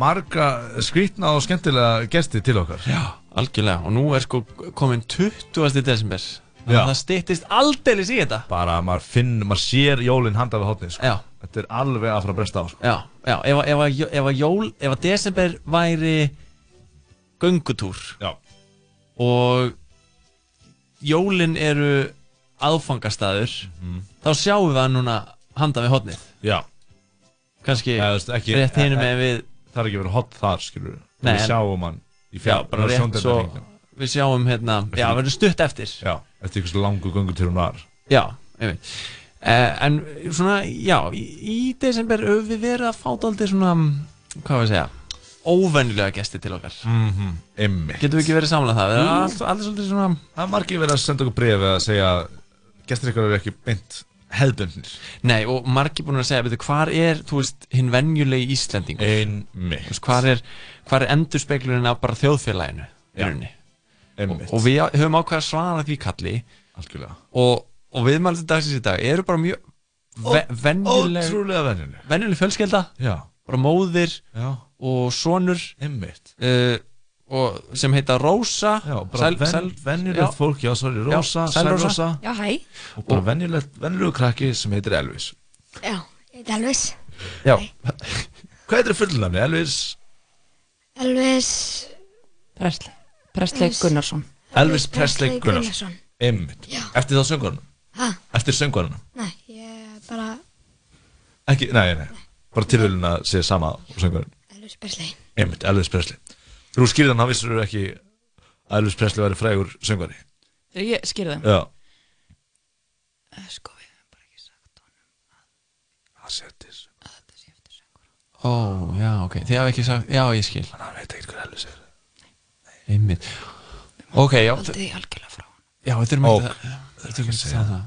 [SPEAKER 25] marga skrýtna og skemmtilega gesti til okkar
[SPEAKER 24] Já, algjörlega, og nú er sko komin 20. desember. Þannig
[SPEAKER 25] Já.
[SPEAKER 24] að Það styttist aldeilis í þetta.
[SPEAKER 25] Bara að maður finn, maður sér jólinn handa við hotni sko.
[SPEAKER 24] Já.
[SPEAKER 25] Þetta er alveg að fara að bresta á sko.
[SPEAKER 24] Já, já, ef, að- ef, að jó- ef að jól, ef að desember væri göngutúr
[SPEAKER 25] Já
[SPEAKER 24] Og jólin eru aðfangastaður
[SPEAKER 25] Mhm.
[SPEAKER 24] Þá sjáum við hann núna handa við hotnið
[SPEAKER 25] Já
[SPEAKER 24] Kanski
[SPEAKER 25] Eða, þú veist, ekki-
[SPEAKER 24] rétt hinum
[SPEAKER 25] e- e-
[SPEAKER 24] með við
[SPEAKER 25] Það er ekki verið hot þar skilur
[SPEAKER 24] Nei,
[SPEAKER 25] Við
[SPEAKER 24] en-
[SPEAKER 25] sjáum hann í
[SPEAKER 24] Já,
[SPEAKER 25] fjall
[SPEAKER 24] bara rétt svo Við sjáum hérna, já, verður stutt eftir
[SPEAKER 25] Já, eftir ykkur svo langu göngu til hún var
[SPEAKER 24] Já, einmitt uh, En svona, já, í, í desember höfum við verið að fáta aldrei svona Hvað var að segja? Óvenjulega gesti til okkar
[SPEAKER 25] Mhm, Einmitt
[SPEAKER 24] Getum við ekki verið samlega það? Við erum
[SPEAKER 25] Jú.
[SPEAKER 24] allt, allt svolítið svona
[SPEAKER 25] Það er margir verið að senda okkur bref eða að segja Gestir ykkur eru ekki beint hefðbundnir
[SPEAKER 24] Nei, og margir búin að segja, veitu, hvar er, þú veist, hinn venjulegi Íslendingur?
[SPEAKER 25] Einmitt.
[SPEAKER 24] Þú veist, hvar er, hvar er endurspeglurinn af bara þjóðfélaginu? Já. Rauninni?
[SPEAKER 25] Einmitt.
[SPEAKER 24] Og, og við höfum ákveð að svara því kalli.
[SPEAKER 25] Algjörlega.
[SPEAKER 24] Og, og viðmælstu dagsins í dag eru bara mjög ve venjuleg...
[SPEAKER 25] Ótrúlega venjuleg.
[SPEAKER 24] Venjuleg fjölskelda.
[SPEAKER 25] Já.
[SPEAKER 24] Bara móðir
[SPEAKER 25] Já.
[SPEAKER 24] og sonur.
[SPEAKER 25] Einmitt.
[SPEAKER 24] Uh, og sem heita Rósa
[SPEAKER 25] Já, bara ven, venjulegt fólk, já, sorry, Rósa, Sælrósa
[SPEAKER 26] Já, hæ.
[SPEAKER 25] og bara venjulegt, venjulegu krakki sem heitir Elvis
[SPEAKER 26] Já, ég heiti Elvis.
[SPEAKER 25] Já, hvað heitir fullnafni, Elvis?
[SPEAKER 26] Elvis,
[SPEAKER 27] Presley Presley
[SPEAKER 26] Elvis.
[SPEAKER 27] Gunnarsson
[SPEAKER 25] Elvis Presley
[SPEAKER 26] Presley
[SPEAKER 25] Gunnarsson
[SPEAKER 26] Gunnarsson.
[SPEAKER 25] Einmitt, eftir þá söngvarunum
[SPEAKER 26] hæ,
[SPEAKER 25] Eftir söngvarunum,
[SPEAKER 26] nei, ég er bara
[SPEAKER 25] ekki, nei, nei bara tilvölin að segja sama og söngvarun
[SPEAKER 26] Elvis Presley.
[SPEAKER 25] Einmitt, Elvis Presley Þú skýrði hann, hann vissur þú ekki að Elvis Presley væri frægur söngvari
[SPEAKER 27] Þegar ég skýrði það
[SPEAKER 25] Já,
[SPEAKER 27] Eh, Sko, við
[SPEAKER 25] það setir
[SPEAKER 24] Ó, já, ok, þið hafi ekki sagt, já, ég skil Þannig
[SPEAKER 25] að veit ekkert hvað Elvis er
[SPEAKER 24] Einmitt Ok, já
[SPEAKER 27] haldið því algjörlega frá
[SPEAKER 24] Já, við þurfum ekki að Við þurfum ekki að segja það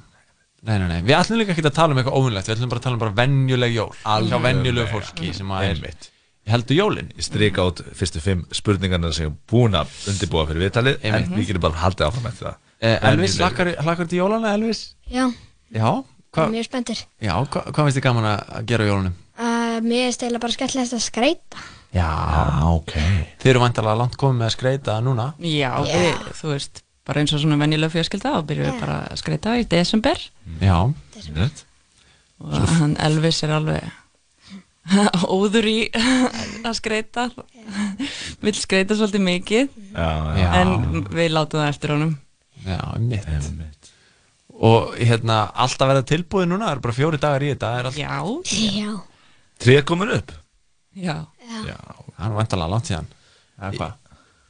[SPEAKER 24] Nei, nei, nei, við ætlum líka ekki að tala um eitthvað óvunlegt Við ætlum bara að tala um bara venjuleg jól Hjá venjulegu fólki sem að er
[SPEAKER 25] Einmitt.
[SPEAKER 24] Ég heldur jólin
[SPEAKER 25] Ég strika át fyrstu fimm spurningarna sem ég er búin að undirbúa fyrir viðtalið en
[SPEAKER 24] Einmitt.
[SPEAKER 25] við getum bara haldið áfram eftir það
[SPEAKER 24] Eh, Elvis,
[SPEAKER 25] Venjuleg-
[SPEAKER 24] hlakkar hlakkar til jólana, Elvis?
[SPEAKER 26] Já,
[SPEAKER 24] Já,
[SPEAKER 26] ég
[SPEAKER 24] hva,
[SPEAKER 26] er mjög spenntur.
[SPEAKER 24] já hva, hvað finnst þið gaman að að gera á jólunum?
[SPEAKER 26] Uh, mér er stæla bara skemmtilegt að skreita.
[SPEAKER 24] Já, ok Þið eru vantarlega langt komið með að skreita núna
[SPEAKER 27] Já, Við, þú veist, bara eins og svona venjulega fjölskylda og byrjuðum við bara að skreita í desember
[SPEAKER 25] Mm.
[SPEAKER 24] Já,
[SPEAKER 27] og hann Elvis er alveg óður í að skreita vill skreita svolítið mikið
[SPEAKER 24] Já, já.
[SPEAKER 27] en við látum það eftir honum
[SPEAKER 24] já, mitt Og hérna, allt að verða tilbúið núna, það eru bara fjóri dagar í þetta það er allt-
[SPEAKER 27] Já,
[SPEAKER 26] já,
[SPEAKER 25] Tréð komin upp
[SPEAKER 27] já.
[SPEAKER 25] Já,
[SPEAKER 24] það er vantarlega langt síðan Eða hvað?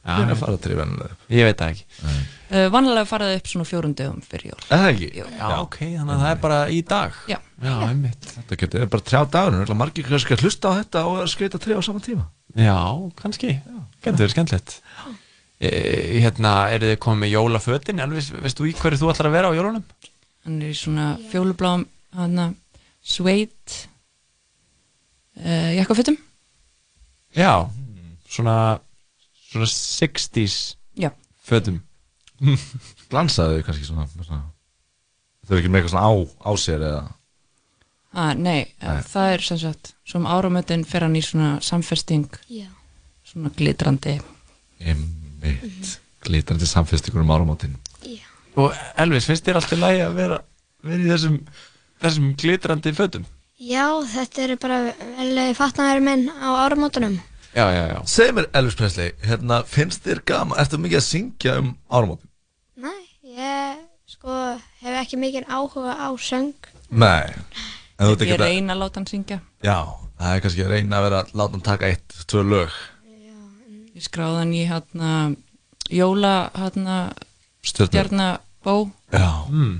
[SPEAKER 24] Já,
[SPEAKER 25] Hvenær fara tréð venjulega upp?
[SPEAKER 24] Ég veit það ekki
[SPEAKER 27] Uh, Vanlega faraði upp svona fjórum dögum fyrir jól
[SPEAKER 25] Er það ekki?
[SPEAKER 27] Jú.
[SPEAKER 24] Já, ok, þannig að það er bara í dag
[SPEAKER 27] Já.
[SPEAKER 24] já einmitt
[SPEAKER 25] Þetta getur er bara trjá dagur og margir kannski að hlusta á þetta og að skreita tréð á sama tíma
[SPEAKER 24] Já, kannski, getur verið skemmtilegt e, Hérna, eru þið komið með jólafötin Elvis, veist þú í hverju þú ætlar að vera á jólunum?
[SPEAKER 27] Hann er í svona fjólubláum eh, hana, sveit uh, jakkafutum
[SPEAKER 24] Já, Hmm. svona, svona 60s
[SPEAKER 27] Já.
[SPEAKER 24] fötum
[SPEAKER 25] Glansaðu þau kannski svona, svona. Þau eru ekki með eitthvað svona á, á sér eða
[SPEAKER 27] ah, Nei,
[SPEAKER 25] Nei.
[SPEAKER 27] það er sem sagt sem áramötin fer hann í svona samfesting
[SPEAKER 26] Já.
[SPEAKER 27] svona glitrandi
[SPEAKER 25] Einmitt Glitrandi samfestingur um áramáttin
[SPEAKER 24] Og Elvis, finnst þér alltaf lægi að vera, vera í þessum, þessum glitrandi fötum?
[SPEAKER 26] Já, þetta eru bara velið fatnaður minn á áramótunum.
[SPEAKER 24] Já, já, já
[SPEAKER 25] Segð mér Elvis Presley, hérna finnst þér gaman Ertu mikið að syngja um áramáttin?
[SPEAKER 26] Nei, ég sko hef ekki mikinn áhuga á söng.
[SPEAKER 25] Nei En þú ert
[SPEAKER 27] Ég
[SPEAKER 25] ekki að
[SPEAKER 27] reyna að láta hann syngja
[SPEAKER 25] Já, það er kannski að reyna að vera Láta hann taka eitt, tvö lög
[SPEAKER 27] Ég skráði hann í hérna jóla hérna
[SPEAKER 25] Stjörnu.
[SPEAKER 27] stjarnabó
[SPEAKER 25] Já mm.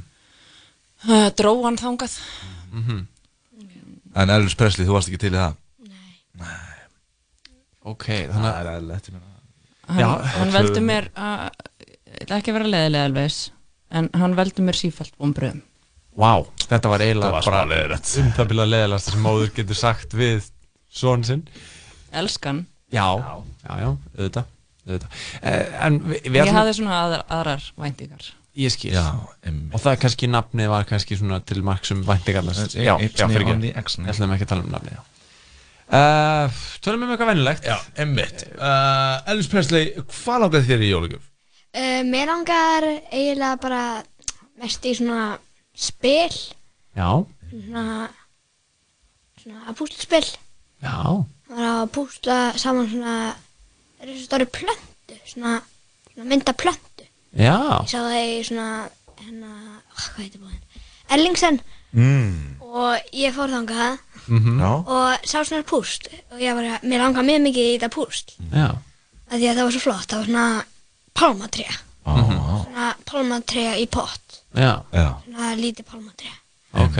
[SPEAKER 27] uh, Dró hann þangað
[SPEAKER 24] Mhm.
[SPEAKER 25] En Elvis Presley, þú varst ekki til í það
[SPEAKER 24] Ok, þannig
[SPEAKER 25] að Það er eðlilegt, ég meina.
[SPEAKER 27] Hann,
[SPEAKER 25] Já,
[SPEAKER 27] hann
[SPEAKER 25] það er
[SPEAKER 27] veldi
[SPEAKER 25] tvö-
[SPEAKER 27] mér að ég ætla ekki að vera leðilega alveg en hann veldi mér sífælt vonbröðum
[SPEAKER 24] Vá, þetta var eiginlega
[SPEAKER 25] Það var smá
[SPEAKER 24] bara um það byrja leðilegast sem móður getur sagt við son sinn
[SPEAKER 27] Elskan
[SPEAKER 24] Já, já, já, auðvitað, auðvitað. Eh, En við, við
[SPEAKER 27] Ég
[SPEAKER 24] ætlum-
[SPEAKER 27] hafði svona aðrar, aðrar væntingar
[SPEAKER 24] Ég skil
[SPEAKER 25] Já,
[SPEAKER 24] Og það er kannski nafnið var kannski svona til marksum væntingarlast
[SPEAKER 25] Eh,
[SPEAKER 24] Já,
[SPEAKER 25] eh,
[SPEAKER 24] já, fyrir
[SPEAKER 25] on
[SPEAKER 24] ekki
[SPEAKER 25] the action.
[SPEAKER 24] Ég ætlum ekki að tala um nafnið já. uh, Tölum við um eitthvað venjulegt
[SPEAKER 25] Já, emmitt uh, Elvis Presley, hvað langaði þér í jólugjöf?
[SPEAKER 26] Uh, mér langar eiginlega bara mest í svona spil,
[SPEAKER 24] Já,
[SPEAKER 26] svona, svona púslspil.
[SPEAKER 24] já
[SPEAKER 26] Það var að púsla saman svona, það eru svo stóri plöntu, svona, svona mynda plöntu.
[SPEAKER 24] Já
[SPEAKER 26] Ég sá það í svona, hérna, ah, hvað heitir búinn? Erlingsen
[SPEAKER 25] mm.
[SPEAKER 26] og ég fór þangað
[SPEAKER 24] Mhm. Já.
[SPEAKER 26] og sá svona púst og ég var að, mér langar mjög mikið í þetta púst.
[SPEAKER 24] Já
[SPEAKER 26] að því að það var svo flott, það var svona pálmatré,
[SPEAKER 25] ah.
[SPEAKER 26] svona pálmatré í pott,
[SPEAKER 24] Já,
[SPEAKER 25] já.
[SPEAKER 26] svona lítið pálmatré
[SPEAKER 24] ok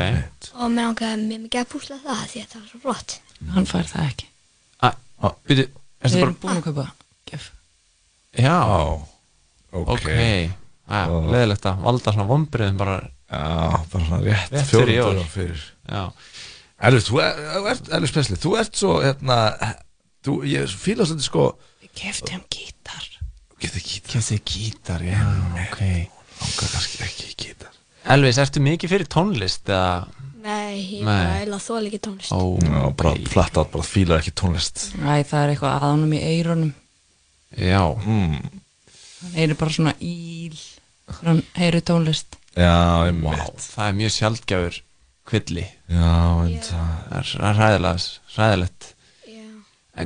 [SPEAKER 26] og mér langaði mjög mikið að púsla það af því að það var svo flott.
[SPEAKER 27] Hann fær það ekki
[SPEAKER 25] Ah.
[SPEAKER 24] Býtu,
[SPEAKER 27] Við
[SPEAKER 24] erstu
[SPEAKER 27] erum
[SPEAKER 24] Ah, bara
[SPEAKER 27] búin að kaupa gef
[SPEAKER 24] Já,
[SPEAKER 25] ok,
[SPEAKER 24] okay. Ah, Leðilegt að valda svona vombriðum bara
[SPEAKER 25] Já, bara svona rétt,
[SPEAKER 24] Rétt
[SPEAKER 25] fjórum
[SPEAKER 24] fyrir jól.
[SPEAKER 25] dögum fyrir
[SPEAKER 24] Já
[SPEAKER 25] Elvis, þú er- þú ert, Elvis Presley, þú ert svo hérna, þú, ég fíla svolítið sko
[SPEAKER 27] Við keftum gítar
[SPEAKER 25] Getið gítar
[SPEAKER 24] Getið gítar, já, ok
[SPEAKER 25] Langar kannski ekki í gítar
[SPEAKER 24] Elvis, ertu mikið fyrir tónlist eða
[SPEAKER 26] Nei, ég
[SPEAKER 24] Nei.
[SPEAKER 26] bara eila þóla ekki tónlist.
[SPEAKER 24] Ó,
[SPEAKER 25] Já, bara flatt átt, bara fílar ekki tónlist
[SPEAKER 27] Æ, það er eitthvað aðanum í eyrunum
[SPEAKER 25] Já mm.
[SPEAKER 27] hann heyri bara svona íl þegar hann heyri tónlist
[SPEAKER 25] Já,
[SPEAKER 24] wow, það er mjög sjaldgjafur kvilli
[SPEAKER 25] Já, en
[SPEAKER 24] það er- það er ræðilegt, ræðilegt.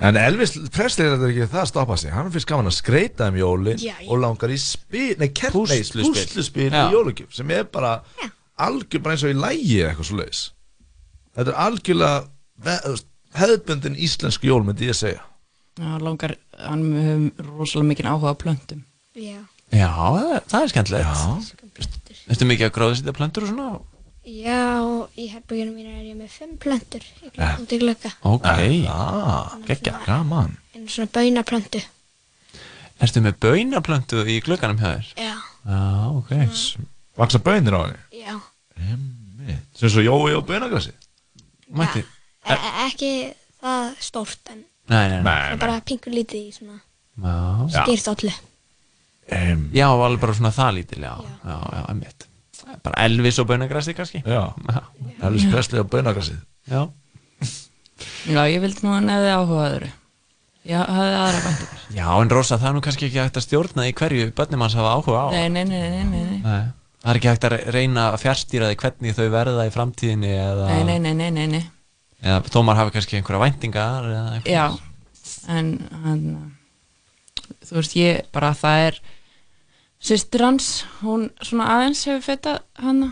[SPEAKER 25] En Elvis Presley er þetta ekki það að stoppa sig Hann finnst gaman að skreita um jólin
[SPEAKER 24] Já, já.
[SPEAKER 25] Og langar í spil, nei, kert,
[SPEAKER 24] Púsluspil.
[SPEAKER 25] nei Púsluspil í
[SPEAKER 24] Já.
[SPEAKER 25] jólugjöf Sem er bara algjör bara eins og í lægi eða Eitthvað svo leis Þetta er algjörlega ve- þú veist, hefðbundin íslensk jól myndi ég að segja
[SPEAKER 27] hann langar, hann hefur rosalega mikið áhuga á plöntum
[SPEAKER 26] Já.
[SPEAKER 24] Já, það er, það er skemmtilegt Ertu mikið að gróðsýta plöntur og svona?
[SPEAKER 26] Já, í herbygginu mínu er ég með fimm plöntur í gl-
[SPEAKER 24] Ja.
[SPEAKER 26] út í glugga.
[SPEAKER 24] Ok, ah, geggja, gaman
[SPEAKER 26] En svona baunaplöntu.
[SPEAKER 24] Ertu með baunaplöntu í glugganum hjá þér?
[SPEAKER 26] Já.
[SPEAKER 24] Já, ok
[SPEAKER 25] Vaksa bönir á henni
[SPEAKER 26] Já.
[SPEAKER 25] Sem svo Jói og bönagrassi Mætti
[SPEAKER 26] E ekki það stórt, en
[SPEAKER 24] Nei, nei,
[SPEAKER 26] það
[SPEAKER 24] nei,
[SPEAKER 26] er bara pingur lítið í svona
[SPEAKER 24] Já,
[SPEAKER 26] skýrt allu.
[SPEAKER 24] um, já alveg bara svona það lítil Já, já, já, emitt Bara Elvis og baunagrassi kannski
[SPEAKER 25] Já, Elvis Presley og baunagrassi
[SPEAKER 24] Já
[SPEAKER 27] já, ég vildi nú að hann hefði áhuga á öðru já, hafði aðra væntingar
[SPEAKER 24] Já, en Rosa, það er nú kannski ekki hægt að stjórna í hverju börnum hans hafa áhuga á
[SPEAKER 27] nei, nei, nei, nei, nei, nei.
[SPEAKER 24] Nei. Það er ekki hægt að reyna að fjárstýra því hvernig þau verða í framtíðinni eða,
[SPEAKER 27] nei, nei, nei, nei, nei, nei.
[SPEAKER 24] eða tómar hafa kannski einhverja væntingar eða eitthvað.
[SPEAKER 27] já, en hann þú veist, ég bara það er systir hans, hún svona aðeins hefur fetað hann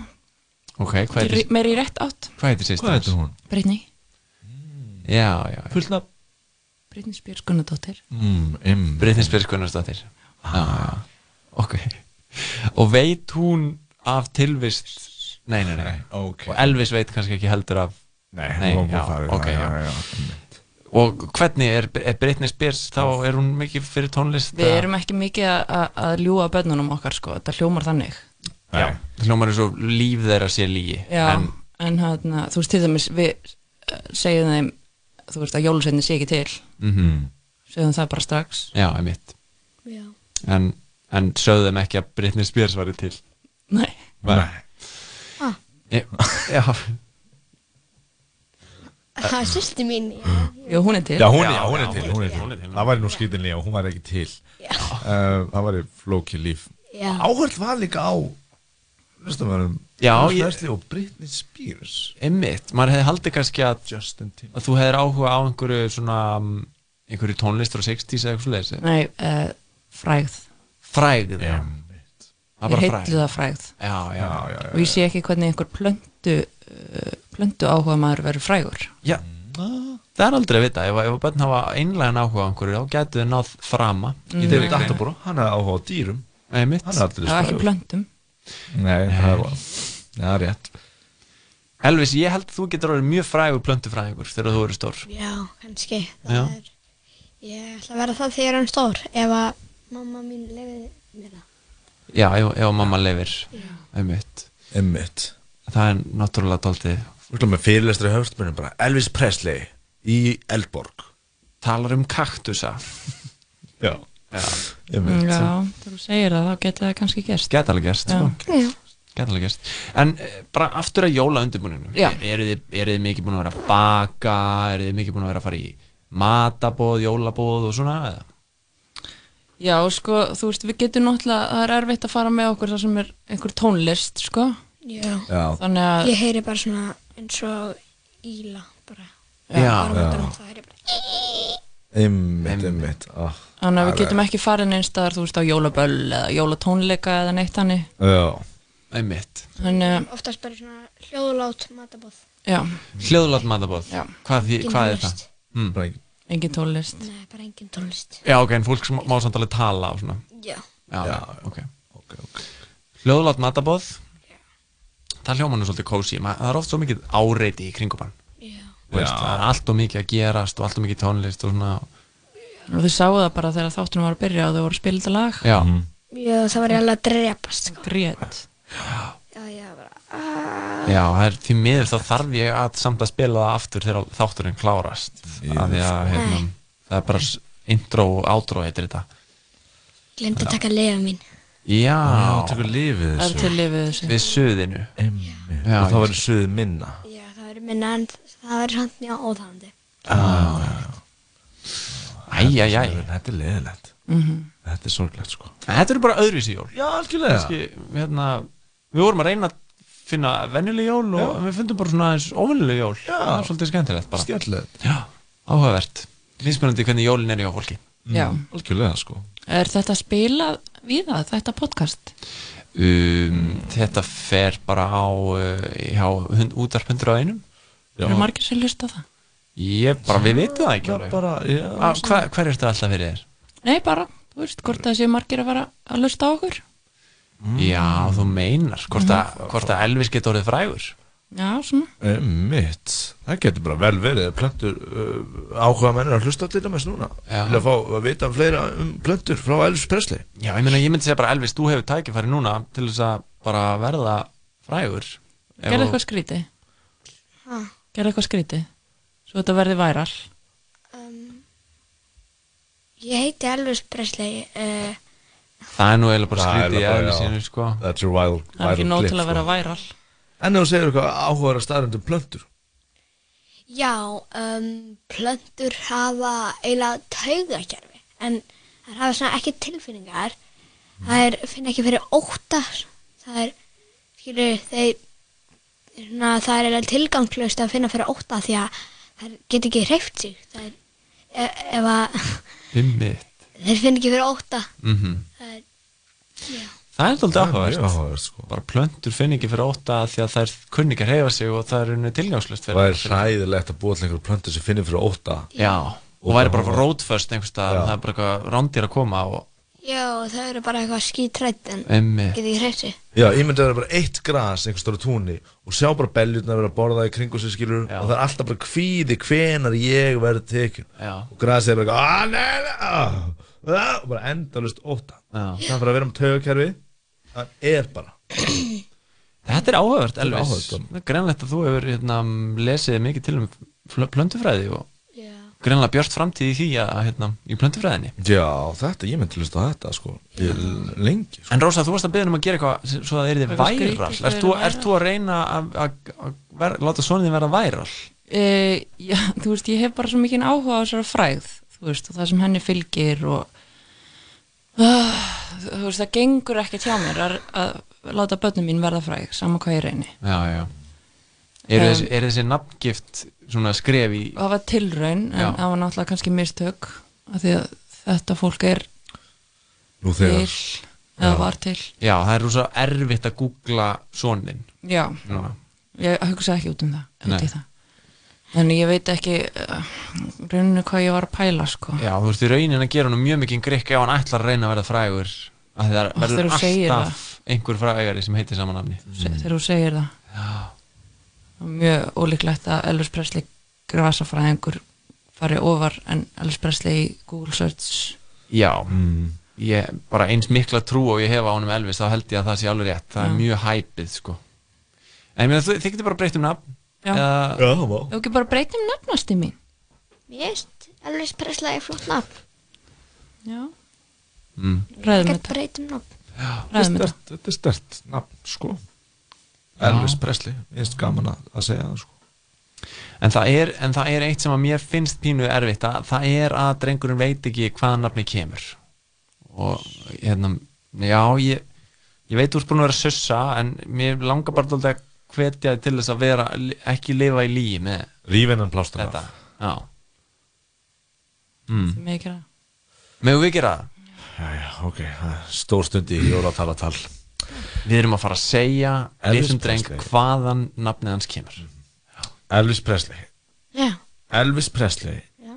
[SPEAKER 24] Ok, hvað heitir,
[SPEAKER 27] meir í rétt átt,
[SPEAKER 24] hvað heitir sýstir?
[SPEAKER 27] Hvað heitir
[SPEAKER 24] hún?
[SPEAKER 27] Brytni
[SPEAKER 24] Já, já, já.
[SPEAKER 25] Fullt nafn
[SPEAKER 27] Brytni Spjörs Gunnardóttir
[SPEAKER 25] mm, mm.
[SPEAKER 24] Brytni Spyrs Gunnarsdóttir Já, já, Ah. ok Og veit hún af tilvist Nei, nei, nei,
[SPEAKER 25] okay.
[SPEAKER 24] Og Elvis veit kannski ekki heldur af
[SPEAKER 25] Nei, hún var búin
[SPEAKER 24] já,
[SPEAKER 25] að fara í
[SPEAKER 24] ok,
[SPEAKER 25] það,
[SPEAKER 24] já,
[SPEAKER 25] já, já,
[SPEAKER 24] Og hvernig er, er Britney Spears, þá er hún mikið fyrir tónlist
[SPEAKER 27] Við
[SPEAKER 24] eða?
[SPEAKER 27] erum ekki mikið að- að- að ljúa bönnunum okkar sko, þetta hljómar þannig
[SPEAKER 24] Já, það hljómar eins og líf þeirra sé lígi
[SPEAKER 27] Já,
[SPEAKER 24] En
[SPEAKER 27] en, hérna, þú veist til dæmis við eh, segjum þeim þú veist að jólusveitin sé ekki til
[SPEAKER 24] Mhm.
[SPEAKER 27] segjum það bara strax
[SPEAKER 24] Já, einmitt
[SPEAKER 26] Já.
[SPEAKER 24] En, en sögðum ekki að Britney Spears væri til
[SPEAKER 27] Nei.
[SPEAKER 24] Nei
[SPEAKER 26] Ah.
[SPEAKER 24] Já, já.
[SPEAKER 26] Það er sýsti mín.
[SPEAKER 27] Já, hún er til.
[SPEAKER 25] Já, hún, er- já,
[SPEAKER 27] Já,
[SPEAKER 25] hún er
[SPEAKER 27] já,
[SPEAKER 25] til,
[SPEAKER 27] hún er
[SPEAKER 25] hún er
[SPEAKER 27] til,
[SPEAKER 25] til.
[SPEAKER 27] hún er til.
[SPEAKER 25] Það væri nú skýtinlega og hún væri ekki til uh, Það væri flókið líf
[SPEAKER 26] Já.
[SPEAKER 25] Áhörð var líka á Listamörum
[SPEAKER 24] Já, ég-
[SPEAKER 25] Elvis Presley og Britney Spears
[SPEAKER 24] Einmitt, maður hefði haldið kannski að, að þú hefðir áhuga á einhverju svona um, einhverju tónlist frá 60s eða eitthvað svoleiðis eða?
[SPEAKER 27] Nei, uh, frægð
[SPEAKER 24] Frægð, já
[SPEAKER 27] Ég heillu það frægð
[SPEAKER 24] Já, já, já,
[SPEAKER 27] og ég sé ekki hvernig einhver plöntu uh, plöntu áhuga maður verður frægur
[SPEAKER 24] Já, það er aldrei að vita ef, ef börn hafa einlegan áhuga á einhverju þá gætu þau náð frama í
[SPEAKER 27] Mm. David
[SPEAKER 24] þeirri
[SPEAKER 25] Attenborough, hann hefði áhuga á dýrum
[SPEAKER 24] Einmitt.
[SPEAKER 25] Hann er aldrei
[SPEAKER 27] það var ekki plöntum
[SPEAKER 25] Nei, það var Já, rétt
[SPEAKER 24] Elvis, ég held að þú getur orðið mjög frægur plöntufræðingur þegar þú eru stór
[SPEAKER 26] Já, kannski.
[SPEAKER 24] Já,
[SPEAKER 26] Ég ætla að vera það þegar hann stór, ef að mamma mín lefið mér það.
[SPEAKER 24] já ef, ef mamma lifir Einmitt
[SPEAKER 25] Einmitt
[SPEAKER 24] Það er náttúrulega daldið
[SPEAKER 25] Þú slum með fyrirlestri höfstmörum bara Elvis Presley í Eldborg
[SPEAKER 24] Talar um kaktusa
[SPEAKER 25] Já,
[SPEAKER 24] já.
[SPEAKER 27] Já, þegar þú segir það, þá getur það kannski gerst
[SPEAKER 24] Gæti alveg gerst,
[SPEAKER 27] Já.
[SPEAKER 24] sko.
[SPEAKER 27] Já.
[SPEAKER 24] Gæti alveg gerst. En eh, bara aftur að jóla undirbúinu.
[SPEAKER 27] Já.
[SPEAKER 24] Eru þið, eru þið mikið búin að vera að baka, eru þið mikið búin að vera að fara í matabóð, jólabóð og svona? eða?
[SPEAKER 27] Já, sko, þú veist, við getum náttúrulega það er erfitt að fara með okkur það sem er einhver tónlist, sko
[SPEAKER 26] Já.
[SPEAKER 24] Já.
[SPEAKER 27] Þannig að,
[SPEAKER 26] Ég heyri bara svona eins og íla bara.
[SPEAKER 24] Já.
[SPEAKER 25] Já.
[SPEAKER 26] Bara út um það heyri ég bara.
[SPEAKER 25] Einmitt, einmitt ah,
[SPEAKER 27] þannig að við
[SPEAKER 25] það er-
[SPEAKER 27] getum ekki farið neins staðar, þú veist, á jólaböll eða jólatónleika eða neitt þannig
[SPEAKER 25] Já
[SPEAKER 24] Einmitt.
[SPEAKER 27] Þannig að,
[SPEAKER 26] Oftast bara svona hljóðlát matabóð.
[SPEAKER 27] já,
[SPEAKER 24] Hljóðlátt matabóð.
[SPEAKER 27] Já.
[SPEAKER 24] Hvað, því,
[SPEAKER 26] Engin
[SPEAKER 24] hvað er það?
[SPEAKER 26] tónlist.
[SPEAKER 24] Mm.
[SPEAKER 27] engin tónlist
[SPEAKER 26] Nei, bara engin tónlist.
[SPEAKER 24] Já, ok, en fólk sem má samt alveg tala og svona.
[SPEAKER 26] Já.
[SPEAKER 24] Já, já ok. Hljóðlátt matabóð. Það hljóma nú svolítið kósi. Það er oft svo mikið áreiti í kringum hann.
[SPEAKER 26] Já.
[SPEAKER 24] Þú Veist,
[SPEAKER 25] Já.
[SPEAKER 24] það er allt og mikið að gerast og allt og mikið tónlist og svona.
[SPEAKER 27] og þau sáu það bara þegar þáttunum var að byrja og þau voru að spila þetta lag
[SPEAKER 24] Já.
[SPEAKER 26] Já, það var ég alveg að drepast, sko.
[SPEAKER 27] Grét.
[SPEAKER 26] Já, já, bara.
[SPEAKER 24] Já, það er því miður þá þarf ég að samt að spila það aftur þegar þátturinn klárast af því að hérna,
[SPEAKER 26] Nei.
[SPEAKER 24] það er bara s- intro og outro heitir þetta
[SPEAKER 26] Glemt að taka leiða mín.
[SPEAKER 24] Já,
[SPEAKER 25] Já, tekur lifið
[SPEAKER 27] Það er þessu. til lifið þessu.
[SPEAKER 24] Við suðinu
[SPEAKER 25] Já, Og það var suðið minna
[SPEAKER 26] Já, það verður minna en það verður samt mjög óþægandi.
[SPEAKER 24] Æ, Æj, æj, æj
[SPEAKER 25] Ah. Þetta er leðilegt
[SPEAKER 27] Mhm.
[SPEAKER 25] Þetta er sorglegt sko
[SPEAKER 24] Þetta eru bara öðruvísi jól
[SPEAKER 25] Já, algjörlega.
[SPEAKER 24] Kannski, hérna, Við vorum að reyna að finna venjuleg jól og við fundum bara svona aðeins óvenjuleg jól Já Það er svolítið skemmtilegt bara
[SPEAKER 25] Skemmtilegt
[SPEAKER 24] Já, áhugavert Mismunandi hvernig jólin er hjá fólki
[SPEAKER 27] Já.
[SPEAKER 25] Algjörlega sko
[SPEAKER 27] Er þetta spilað viða þetta podcast?
[SPEAKER 24] um, Þetta fer bara á uh, hjá hund, útarp 101
[SPEAKER 27] Já. Eru margir sem hlusta á það?
[SPEAKER 24] Ég bara, við vitum það ekki
[SPEAKER 25] Það
[SPEAKER 24] alveg
[SPEAKER 25] bara, já.
[SPEAKER 24] Á, hva, Hver er þetta alltaf fyrir þér?
[SPEAKER 27] Nei, bara, þú veist, hvort það séu margir að vera að hlusta á okkur
[SPEAKER 25] Mm.
[SPEAKER 24] Já, þú meinar Hvort að, hvort að Elvis getur orðið frægur
[SPEAKER 27] Já, svona
[SPEAKER 25] Um, Emmitt Það getur bara vel verið Plöntur uh, Áhuga mennir að hlusta til dæmis núna
[SPEAKER 24] Já.
[SPEAKER 25] Vilja fá að vita um fleira um plöntur frá Elvis Presley
[SPEAKER 24] Já, ég meina, ég myndi segja bara Elvis, þú hefur tækifæri núna til þess að bara verða frægur Ef
[SPEAKER 27] Gerðu
[SPEAKER 24] þú-
[SPEAKER 27] eitthvað skrítið?
[SPEAKER 26] Ha.
[SPEAKER 27] Gerðu eitthvað skrítið? Svo þetta verði væral
[SPEAKER 26] Ég heiti Elvis Presley uh,
[SPEAKER 24] Það er nú eiginlega bara
[SPEAKER 25] Það er
[SPEAKER 24] skrítið í
[SPEAKER 25] bara,
[SPEAKER 24] eðli
[SPEAKER 25] já.
[SPEAKER 24] sínu, sko
[SPEAKER 25] That's your wild
[SPEAKER 27] Það er ekki
[SPEAKER 25] viral
[SPEAKER 27] nóg
[SPEAKER 25] clip,
[SPEAKER 27] til að
[SPEAKER 25] sko.
[SPEAKER 27] vera væral
[SPEAKER 25] En ef þú segir eitthvað áhugaður að staðröndum plöntur
[SPEAKER 26] Já, um, plöntur hafa eiginlega taugakerfi en það hafa svona ekki tilfinningar það er, finna ekki fyrir óta það er, skilur þeir, svona, það er eiginlega tilgangslöst að finna fyrir óta því að það get ekki hreift sig það er, e ef að
[SPEAKER 24] Himmitt
[SPEAKER 26] þeir finna ekki fyrir óta
[SPEAKER 24] Mhm.
[SPEAKER 26] það er,
[SPEAKER 24] Það er
[SPEAKER 25] Það er
[SPEAKER 24] alltaf
[SPEAKER 25] mjög
[SPEAKER 24] áhugavert sko. Bara plöntur finn ekki fyrir óta því að þær kunni ekki að reyfa sig og það er unni tilgangslust fyrir
[SPEAKER 25] Það er hræðilegt að búa til einhverju plöntur sem finnir fyrir óta
[SPEAKER 24] Já, og væri bara rótföst einhvers staðar og það er bara eitthvað rándýr að koma og
[SPEAKER 26] já, það eru bara eitthvað skítrætt en
[SPEAKER 25] Eh.
[SPEAKER 24] Einmitt.
[SPEAKER 26] get ekki hreift sig
[SPEAKER 25] Já, ég myndi að vera bara eitt gras einhvers stóru túnni og sjá bara beljutna að vera að borða í kringu sér skilur og það er alltaf bara kvíði hvenar ég verði tekin
[SPEAKER 24] Já.
[SPEAKER 25] og grasið er bara eitthvað "Ah, nei, nei, ah, ah," og bara endalust óta
[SPEAKER 24] Já.
[SPEAKER 25] það fyrir að vera um taugakerfi það er bara
[SPEAKER 24] Þetta er áhugavert,
[SPEAKER 25] Þetta er
[SPEAKER 24] Elvis
[SPEAKER 25] áhugavert,
[SPEAKER 24] Það er greinlegt að þú hefur hérna, lesið mikið til um fl- plöntufræði og greinlega björt framtíð í því að, hérna, í plöntufræðinni
[SPEAKER 25] Já, þetta, ég myndi að hlusta á þetta sko ég, lengi
[SPEAKER 24] En Rósa, þú varst að beða um að gera eitthvað s- svo það er þið
[SPEAKER 27] Eitthvað skrítið
[SPEAKER 24] væral
[SPEAKER 27] til að
[SPEAKER 24] Ert þú,
[SPEAKER 27] vera
[SPEAKER 24] ert þú að reyna að- að að ver- láta svona þið vera væral?
[SPEAKER 27] Uh, já, þú veist, ég hef bara svo mikið áhuga á þessara fræð, þú veist, og það sem henni fylgir og uh, þú veist, það gengur ekki hjá mér að, að láta börnum mín verða fræg, sama hvað ég reyni.
[SPEAKER 24] Já, já Er,
[SPEAKER 27] Um,
[SPEAKER 24] þessi, er þessi nafngift svona skref í
[SPEAKER 27] Og það var tilraun, en
[SPEAKER 24] Já.
[SPEAKER 27] það var náttúrulega kannski mistök, af því að þetta fólk er
[SPEAKER 25] Nú þegar.
[SPEAKER 27] til, eða var til.
[SPEAKER 24] Já, það er rosa erfitt að googla sonin
[SPEAKER 27] Já, ég hugsa ekki út um það, út í
[SPEAKER 24] Nei.
[SPEAKER 27] það. En ég veit ekki uh, rauninu hvað ég var að pæla, sko.
[SPEAKER 24] Já, þú veist, í raunin að gera hann mjög mikið grikk ef hann ætlar að reyna að verða frægur af því það
[SPEAKER 27] Og
[SPEAKER 24] verður
[SPEAKER 27] þegar þú segir
[SPEAKER 24] alltaf einhver frægari sem heitir saman nafni
[SPEAKER 27] þegar þú segir það Það er mjög ólíklegt að Elvis Presley grasafræðingur fari ofar en Elvis Presley í Google search
[SPEAKER 24] Já,
[SPEAKER 25] Mm.
[SPEAKER 24] ég bara eins mikla trú og ég hef á honum Elvis þá held ég að það sé alveg rétt það
[SPEAKER 27] Já.
[SPEAKER 24] er mjög hæpið, sko En ég meina, þið þið getur bara breytt um nafn
[SPEAKER 27] Já.
[SPEAKER 24] Eða-
[SPEAKER 25] Já, vá
[SPEAKER 27] Ef ekki bara breytum nafnasti mín
[SPEAKER 26] Mér veist, Elvis Presley er flott nafn
[SPEAKER 27] Já
[SPEAKER 24] Mm.
[SPEAKER 27] Ræðum
[SPEAKER 26] Ekkert
[SPEAKER 27] þetta
[SPEAKER 26] breytum nafn
[SPEAKER 27] Ræðum þetta
[SPEAKER 25] Stert, Þetta er stert nafn sko Elvis Presley, ég finnst gaman að, að segja það sko
[SPEAKER 24] En það, er, en það er eitt sem að mér finnst pínu erfitt að það er að drengurinn veit ekki hvaða nafni kemur og hérna, já ég, ég veit úr búin að vera sussa en mér langar bara dálítið að hvetja þig til þess að vera, ekki lifa í líi með
[SPEAKER 25] Rífinan plástur
[SPEAKER 24] þetta, já mm.
[SPEAKER 27] Sem ég gera
[SPEAKER 24] Megum við gera það?
[SPEAKER 25] Jæja, ok, það er stór stund í jólatalatal
[SPEAKER 24] Við erum að fara að segja
[SPEAKER 25] Elvis
[SPEAKER 24] litlum dreng
[SPEAKER 25] Presley.
[SPEAKER 24] hvaðan nafnið hans kemur
[SPEAKER 25] Elvis Presley
[SPEAKER 26] Já.
[SPEAKER 25] Elvis Presley
[SPEAKER 26] Já.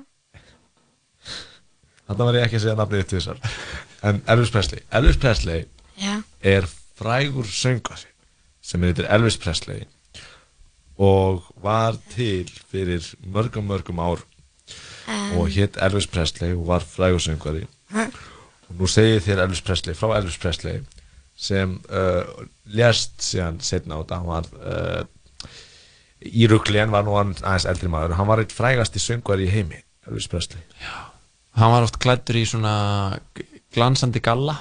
[SPEAKER 25] Þetta var ég ekki að segja nafnið til þessar En Elvis Presley Elvis Presley
[SPEAKER 26] Já.
[SPEAKER 25] er frægur söngari sem heitir Elvis Presley og var til fyrir mörgum mörgum ár
[SPEAKER 26] Em.
[SPEAKER 25] og hétt Elvis Presley og var frægur söngari
[SPEAKER 26] Ha?
[SPEAKER 25] og nú segi ég þér Elvis Presley frá Elvis Presley sem uh, lest síðan setna á þetta hann var uh, í rugli en var nú hann aðeins eldri maður hann var eitt frægasti söngari í heimi Elvis Presley
[SPEAKER 24] Hann var oft klættur í svona glansandi galla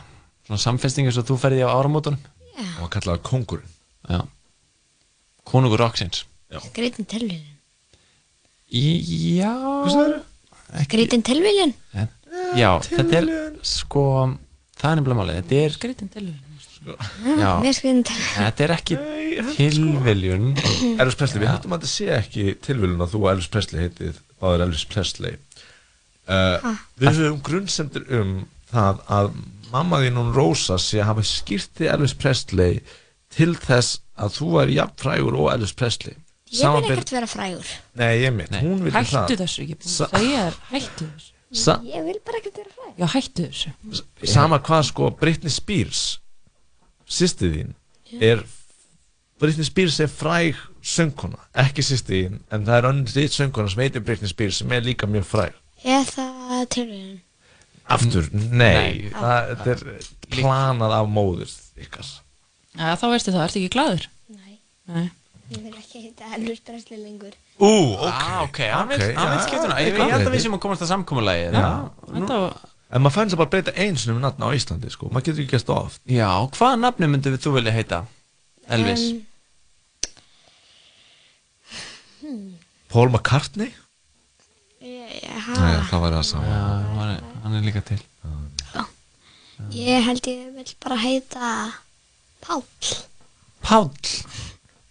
[SPEAKER 24] svona samfesting eins og þú ferði á áramótunum
[SPEAKER 26] og
[SPEAKER 25] hann kallaði kongurinn
[SPEAKER 24] Já. konungur rocksins
[SPEAKER 26] Greitin tilvíðin
[SPEAKER 24] Í- Já
[SPEAKER 26] Grítin tilviljun
[SPEAKER 24] já, þetta er sko það er nefnilega málið, þetta er
[SPEAKER 27] Grítin tilviljun
[SPEAKER 24] Sko. já,
[SPEAKER 26] Mér skriðin tilviljun
[SPEAKER 24] þetta er ekki
[SPEAKER 27] sko-
[SPEAKER 24] tilviljun
[SPEAKER 25] Elvis Presley, við höldum að þetta sé ekki tilvílun að þú og Elvis Presley heitið báður Elvis Presley uh, Við höfum grunnsendur um það að mamma þín hún Rósa sé að hafa skýrti Elvis Presley til þess að þú er jafnfrægur og Elvis Presley
[SPEAKER 26] Ég vil ekkert vera frægur
[SPEAKER 25] Nei, ég mitt, hún vil
[SPEAKER 27] Hættu þessu ekki,
[SPEAKER 25] Sa-
[SPEAKER 27] það er hættu þessu
[SPEAKER 25] Sa-
[SPEAKER 26] Ég vil bara ekkert vera frægur
[SPEAKER 27] Já, hættu þessu
[SPEAKER 25] sama hvað sko Britney Spears sýstið þín er Britney Spears er fræg söngkona, ekki sýstið þín en það er önnur þitt söngkona sem heitir Britney Spears sem er líka mjög fræg
[SPEAKER 26] Eða tilviljun
[SPEAKER 25] aftur, nei,
[SPEAKER 26] Nei.
[SPEAKER 25] það þetta er planað af móður ykkar
[SPEAKER 27] Já, þá veistu það, ertu ekki gladur?
[SPEAKER 26] Nei.
[SPEAKER 27] Nei.
[SPEAKER 26] Ég vil ekki heita Elvis Presley lengur
[SPEAKER 24] Ú, ok, ah, ok, hann veit
[SPEAKER 25] Ok, já,
[SPEAKER 24] skiptuna Ég
[SPEAKER 25] ég
[SPEAKER 24] ég held
[SPEAKER 25] veit.
[SPEAKER 24] að við sem að komast að samkomulagi
[SPEAKER 27] Þetta var
[SPEAKER 25] en maður fannst að bara breyta eins um nafn á Íslandi sko, maður getur ekki gæst það oft
[SPEAKER 24] Já, hvaða nafni myndu þú vilja heita? Elvis
[SPEAKER 26] Em, hmm,
[SPEAKER 25] Paul McCartney?
[SPEAKER 26] ég,
[SPEAKER 25] Nei,
[SPEAKER 26] ég,
[SPEAKER 25] það var það saman
[SPEAKER 24] Já, hann er, hann er líka til
[SPEAKER 26] ég held ég vil bara heita Páll
[SPEAKER 24] Páll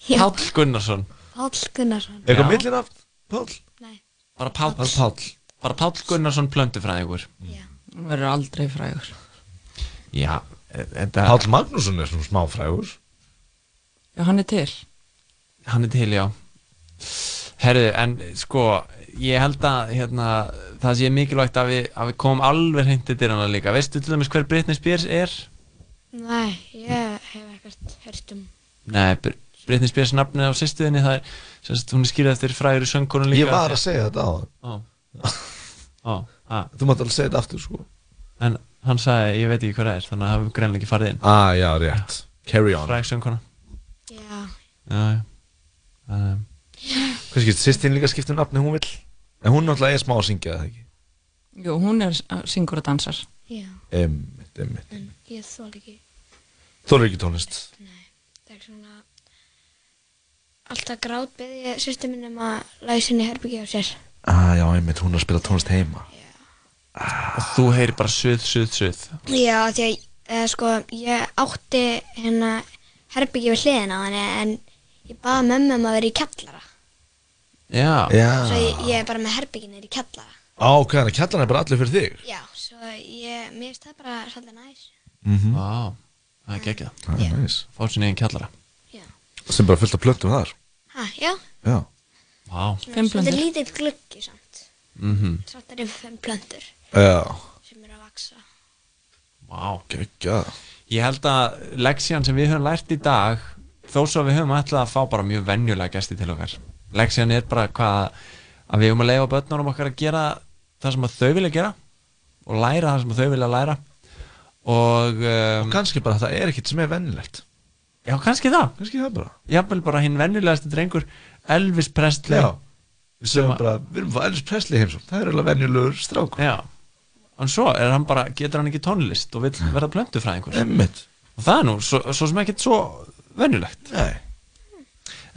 [SPEAKER 26] Já.
[SPEAKER 24] Páll Gunnarsson
[SPEAKER 26] Páll Gunnarsson
[SPEAKER 24] Eitthvað Já.
[SPEAKER 25] nafn, Páll?
[SPEAKER 26] Nei,
[SPEAKER 24] Bara Páll Bara Páll, Gunnarsson plöndu fræðingur
[SPEAKER 27] Hún verður aldrei frægur
[SPEAKER 24] Já, Eh, þetta
[SPEAKER 25] Páll Magnússon er svona smá frægur
[SPEAKER 27] Já, hann er til
[SPEAKER 24] Hann er til, já Herðu, en sko Ég held að hérna, það sé mikilvægt að við, að við komum alveg hreint til dyrana líka Veistu til dæmis hver Britney Spears er?
[SPEAKER 26] nei, ég hef ekkert hört um
[SPEAKER 24] Nei, Br- Britney Spears nafnið á sýstuðinni það er, sem sagt, hún er skýrð eftir frægur söngkonum líka
[SPEAKER 25] ég var að segja þetta á
[SPEAKER 24] hann Ó, ah. á.
[SPEAKER 25] þú mátt alveg segja þetta aftur sko
[SPEAKER 24] En hann sagði, ég veit ekki hvað það er, þannig að hafum greinlega ekki farið inn
[SPEAKER 25] ah, já, rétt, carry on
[SPEAKER 24] Fræg söngkona
[SPEAKER 26] Já,
[SPEAKER 24] Já, já um,
[SPEAKER 25] hvað skipt, sýstin líka skiptum nafni hún vil en hún náttúrulega er smá að syngja það ekki
[SPEAKER 27] Jú, hún er s- syngur og dansar
[SPEAKER 26] já,
[SPEAKER 25] emmitt, emmitt
[SPEAKER 26] en ég þól ekki
[SPEAKER 25] þú eru ekki tónlist
[SPEAKER 26] Það er svona Alltaf grát beði ég sýstu minn um að læsa henni herbyggja á sér
[SPEAKER 25] ah, já, emmitt, hún er að spila tónlist heima
[SPEAKER 24] Og þú heyri bara suð, suð, suð
[SPEAKER 26] Já, því að eða, sko, ég átti hérna herbyggja við hliðina á henni en ég baði mömmu um að vera í kjallara
[SPEAKER 24] Já,
[SPEAKER 26] Svo ég, ég er bara með herbyggja niður í kjallara
[SPEAKER 25] Á, ok, þannig að kjallan er bara allir fyrir þig
[SPEAKER 26] Já, svo ég, mér finnst það bara svolítið næs
[SPEAKER 25] mm -hmm.
[SPEAKER 24] Vá, það er geggjað
[SPEAKER 25] Það er næs
[SPEAKER 24] Fá sinni einn kjallara
[SPEAKER 26] Já.
[SPEAKER 25] Sem bara fullt af plöttum þar
[SPEAKER 26] Ha, já,
[SPEAKER 25] Já
[SPEAKER 24] Vá
[SPEAKER 26] svona- svolítið lítill gluggi samt
[SPEAKER 24] Mhm.
[SPEAKER 26] Samt er ég fimm plöndur
[SPEAKER 25] Já
[SPEAKER 26] sem eru að vaksa
[SPEAKER 24] Vá
[SPEAKER 25] Geggjað
[SPEAKER 24] Ég held að leksían sem við höfum lært í dag þó svo við höfum ætlað að fá bara mjög venjulega gesti til okkar leksían er bara hvað að við höfum að leifa börnunum okkar að gera það sem að þau vilja gera og læra það sem að þau vilja læra og, um, og
[SPEAKER 25] kannski bara það er ekkit sem er venjulegt
[SPEAKER 24] Já, kannski það
[SPEAKER 25] Kannski það bara
[SPEAKER 24] Jafnvel bara hinn venjulegasti drengur Elvis Presley
[SPEAKER 25] Já. Við segjum bara, við erum fæðis Presley heimsum Það er alveg venjulegur strák
[SPEAKER 24] Já En svo er hann bara, getur hann ekki tónlist og vil verða plöntufræðingur
[SPEAKER 25] Einmitt.
[SPEAKER 24] Og það er nú, svo, svo sem ekkert svo venjulegt
[SPEAKER 25] Nei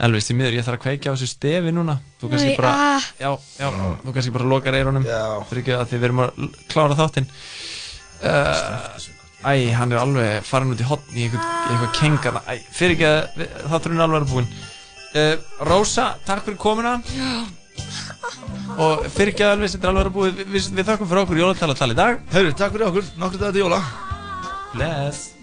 [SPEAKER 24] Elvis, því miður, ég þarf að kveikja á þessu stefi núna Þú kannski
[SPEAKER 26] Nei,
[SPEAKER 24] bara,
[SPEAKER 26] ah.
[SPEAKER 24] já, já, þú kannski bara lokar eyrunum Fyrir ekki að því við erum að l- klára þáttinn uh, Æ, hann er alveg farin út í hotn í eitthvað, í eitthvað kengana Æ, fyrir ekki að þátturinn er alveg að búin uh, Rósa, takk fyrir komuna
[SPEAKER 27] Já
[SPEAKER 24] og fyrir ekki alveg sem þetta er alveg að búið við, við, við þakkum fyrir okkur jólatalatal í dag
[SPEAKER 25] Hörru, takk fyrir okkur, nokkur dag til jóla
[SPEAKER 24] Bless